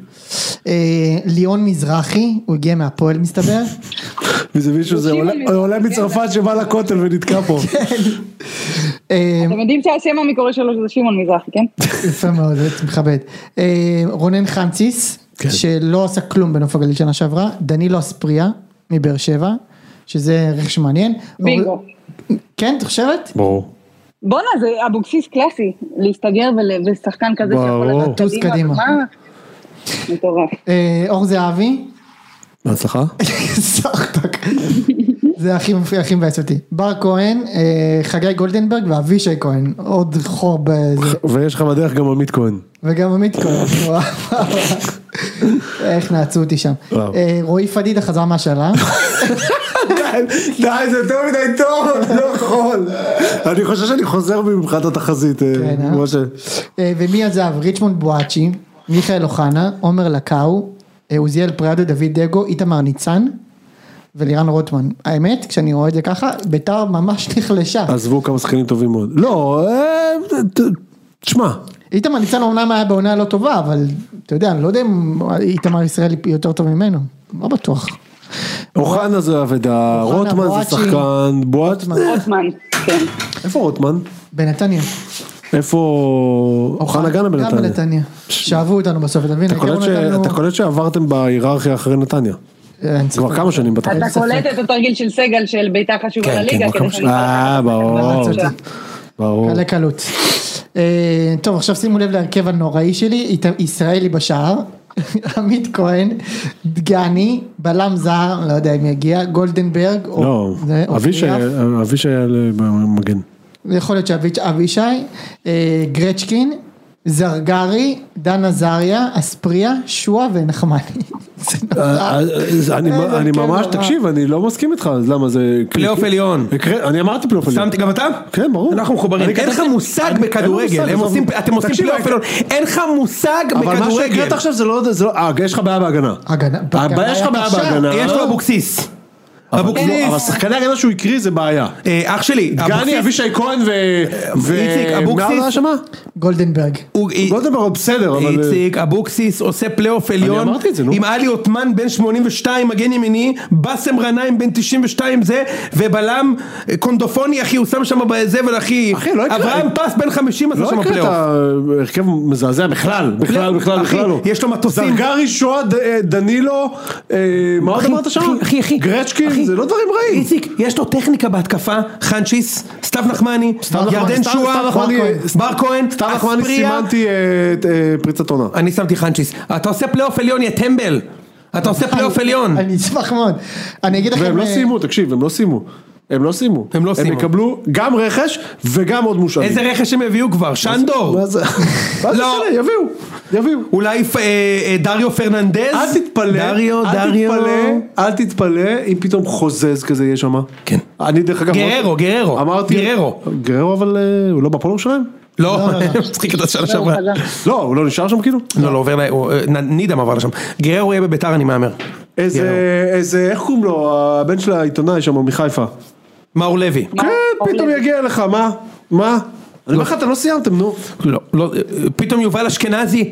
אה, ליאון מזרחי, הוא הגיע מהפועל [LAUGHS] מסתבר. וזה מישהו, זה תקשיב, עולה- אני- כן. עולה מצרפת שבא לכותל ונתקע פה. אה, אה, אתם יודעים שהשם המקורי שלו זה שמעון מזרחי, כן? [LAUGHS] יפה מאוד, זה מכבד. אה, רונן חמציס, כן. שלא עשה כלום בנוף הגליל שנה שעברה, דנילו אספריה מבאר שבע, שזה רכש מעניין. בינגו. כן, את חושבת? ברור. בואנה, זה אבוקסיס קלאסי, להסתגר ול- ושחקן כזה שיכול ברור. לטוס לטוס קדימה. מה? [LAUGHS] מטורף. אה, אור זהבי, [LAUGHS] בהצלחה. סחטק. זה הכי מפריע, הכי מבאס אותי. בר כהן, אה, חגי גולדנברג ואבישי כהן, עוד חור בזה, כן. ויש לך בדרך גם עמית כהן. וגם עמית [LAUGHS] כהן, וואו. איך נעצו אותי שם. וואו. אה, רועי פדידה חזר מהשאלה, די, זה יותר מדי טוב, לא יכול. אני חושב שאני חוזר בי ממך את התחזית. אה, כן, אה? כמו ש- אה, ומי עזב? ריצ'מונד בואצ'י, מיכאל אוחנה, עומר לקאו, אה, עוזיאל פריאדו, דוד דגו, איתמר ניצן. ולירן רוטמן, האמת כשאני רואה את זה ככה, ביתר ממש [LAUGHS] נחלשה. עזבו כמה שחקנים טובים מאוד. לא, אה, ת- ת- תשמע, איתמר ניצן אומנם היה בעונה לא טובה, אבל אתה יודע, אני לא יודע אם איתמר ישראלי יותר טוב ממנו, לא בטוח. אוחנה זה אבדה, אוחנה, רוטמן זה בואצ'י. שחקן, בואט... רוטמן, כן. איפה רוטמן? בנתניה. איפה... אוחנה גנה גם בנתניה. בנתניה. שאהבו אותנו בסוף, אתה מבין? אתה קולט העיקרון ש- נתנו- אתה קולט שעברתם בהיררכיה אחרי נתניה. אין ספק. כבר כמה שנים בטח. אין אתה ספק. קולט את התרגיל של סגל של ביתר חשוב כן, על כן, הליגה, כמו כדי שאני... אה, ברור. מצאתי. ברור. קלה קלות. אה, טוב, עכשיו שימו לב להרכב הנוראי שלי, אית- ישראלי בשער, [LAUGHS] עמית כהן, דגני, בלם זר, לא יודע אם יגיע, גולדנברג, או- לא, זה, או אבישי- קריאף. אבישי היה מגן. יכול להיות שאביש- אבישי, אה, גרצ'קין, זרגרי, דן עזריה, אספריה, שועה ונחמני. [LAUGHS] זה נורא. אה, אני כן, ממש, נורא. תקשיב, אני לא מסכים איתך, אז למה זה... פלייאוף עליון. הקרא- אני אמרתי פלייאוף עליון. שמתי גם אתה? כן, ברור. אנחנו מחוברים. אני אין לך כתבתי- מושג אני- אין בכדורגל. לי הם מושג, עושים- עזוב. אתם עושים תקשיב, פלייאוף עליון. אין לך מושג אבל מה שהקראת בכדורגל. עכשיו זה לא... זה לא- אה, יש לך בעיה בהגנה. הגנה- בהגנה הבעיה יש לך היה בעיה קשה. בהגנה. יש לו אבוקסיס. לא, אבל- אבל אבוקסיס. שחקני הגנה שהוא הקריא זה בעיה. אה, אח שלי. גני, אבוקסיס- אבישי כהן ו... ו- איציק, מי אבוקסיס. היה שמה? גולדנברג. הוא- גולדנברג בסדר, לא אבל... איציק אבוקסיס עושה פלייאוף עליון, אמרתי את זה, נו. עם עלי עותמן בן 82 מגן ימיני, באסם גנאים בן 92 זה, ובלם אה, קונדופוני אחי הוא שם שם בזבל אחי, אחי, לא יקרה. אברהם פס בן 50 עשה לא שם הקראת פלייאוף, הרכב מזעזע בכלל, בכלל, בכלל, אחי, בכלל לא. יש לו מטוסים. זרגרי, שואה, ד- אה, דנילו, אה, מה עוד אחי, אמרת שם? אחי, אחי, אחי. אחי. גרצ'קין, זה לא דברים רעים. איציק יש לו טכניקה בהתקפה, חנצ'יס, סתיו נחמני, נחמני, ירדן סתיו- סתיו שועה, נחמני, בר כהן, סתם נחמני אספריה. סימנתי אה, את, אה, פריצת עונה. אני שמתי חנצ'יס, אתה עושה פלייאוף עליון יא טמבל, אתה עושה פלייאוף עליון, אני אשמח מאוד. אני אגיד לכם... והם לא אה, סיימו, תקשיב, הם לא סיימו. הם לא סיימו. הם לא סיימו. הם יקבלו גם רכש וגם עוד מושבים. איזה רכש הם הביאו כבר, שנדור. מה זה מה זה לא. משנה, יביאו, יביאו. אולי אה, אה, דריו פרננדז? אל תתפלא, דריו, אל דריו. לא, תתפלא, אל תתפלא אם פתאום חוזז כזה יהיה שם. כן. אני דרך אגב... גררו, אמרתי- גררו, אמרתי... גררו. גררו אבל אה, הוא לא בפולו שלהם? לא, [LAUGHS] מצחיק את השנה שעברה. לא, הוא לא נשאר שם כאילו? לא, לא, עובר ל... הוא, אה, נ- נידם עבר לשם. גררו יהיה בביתר, אני מהמר. איזה, גררו. איזה, איך קוראים לו? הבן של העיתונאי שם הוא מחיפה. מאור לוי. מה? כן, אורלב. פתאום יגיע לך, מה? מה? אני אומר לך, אתם לא סיימתם, נו. לא, לא, אה, פתאום יובל אשכנזי.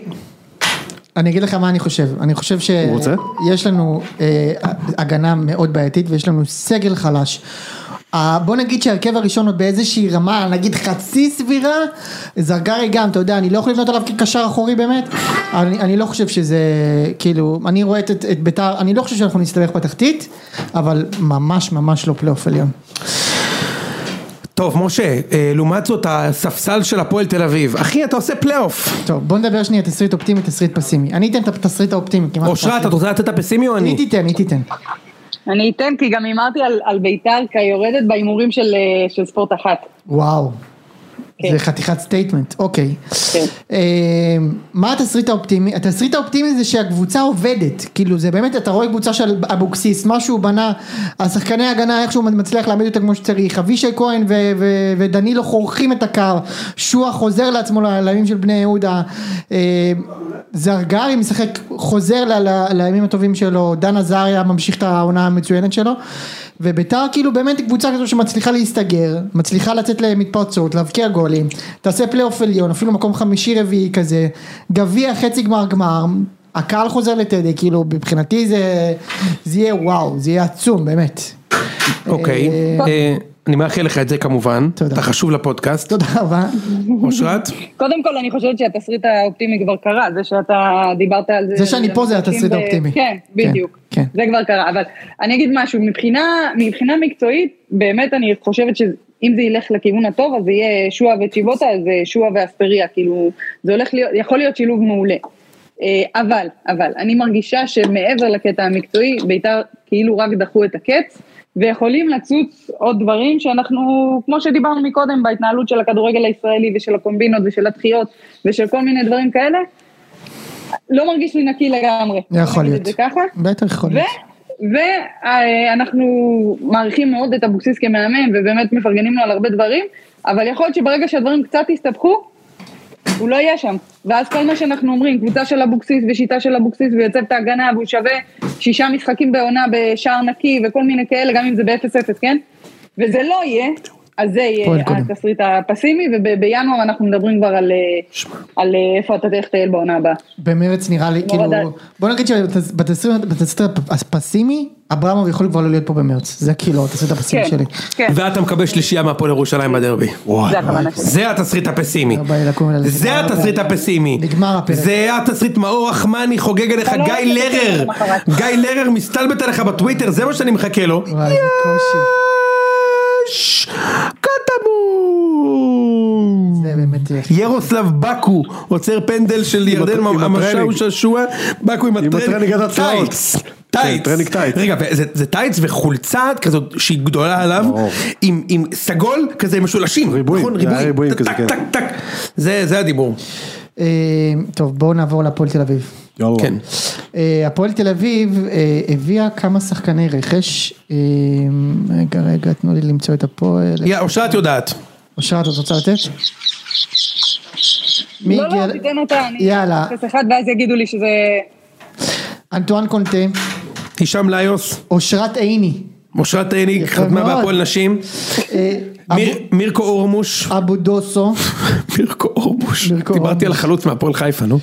אני אגיד לך מה אני חושב, אני חושב רוצה? שיש לנו אה, הגנה מאוד בעייתית ויש לנו סגל חלש. אה, בוא נגיד שההרכב הראשון עוד באיזושהי רמה, נגיד חצי סבירה, זרגרי גם, אתה יודע, אני לא יכול לבנות עליו כקשר אחורי באמת, אני, אני לא חושב שזה, כאילו, אני רואה את, את בית"ר, אני לא חושב שאנחנו נסתבך בתחתית, אבל ממש ממש לא פלייאוף עליון. טוב, משה, אה, לעומת זאת הספסל של הפועל תל אביב. אחי, אתה עושה פלייאוף. טוב, בוא נדבר שנייה תסריט אופטימי, תסריט פסימי. אני אתן את התסריט האופטימי כמעט. אושרת, את רוצה לתת את הפסימי או היא אני? תיתן, היא תיתן. אני אתן, כי גם הימרתי על- על ביתר כיורדת בהימורים של, אה, של ספורט אחת. וואו. כן. זה חתיכת סטייטמנט, אוקיי. כן. אה, מה התסריט האופטימי? התסריט האופטימי זה שהקבוצה עובדת, כאילו זה באמת, אתה רואה קבוצה של אבוקסיס, מה שהוא בנה, השחקני ההגנה איכשהו מצליח להעמיד אותה כמו שצריך, אבישי כהן ו- ו- ודנילו חורכים את הקו, שועה חוזר לעצמו ל- לימים של בני יהודה, אה, זרגרי משחק, חוזר ל- ל- לימים הטובים שלו, דן עזריה ממשיך את העונה המצוינת שלו, וביתר כאילו באמת היא קבוצה כזו שמצליחה להסתגר, מצליחה לצאת למתפרצות, להבקיע גולים, תעשה פלייאוף עליון, אפילו מקום חמישי רביעי כזה, גביע חצי גמר גמר, הקהל חוזר לטדי, כאילו מבחינתי זה, זה יהיה וואו, זה יהיה עצום באמת. אוקיי. אה, אני מאחל לך את זה כמובן, תודה. אתה חשוב לפודקאסט, תודה רבה. אושרת, קודם כל, אני חושבת שהתסריט האופטימי כבר קרה, זה שאתה דיברת על זה. זה שאני פה זה התסריט ו- האופטימי. כן, בדיוק. כן. זה כבר קרה, אבל אני אגיד משהו, מבחינה, מבחינה מקצועית, באמת אני חושבת שאם זה ילך לכיוון הטוב, אז זה יהיה שועה וצ'יבוטה, אז זה שועה ואספריה, כאילו, זה הולך להיות, יכול להיות שילוב מעולה. אה, אבל, אבל, אני מרגישה שמעבר לקטע המקצועי, בית"ר כאילו רק דחו את הקץ, ויכולים לצוץ עוד דברים שאנחנו, כמו שדיברנו מקודם, בהתנהלות של הכדורגל הישראלי ושל הקומבינות ושל הדחיות ושל כל מיני דברים כאלה, לא מרגיש לי נקי לגמרי. יכול נגיד להיות. את זה ככה. בטח יכול להיות. ואנחנו מעריכים מאוד את אבוקסיס כמאמן, ובאמת מפרגנים לו על הרבה דברים, אבל יכול להיות שברגע שהדברים קצת יסתבכו, הוא לא יהיה שם. ואז כל מה שאנחנו אומרים, קבוצה של אבוקסיס ושיטה של אבוקסיס ויוצב את ההגנה והוא שווה שישה משחקים בעונה בשער נקי וכל מיני כאלה, גם אם זה ב-0-0, כן? וזה לא יהיה, אז זה יהיה פועל קודם. התסריט הפסימי, ובינואר אנחנו מדברים כבר על, אה, על אה, איפה אתה תלך לטייל בעונה הבאה. במרץ נראה לי, כאילו, עדיין. בוא נגיד שבתסריט הפסימי, אברמוב יכול כבר לא להיות פה במרץ, זה כאילו התסריט הפסימי כן, שלי. כן, ואתה מקבל שלישייה מהפועל ירושלים בדרבי. זה הכוונה שלי. זה התסריט הפסימי, לא בא לי לקום וללכת. זה התסריט הפסימי, נגמר הפרק. זה התסריט מאור רחמני חוגג עליך, אתה לא גיא הולך לרר, לקום למחרת. גיא לרר מסתלבט עליך בטוויטר, זה מה שאני מחכה לו. וואי, זה קושי. יש! קטמון! זה באמת... אה, ירוסלב בקו עוצר פנדל של ירדן הט- עם המשאו הטרנינג. שעשוע, בקו עם הטרנינג עד הצלעות. טייץ, כן, טייץ, טרנינג טייץ. רגע וזה- זה טייץ וחולצה כזאת שהיא גדולה עליו, ברור. עם עם סגול כזה עם משולשים, ריבועים, נכון? זה היה ריבועים טק, כזה, כן. טק טק, זה זה הדיבור, אה, טוב, בואו נעבור להפועל תל אביב. יואו. כן, אה, הפועל תל אביב אה, הביאה כמה שחקני רכש. אה, רגע, רגע, תנו לי למצוא את הפועל. יא, אושרת יודעת, אושרת, את רוצה לתת? מי לא, הגיע? לא, תיתן אותה, אני... יאללה. אפס אחד, ואז יגידו לי שזה... אנטואן קונטה, הישאם ליוס, אושרת עיני, אושרת עיניק, יפה חתמה מאוד. בהפועל נשים, אה, מיר- מירקו אורמוש, [LAUGHS] אבו דוסו, מירקו אורבוש, מירקו דיברתי על אורבוש. החלוץ מהפועל חיפה, נו.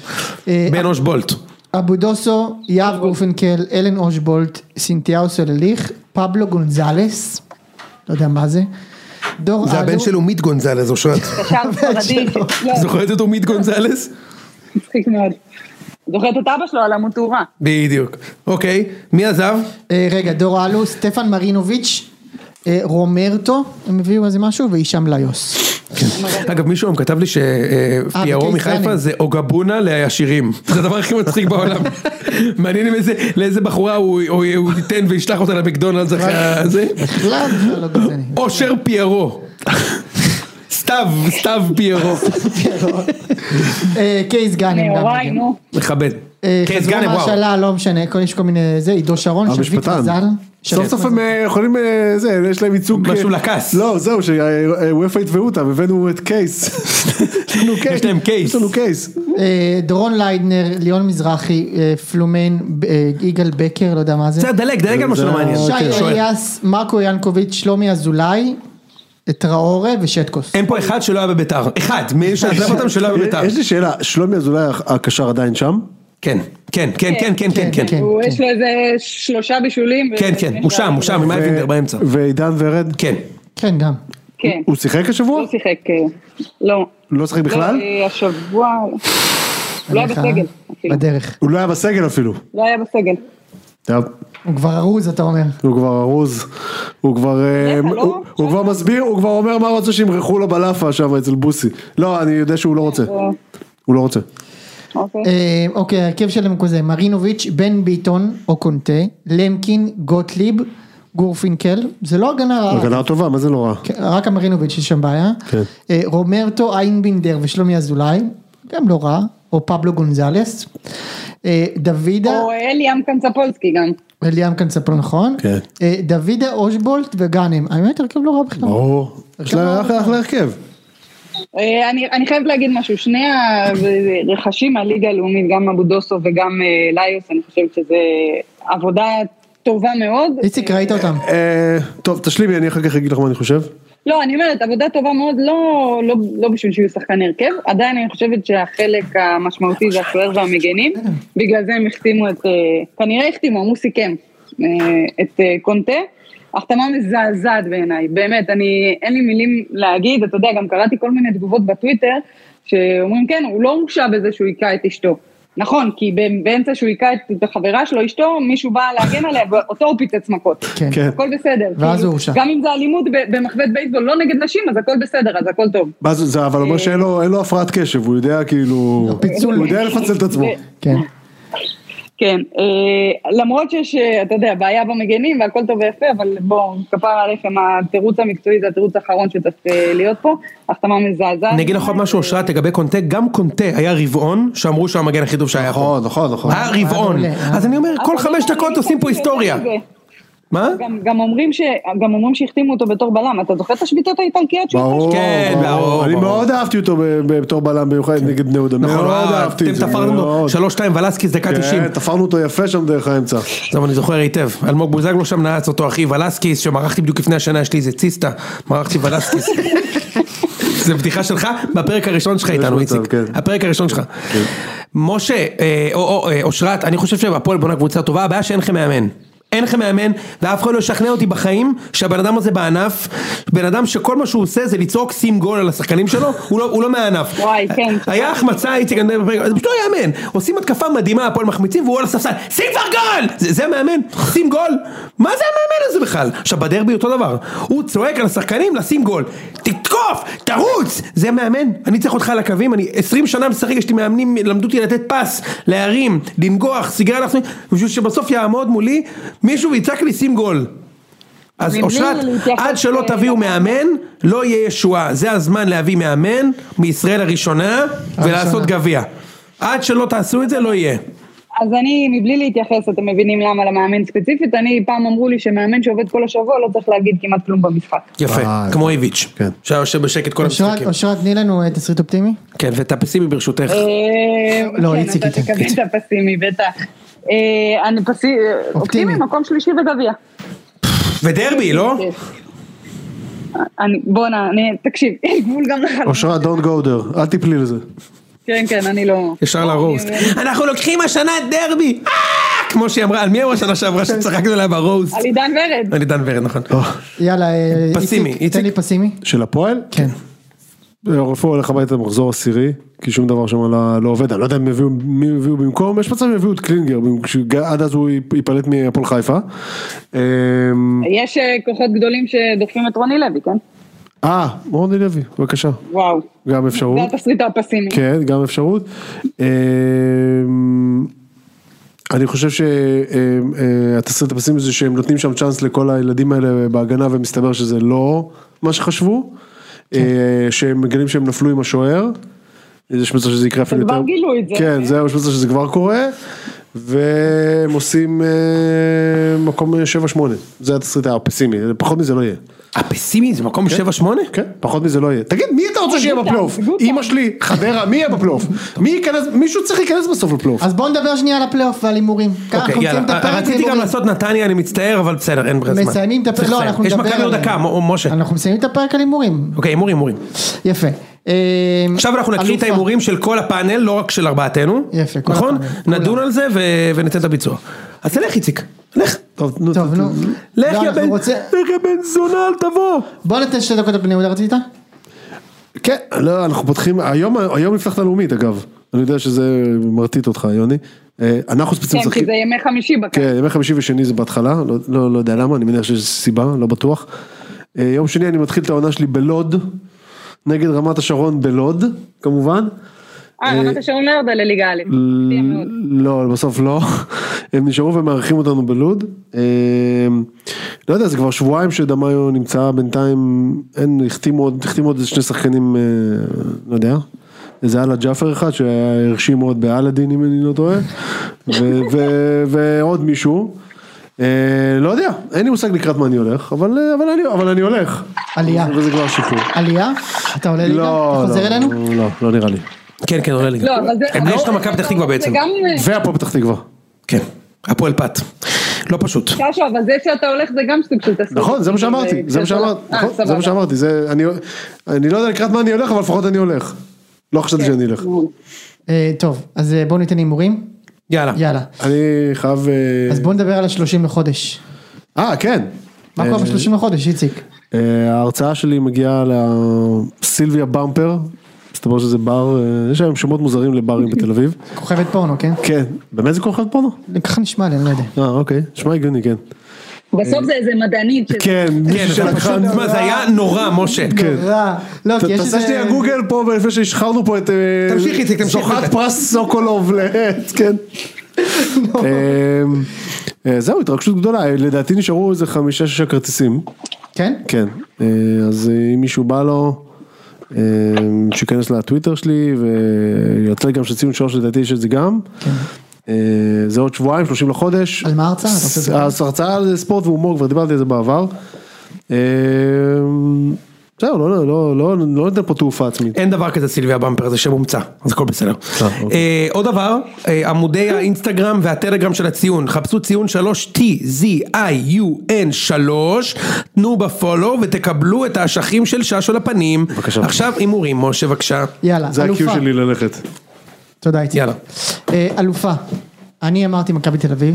אה, בן אוש בולט. אבו דוסו, יהב גורפנקל, אלן אושבולט, סינתיהו סולליך, פבלו גונזלס, לא יודע מה זה, דור אלו, עמית גונזלז, אושרת. [LAUGHS] קשר ספרדי, לא, זוכרת את עמית גונזלז? מצחיק מאוד. זוכרת את אבא שלו על המוטורה. בדיוק. אוקיי, מי עזב? אה, רגע, דור אלו, סטפן מרינוביץ', אה, רומרטו, הם הביאו איזה משהו, והישאם ליוס. אגב, מישהו היום כתב לי שפיירו בקייס מחיפה דני. זה אוגבונה לעשירים. זה הדבר הכי מצחיק בעולם. מעניין אם איזה- לאיזה בחורה הוא הוא- הוא ייתן וישלח אותה למקדונלדס אחרי הזה. בכלל, בכלל [LAUGHS] לא גזעני. אושר פיירו. סתיו, סתיו פיירו. אה, קייס גאנם. גם נאוריי, מגיע. נו. מכבד. אה, קייס חזרו גאנם, וואו. מהשאלה, לא משנה, כל- יש כל מיני זה, עידו שרון, שביט המשפטן. מזל. אה, סוף סוף הם אה, יכולים, אה, זה, יש להם ייצוג. משהו אה, לכס. לא, זהו, שוופא יתבעו אותם, הבאנו את [LAUGHS] קייס. יש לנו קייס. יש להם קייס. יש לנו קייס. אה, דורון ליידנר, ליאון מזרחי, אה, פלומן, אה, יגאל בקר, לא יודע מה זה. בסדר, דלג, דלג על מה שלא מעניין. שי שואל. אליאס, מרקו ינקוביץ', שלומי אזולאי, טראורה ושטקוס. אין פה אחד שלא היה בביתר, אחד, מי שעזב אותם שלא היה בביתר. אה, יש לי שאלה, שלומי אזולאי הקשר עדיין שם? כן, כן, כן, כן, כן, כן, כן, כן, הוא- כן. יש לו איזה שלושה בישולים. כן, ו- כן, הוא שם, הוא שם, עם אייבינדר באמצע. ועידן ורד? כן, כן, גם. כן. הוא שיחק השבוע? לא שיחק, אה, לא. הוא לא שיחק בכלל? לא, אה, השבוע... הוא לא היה עליך, בסגל. אפילו. בדרך. הוא לא היה בסגל אפילו. לא היה בסגל. אה, טוב, הוא כבר ארוז, אתה אומר. הוא כבר ארוז. הוא כבר... אה, לא? הוא- הוא כבר מסביר, הוא כבר אומר מה רוצה שימרחו לו בלאפה שם אצל בוסי. לא, אני יודע שהוא לא רוצה. אה, הוא לא רוצה. אוקיי. אה, אוקיי, ההרכב שלהם הוא כזה, מרינוביץ', בן ביטון או קונטה, למקין, גוטליב, גורפינקל, זה לא הגנה רעה. הגנה טובה, מה זה לא רע? כן, רק המרינוביץ' יש שם בעיה. כן. אה, רומרטו, איינבינדר ושלומי אזולאי, גם לא רע, או פבלו גונזלס. אה, דוידה, או אה, אליאם קנצפולסקי גם. אליאם קנצפול נכון. כן. אה, דוידה, אושבולט וגאנם, האמת הרכב לא רע בכלל. ברור. יש להם אחלה אחלה הרכב. אה, אני, אני חייבת להגיד משהו, שני הרכשים מהליגה הלאומית, גם אבו דוסו וגם אה, ליוס, אני חושבת שזה עבודה טובה מאוד. איציק ראית אותם. אה, טוב, תשלימי, אני אחר כך אגיד לך מה אני חושב. לא, אני אומרת, עבודה טובה מאוד, לא, לא, לא בשביל שיהיו שחקני הרכב, עדיין אני חושבת שהחלק המשמעותי זה השוער והמגנים, בגלל זה הם החתימו את, אה, כנראה החתימו, אמרו סיכם, אה, את אה, קונטה, החתמה מזעזעת בעיניי, באמת, אני, אין לי מילים להגיד, אתה יודע, גם קראתי כל מיני תגובות בטוויטר, שאומרים, כן, הוא לא הורשע בזה שהוא היכה את אשתו. נכון, כי ב- באמצע שהוא היכה את החברה שלו, אשתו, מישהו בא להגן עליה, ואותו הוא פיצץ מכות. כן. כן. הכל בסדר. ואז כאילו, הוא הורשע. גם אם זה אלימות ב- במחבט בייסבול, לא נגד נשים, אז הכל בסדר, אז הכל טוב. מה זה, זה אבל אומר שאין לו אין לו הפרעת קשב, הוא יודע כאילו, פיצול. הוא יודע לפצל את עצמו. כן. כן, אה, למרות שיש, אה, אתה יודע, בעיה במגנים והכל טוב ויפה, אבל בואו, כפר עליכם, התירוץ המקצועי זה התירוץ האחרון שצריך אה, להיות פה, החתמה מזעזעת. אני אגיד לך עוד משהו אושרת לגבי קונטה, גם קונטה היה רבעון שאמרו שהוא המגן הכי טוב שהיה פה. נכון, נכון, נכון. היה רבעון. היה מעולה. אז אני אומר, כל אבל לא חמש גם דקות אני עושים פה חושבת היסטוריה. שזה. מה? גם, גם אומרים ש- גם אומרים שהחתימו אותו בתור בלם, אתה זוכר את השביתות האיטלקיות שלו? ברור, כן, ברור, אני ברור. מאוד אהבתי אותו ב- בתור בלם במיוחד נגד בני יהודה, נכון, מאוד אה, אהבתי את זה, אתם תפרנו אותו, מאוד. שלוש שתיים ולסקי דקה תשעים. כן, תפרנו אותו יפה שם דרך האמצע. טוב, אני זוכר היטב. אלמוג בוזגלו שם נעץ אותו אחי ולסקיס, שמרחתי בדיוק לפני השנה, יש לי איזה ציסטה, מרחתי [LAUGHS] ולסקיס. זה בדיחה שלך, בפרק הראשון שלך איתנו, מצב, איציק. כן. הפרק הראשון שלך. משה, אה, או- או אה, אושרת, אני חושב שהפועל בונה קבוצה טובה, הבעיה שאין לכם מאמן. אין לכם מאמן, ואף אחד לא ישכנע אותי בחיים שהבן אדם הזה בענף, בן אדם שכל מה שהוא עושה זה לצעוק שים גול על השחקנים שלו, הוא לא, הוא לא מהענף. אה, וואי, כן. היה החמצה, איציק, אני מדבר בפרק, זה פשוט לא יאמן. עושים התקפה מדהימה, הפועל מחמיצים, והוא על הספסל, שים כבר גול! זה זה המאמן, שים גול. מה זה המאמן הזה בכלל? עכשיו בדרבי אותו דבר. הוא צועק על השחקנים לשים גול. תתקוף, תרוץ! זה מאמן, אני צריך אותך על הקווים, אני 20 שנה משחק, יש לי מאמנים, למדו אותי לתת פס, להרים, לנגוח, סיגריה לעצמי, בשביל שבסוף יעמוד מולי מישהו ויצעק לי שים גול. אז מבלי אושרת, להתייחס עד שלא ל- תביאו מאמן, לא יהיה ישועה. זה הזמן להביא מאמן מישראל הראשונה ולעשות גביע. עד שלא תעשו את זה, לא יהיה. אז אני, מבלי להתייחס, אתם מבינים למה למאמן ספציפית, אני, פעם אמרו לי שמאמן שעובד כל השבוע לא צריך להגיד כמעט כלום במשחק. יפה, אה, כמו איביץ', כן. שהיה יושב בשקט כל אושרת, המשחקים. אושרת, תני לנו אה, תסריט אופטימי. כן, ואת הפסימי ברשותך. אה, לא, כן, איציק אתה איתן, תקבל את הפסימי, בטח. אה, אני פסי- אופטימי, מקום שלישי בגביע. ודרבי, לא? כן. אני, בואנה, אני, תקשיב, [LAUGHS] אין גבול גם לחלום. אושרת, don't go there, אל תפלי לזה. כן, כן, אני לא... ישר לרוסט. אנחנו לוקחים השנה דרבי! אה! כמו שהיא אמרה, על מי אמרה שנה שעברה שצחקנו עליה ברוסט? על עידן ורד. על עידן ורד, נכון. אה, יאללה, אה, פסימי, איציק, תן לי איציק. פסימי. של הפועל? כן. רפואה הולך הביתה במחזור עשירי, כי שום דבר שם לא- לא עובד, אני לא יודע אם הביאו, מי הביאו במקום, יש מצב שהם הביאו את קלינגר, כשהוא- עד אז הוא ייפלט מהפועל חיפה. אמ, יש אה, כוחות גדולים שדוחפים את רוני לוי, כן? אה, רוני לוי, בבקשה, וואו. גם זה אפשרות. התסריט הפסימי. כן, גם אפשרות. אמ, אני חושב שהתסריט הפסימי זה שהם נותנים שם צ'אנס לכל הילדים האלה בהגנה ומסתבר שזה לא מה שחשבו. כן. אה, שהם מגלים שהם נפלו עם השוער. יש מצב שזה יקרה אפילו כבר יותר. גילו את זה. כן, זהו, יש מצב שזה כבר קורה. והם עושים אה, מקום 7-8. זה התסריט הפסימי, פחות מזה לא יהיה. הפסימי זה מקום 7-8? כן, פחות מזה לא יהיה. תגיד, מי אתה רוצה שיהיה בפלייאוף? אימא שלי, חדרה, מי יהיה בפלייאוף? מי ייכנס, מישהו צריך להיכנס בסוף לפלייאוף. אז בואו נדבר שנייה על הפלייאוף ועל הימורים. אוקיי, אנחנו יאללה. מוציאים את הפרק רציתי גם להימורים. לעשות נתניה, אני מצטער, אבל בסדר, אין ברירה. זמן. מסיימים את הפרק, צריך לא, לסיים. אנחנו יש נדבר מכבי עוד עליהם. דקה, מ- משה. אנחנו מסיימים את הפרק על הימורים. אוקיי, הימור, הימורים. יפה. אה, עכשיו אנחנו נקריא את אלופה. ההימורים של כל הפאנל, לא רק של ארבעתנו. יפה, כל נכון? הפאנל, נדון על זה ו- וניתן את הביצוע. אז תלך, איציק. לך. טוב, נו, טוב, נו. לך, לא, יא אנחנו בן- רוצים- לך, יא בן זונה, אל תבוא. בוא ניתן שתי דקות לבני יהודה רצית? כן, לא, אנחנו פותחים, היום, היום נפתח את הלאומית אגב, אני יודע שזה מרטיט אותך יוני, אה, אנחנו ספציפית כן, כי משחקים, זה ימי חמישי בקיץ. כן, ימי חמישי ושני זה בהתחלה, לא, לא, לא יודע למה, אני מניח שיש סיבה, לא בטוח. אה, יום שני אני מתחיל את העונה שלי בלוד, נגד רמת השרון בלוד, כמובן. אה, רמת השרון לא ירדה לליגה א'. מפתיע מאוד. לא, בסוף לא. הם נשארו ומארחים אותנו בלוד. אה, לא יודע, זה כבר שבועיים שדמיו נמצא בינתיים, אין, החתימו עוד, החתימו עוד איזה שני שחקנים, אה, לא יודע. איזה אללה ג'אפר אחד שהרשים מאוד באלאדין אם אני לא טועה, ו- ו- ועוד מישהו. אה, לא יודע, אין לי מושג לקראת מה אני הולך, אבל, אה, אבל, אני, אבל אני הולך. עלייה. וזה כבר שיפור. עלייה? אתה עולה ליגה? לא, אתה חוזר לא, אלינו? לא, לא נראה לי. כן, כן, עולה לי. לא, אבל זה... הם אבל יש זה- לך מכבי פתח תקווה בעצם. זה גם... אה, והפועל פתח תקווה. כן. הפועל פת. לא פשוט. קשו, אבל זה שאתה הולך זה גם סוג של תסריט. נכון, זה מה שאמרתי, זה מה שאמרתי, אה, נכון, זה סבבה. מה שאמרתי, זה, אני, אני לא יודע לקראת מה אני הולך, אבל לפחות אני הולך. לא חשבתי שאני אלך. אה, טוב, אז אה, בואו ניתן הימורים. יאללה. יאללה. אני חייב... אה, אז בואו נדבר על השלושים לחודש. אה, כן. מה קורה ב-30 לחודש, איציק? אה, ההרצאה שלי מגיעה לסילביה במפר, מסתבר שזה בר, אה, יש היום שמות מוזרים לברים בתל אביב. כוכבת פורנו, כן? כן, באמת זה כוכב פורנו? ככה נשמע לי, אני לא יודע. אה אוקיי, נשמע הגיוני כן. בסוף זה איזה מדענית. שזה- כן, כן, מישהו אבל שלקחה, פשוט, מה, זה היה נורא, משה. כן. רע. לא, ת- כי יש תעשה שנייה איזה... גוגל פה לפני שהשחררנו פה את... אה, תמשיך, איציק, תמשיך. זוכת פרס סוקולוב לעץ, [LAUGHS] [LAUGHS] כן. לא. אמ, אה, זהו, התרגשות גדולה, לדעתי נשארו איזה חמישה שישה כרטיסים, כן? כן, אה, אז אה, אם מישהו בא לו, אה, שיכנס לטוויטר שלי ולטלגרם של ציון שלוש לדעתי יש את זה גם. אה, זה עוד שבועיים, 30 לחודש. כן. על מה ההרצאה? אתה רוצה לדבר? אז הרצאה על ספורט והומור, כבר דיברתי על זה בעבר. אה, זהו, לא, לא, לא, לא, לא נותן פה תעופה עצמית. אין דבר כזה סילביה במפר, זה שם מומצא, אז הכל בסדר. אה, אוקיי. אה, עוד דבר, אה, עמודי האינסטגרם והטלגרם של הציון, חפשו ציון 3TZIUN 3, תנו בפולו ותקבלו את האשכים של ששו לפנים. בבקשה. עכשיו הימורים, משה בבקשה. יאללה, זה הקיו אלופה. שלי ללכת. תודה, איציק. יאללה. אה, אלופה. אני אמרתי מכבי תל אביב.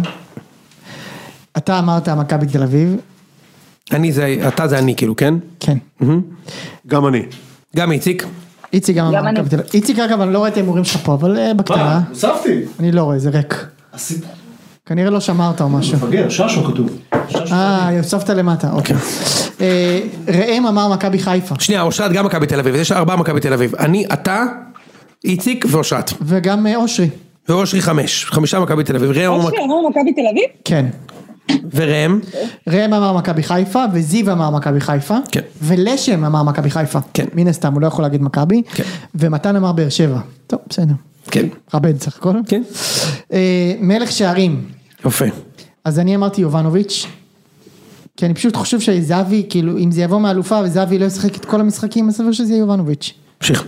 אתה אמרת מכבי תל אביב. אני זה, אתה זה אני כאילו, כן? כן. גם אני. גם איציק. איציק גם גם אמר אני. מכבי תל אביב. איציק אגב, אני לא רואה את ההימורים שלך פה, אבל אה, בקטנה. הוספתי. אני לא רואה, זה ריק. כנראה לא שמרת או משהו. מפגר, ששו כתוב. ששו. אה, הוספת למטה, אוקיי. אה, ראם אמר מכבי חיפה. שנייה, אושרת גם מכבי תל אביב, יש ארבעה מכבי תל אביב. אני, אתה, איציק ואושרת. וגם אה, אושרי. ואושרי חמש, חמישה מכבי תל אביב. ראם אמר- אושרי אוקיי, אמרו מכבי תל אביב? כן. וראם? ראם אמר מכבי חיפה, וזיו אמר מכבי חיפה, כן. ולשם אמר מכבי חיפה, כן. מן הסתם הוא לא יכול להגיד מכבי, כן. ומתן אמר באר שבע, טוב בסדר, כן. רבן סך הכל, כן. אה, מלך שערים, יפה. אז אני אמרתי יובנוביץ', כי אני פשוט חושב שזהבי, כאילו אם זה יבוא מהאלופה וזהבי לא ישחק את כל המשחקים, אז סביר שזה יהיה יובנוביץ', תמשיך.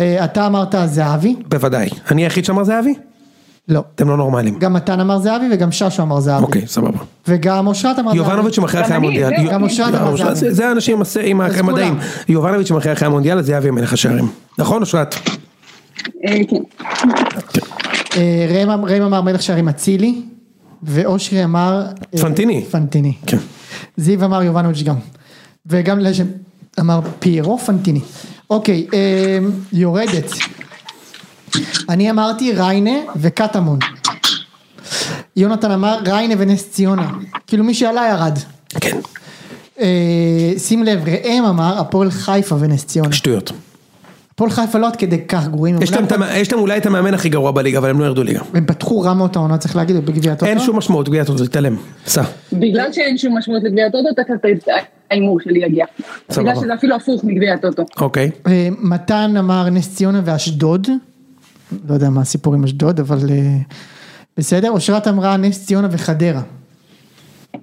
אה, אתה אמרת זהבי, בוודאי. אני היחיד שאמר זהבי? לא, אתם לא נורמלים. גם מתן אמר זאבי וגם ששו אמר זאבי. אוקיי, סבבה. וגם אושרת אמר זאבי. יובנוביץ' שמכריע אחרי גם אני, המונדיאל. זהו, יו- גם אושרת אמר אושרת, זהבי. זה- זה האנשים עם הס- עם המדעים. כולם. יובנוביץ' שמכריע אחרי המונדיאל, אז זהבי מלך השערים. נכון, אושרת? אה, כן. אה, ראם אמ- ראם אמר מלך שערים אצילי, ואושרי אמר... אה, פנטיני. פנטיני. כן. זיו אמר יובנוביץ' גם. וגם לשם אמר פיירו פנטיני. אוקיי, אה, יורדת. אני אמרתי ריינה וקטמון. יונתן אמר ריינה ונס ציונה. כאילו מי שעלה ירד. כן. אוקיי. אה, שים לב, ראם אמר הפועל חיפה ונס ציונה. שטויות. הפועל חיפה לא עד כדי כך גרועים. הם יש אולי להם את המ- יש להם אולי את המאמן הכי גרוע בליגה, אבל הם לא ירדו ליגה. הם פתחו רע מאוד העונה צריך להגיד בגביע הטוטו. אין שום משמעות, גביע הטוטו, תתעלם. סע. בגלל שאין שום משמעות לגביע הטוטו, תכף ההימור שלי יגיע. סבבה. בגלל שזה אפילו הפוך מגביע הטוטו. אוקיי. אה, מתן אמר נס ציונה ואשדוד. לא יודע מה הסיפור עם אשדוד אבל אה, בסדר. אושרת אמרה נס ציונה וחדרה.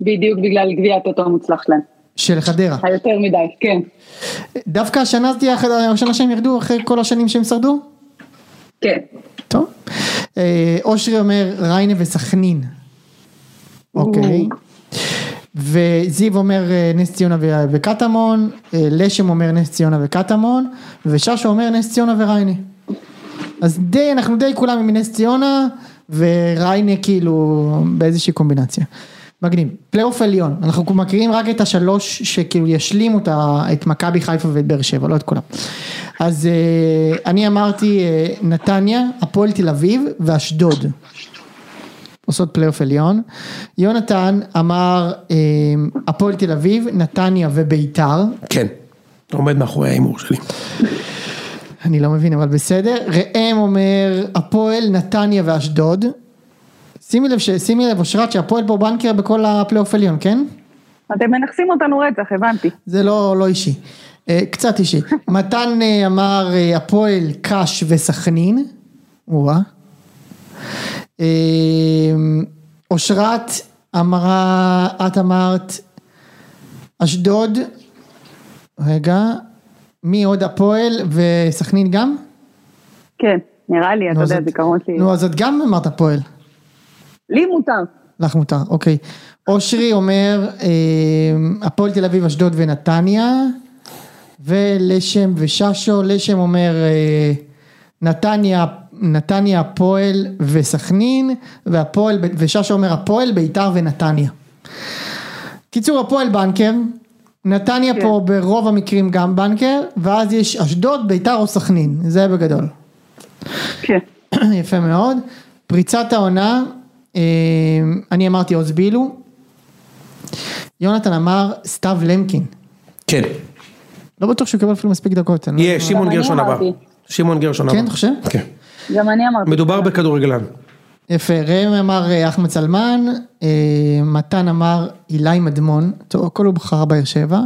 בדיוק בגלל גביע הטוטו המוצלח שלהם. של חדרה. היותר מדי, כן. דווקא השנה זאת תהיה אחת- השנה שהם ירדו אחרי כל השנים שהם שרדו? כן. טוב. אה, אושרי אומר ריינה וסכנין. אוקיי. וזיו אומר אה, נס ציונה ו- וקטמון, אה, לשם אומר נס ציונה וקטמון, וששו אומר נס ציונה וריינה. אז די, אנחנו די כולם עם נס ציונה, וריינה כאילו באיזושהי קומבינציה. מגניב. פלייאוף עליון, אנחנו מכירים רק את השלוש שכאילו ישלימו את ה- את מכבי חיפה ואת באר שבע, לא את כולם. אז אה, אני אמרתי אה, נתניה, הפועל תל אביב ואשדוד. עושות פלייאוף עליון. יונתן אמר אה, הפועל תל אביב, נתניה וביתר, כן. עומד מאחורי ההימור שלי. אני לא מבין אבל בסדר, ראם אומר הפועל נתניה ואשדוד. שימי לב, ש... שימי לב אושרת שהפועל פה בנקר בכל הפלייאוף עליון, כן? אתם מנכסים אותנו רצח, הבנתי. זה לא, לא אישי, אה, קצת אישי. מתן אה, אמר אה, הפועל קאש וסכנין, או-אה. אה, אושרת אמרה, את אמרת אשדוד, רגע, מי עוד הפועל וסכנין גם? כן, נראה לי, אתה נו, אז יודע, את- זיכרון שלי. נו אז את גם אמרת הפועל, לי מותר. לך מותר, אוקיי. אושרי אומר, אה, הפועל תל אביב, אשדוד ונתניה, ולשם וששו, לשם אומר, אה, נתניה, נתניה, הפועל וסכנין, והפועל, ב- וששו אומר, הפועל, ביתר ונתניה. קיצור, הפועל בנקר, נתניה כן. פה ברוב המקרים גם בנקר, ואז יש אשדוד, ביתר או סכנין, זה בגדול. כן. [CLEARS THROAT] יפה מאוד. פריצת העונה, אה, אני אמרתי עוז בילו. יונתן אמר סתיו למקין. כן. לא בטוח שהוא יקבל אפילו מספיק דקות. אני לא- יהיה שמעון אני גרשון הבא. אמרתי. שמעון גרשון הבא. כן, אתה חושב? כן. גם אני אמרתי. מדובר בכדורגלן. יפה, ראם אמר אה, אחמד סלמן, אה, מתן אמר אילי מדמון, טוב, הכל הוא בחר באר שבע,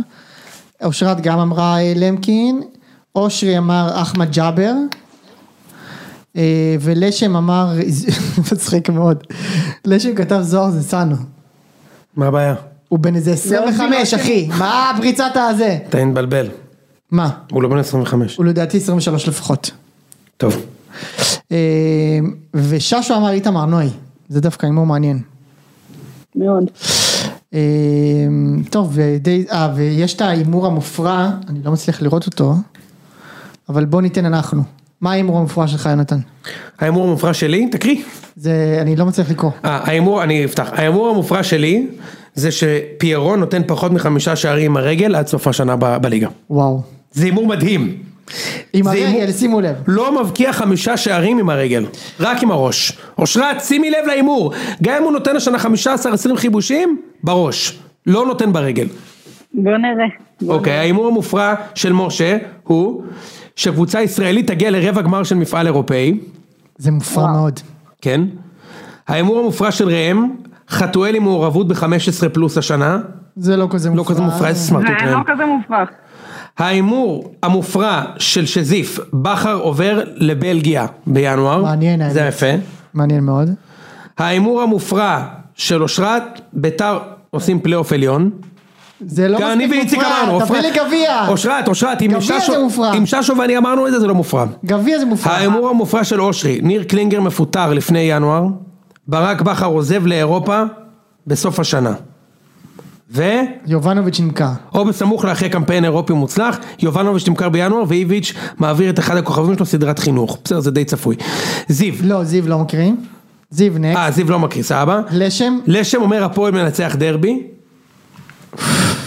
אושרת גם אמרה אה, למקין, אושרי אמר אחמד ג'אבר, אה, ולשם אמר, [LAUGHS] מצחיק מאוד, לשם כתב זוהר זה סאנו, מה הבעיה? הוא בן לא, איזה עוד 25 אחי, מה פריצת הזה? אתה אין בלבל. מה? הוא לא בן 25. הוא לדעתי 23 לפחות. טוב. אה, וששו אמר איתמר נוי, זה דווקא הימור מעניין. מאוד. אמ, טוב, ודי, אה, ויש את ההימור המופרע, אני לא מצליח לראות אותו, אבל בוא ניתן אנחנו. מה ההימור המופרע שלך, יונתן? ההימור המופרע שלי, תקריא. זה, אני לא מצליח לקרוא. אה, ההימור, אני אפתח. ההימור המופרע שלי זה שפיירון נותן פחות מחמישה שערים עם הרגל עד סוף השנה ב- בליגה. וואו. זה הימור מדהים. עם זה הימור- הרגל, שימו לב. לא מבקיע חמישה שערים עם הרגל, רק עם הראש. אושרת, שימי לב להימור. גם אם הוא נותן השנה 15-20 חיבושים, בראש. לא נותן ברגל. בוא נראה. בוא אוקיי, ההימור המופרע של משה הוא שקבוצה ישראלית תגיע לרבע גמר של מפעל אירופאי, זה מופרע מאוד. כן? ההימור המופרע של ראם, חתואל עם מעורבות ב-15 פלוס השנה, זה לא כזה לא מופרע. כזה מופרע, איזה נראה. סמרטוט זה ראם. לא כזה מופרך. ההימור המופרע של שזיף, בכר עובר לבלגיה בינואר, מעניין, האמת. זה יפה. מעניין מאוד. ההימור המופרע של אושרת, ביתר עושים פלייאוף עליון. זה לא גם אני ואיציק אמרנו, תביא אופרת- לי גביע. אושרת, אושרת, אם גביע ששו- זה מופרע. אם ששו ואני אמרנו את זה, זה לא מופרע. גביע זה מופרע. ההימור המופרע של אושרי, ניר קלינגר מפוטר לפני ינואר, ברק בכר עוזב לאירופה בסוף השנה. ו... יובנוביץ' נמכר. או בסמוך לאחרי קמפיין אירופי מוצלח, יובנוביץ' נמכר בינואר ואיביץ' מעביר את אחד הכוכבים שלו סדרת חינוך. בסדר, זה די צפוי. זיו, לא, זיו לא מכירים. זיו נקס. אה, זיו לא מקריא, סבבה? לשם. לשם אומר הפועל מנצח דרבי,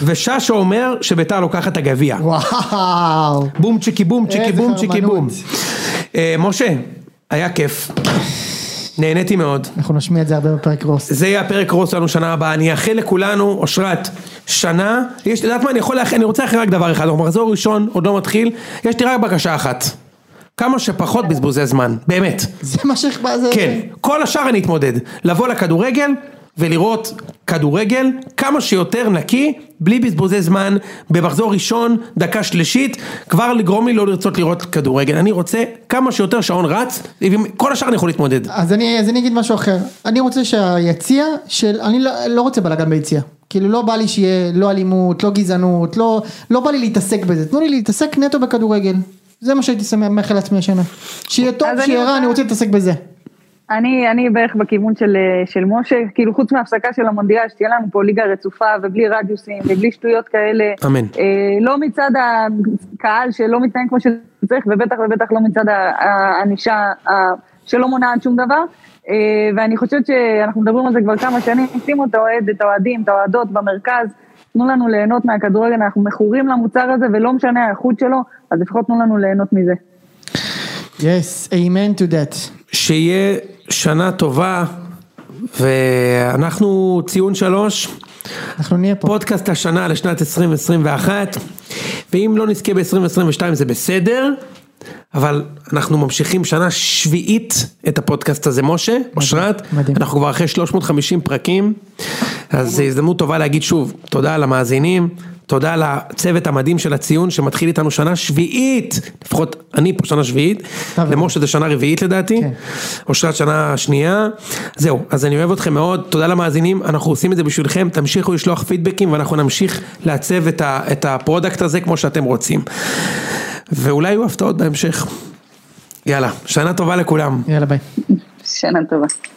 וששו אומר שביתר לוקחת את הגביע. וואו. בום צ'יקי בום צ'יקי איזה בום צ'יקי בום. חרמנות. אה, משה, היה כיף. נהניתי מאוד. אנחנו נשמיע את זה הרבה בפרק [LAUGHS] רוס. זה יהיה הפרק רוס שלנו שנה הבאה, אני אאחל לכולנו, אושרת, שנה, יש, את יודעת מה, אני יכול לאחל, אני רוצה לאחל רק דבר אחד, אנחנו מחזור ראשון, עוד לא מתחיל, יש לי רק בקשה אחת, כמה שפחות בזבוזי זמן, באמת, זה מה שאכפת זה. כן, כל השאר אני אתמודד, לבוא לכדורגל ולראות כדורגל כמה שיותר נקי, בלי בזבוזי זמן, במחזור ראשון, דקה שלישית, כבר לגרום לי לא לרצות לראות כדורגל, אני רוצה כמה שיותר שעון רץ, עם כל השאר אני יכול להתמודד, אז אני, אז אני אגיד משהו אחר, אני רוצה שהיציע של, אני לא, לא רוצה בלאגן ביציע, כאילו לא בא לי שיהיה לא אלימות, לא גזענות, לא, לא בא לי להתעסק בזה, תנו לי להתעסק נטו בכדורגל, זה מה שהייתי שמח לעצמי השנה, שיהיה טוב, אז אני שיהיה רע, רוצה- אני רוצה להתעסק בזה, אני, אני בערך בכיוון של, אה, של משה, כאילו חוץ מההפסקה של המונדיאל, שתהיה לנו פה ליגה רצופה ובלי רדיוסים ובלי שטויות כאלה. אמן. אה, לא מצד הקהל שלא מתנהג כמו שצריך, ובטח ובטח לא מצד ה- הענישה ה- שלא מונעת שום דבר. אה, ואני חושבת שאנחנו מדברים על זה כבר כמה שנים, שימו את האוהד, את האוהדים, את האוהדות במרכז, תנו לנו ליהנות מהכדורגל, אנחנו מכורים למוצר הזה ולא משנה האיכות שלו, אז לפחות תנו לנו ליהנות מזה. yes, amen to that, שיהיה שנה טובה, ואנחנו ציון שלוש, אנחנו נהיה פה, פודקאסט השנה לשנת 2021, ואם לא נזכה ב-2022 זה בסדר, אבל אנחנו ממשיכים שנה שביעית את הפודקאסט הזה, משה, אושרת, מדהים. אנחנו כבר אחרי 350 פרקים, אז זו הזדמנות טובה להגיד שוב, תודה למאזינים. תודה לצוות המדהים של הציון שמתחיל איתנו שנה שביעית, לפחות אני פה שנה שביעית, אתה ואני. למשה זה שנה רביעית לדעתי, כן. אושרת שנה שנייה, זהו, אז אני אוהב אתכם מאוד, תודה למאזינים, אנחנו עושים את זה בשבילכם, תמשיכו לשלוח פידבקים ואנחנו נמשיך לעצב את, ה, את הפרודקט הזה כמו שאתם רוצים. ואולי יהיו הפתעות בהמשך. יאללה, שנה טובה לכולם. יאללה ביי. שנה טובה.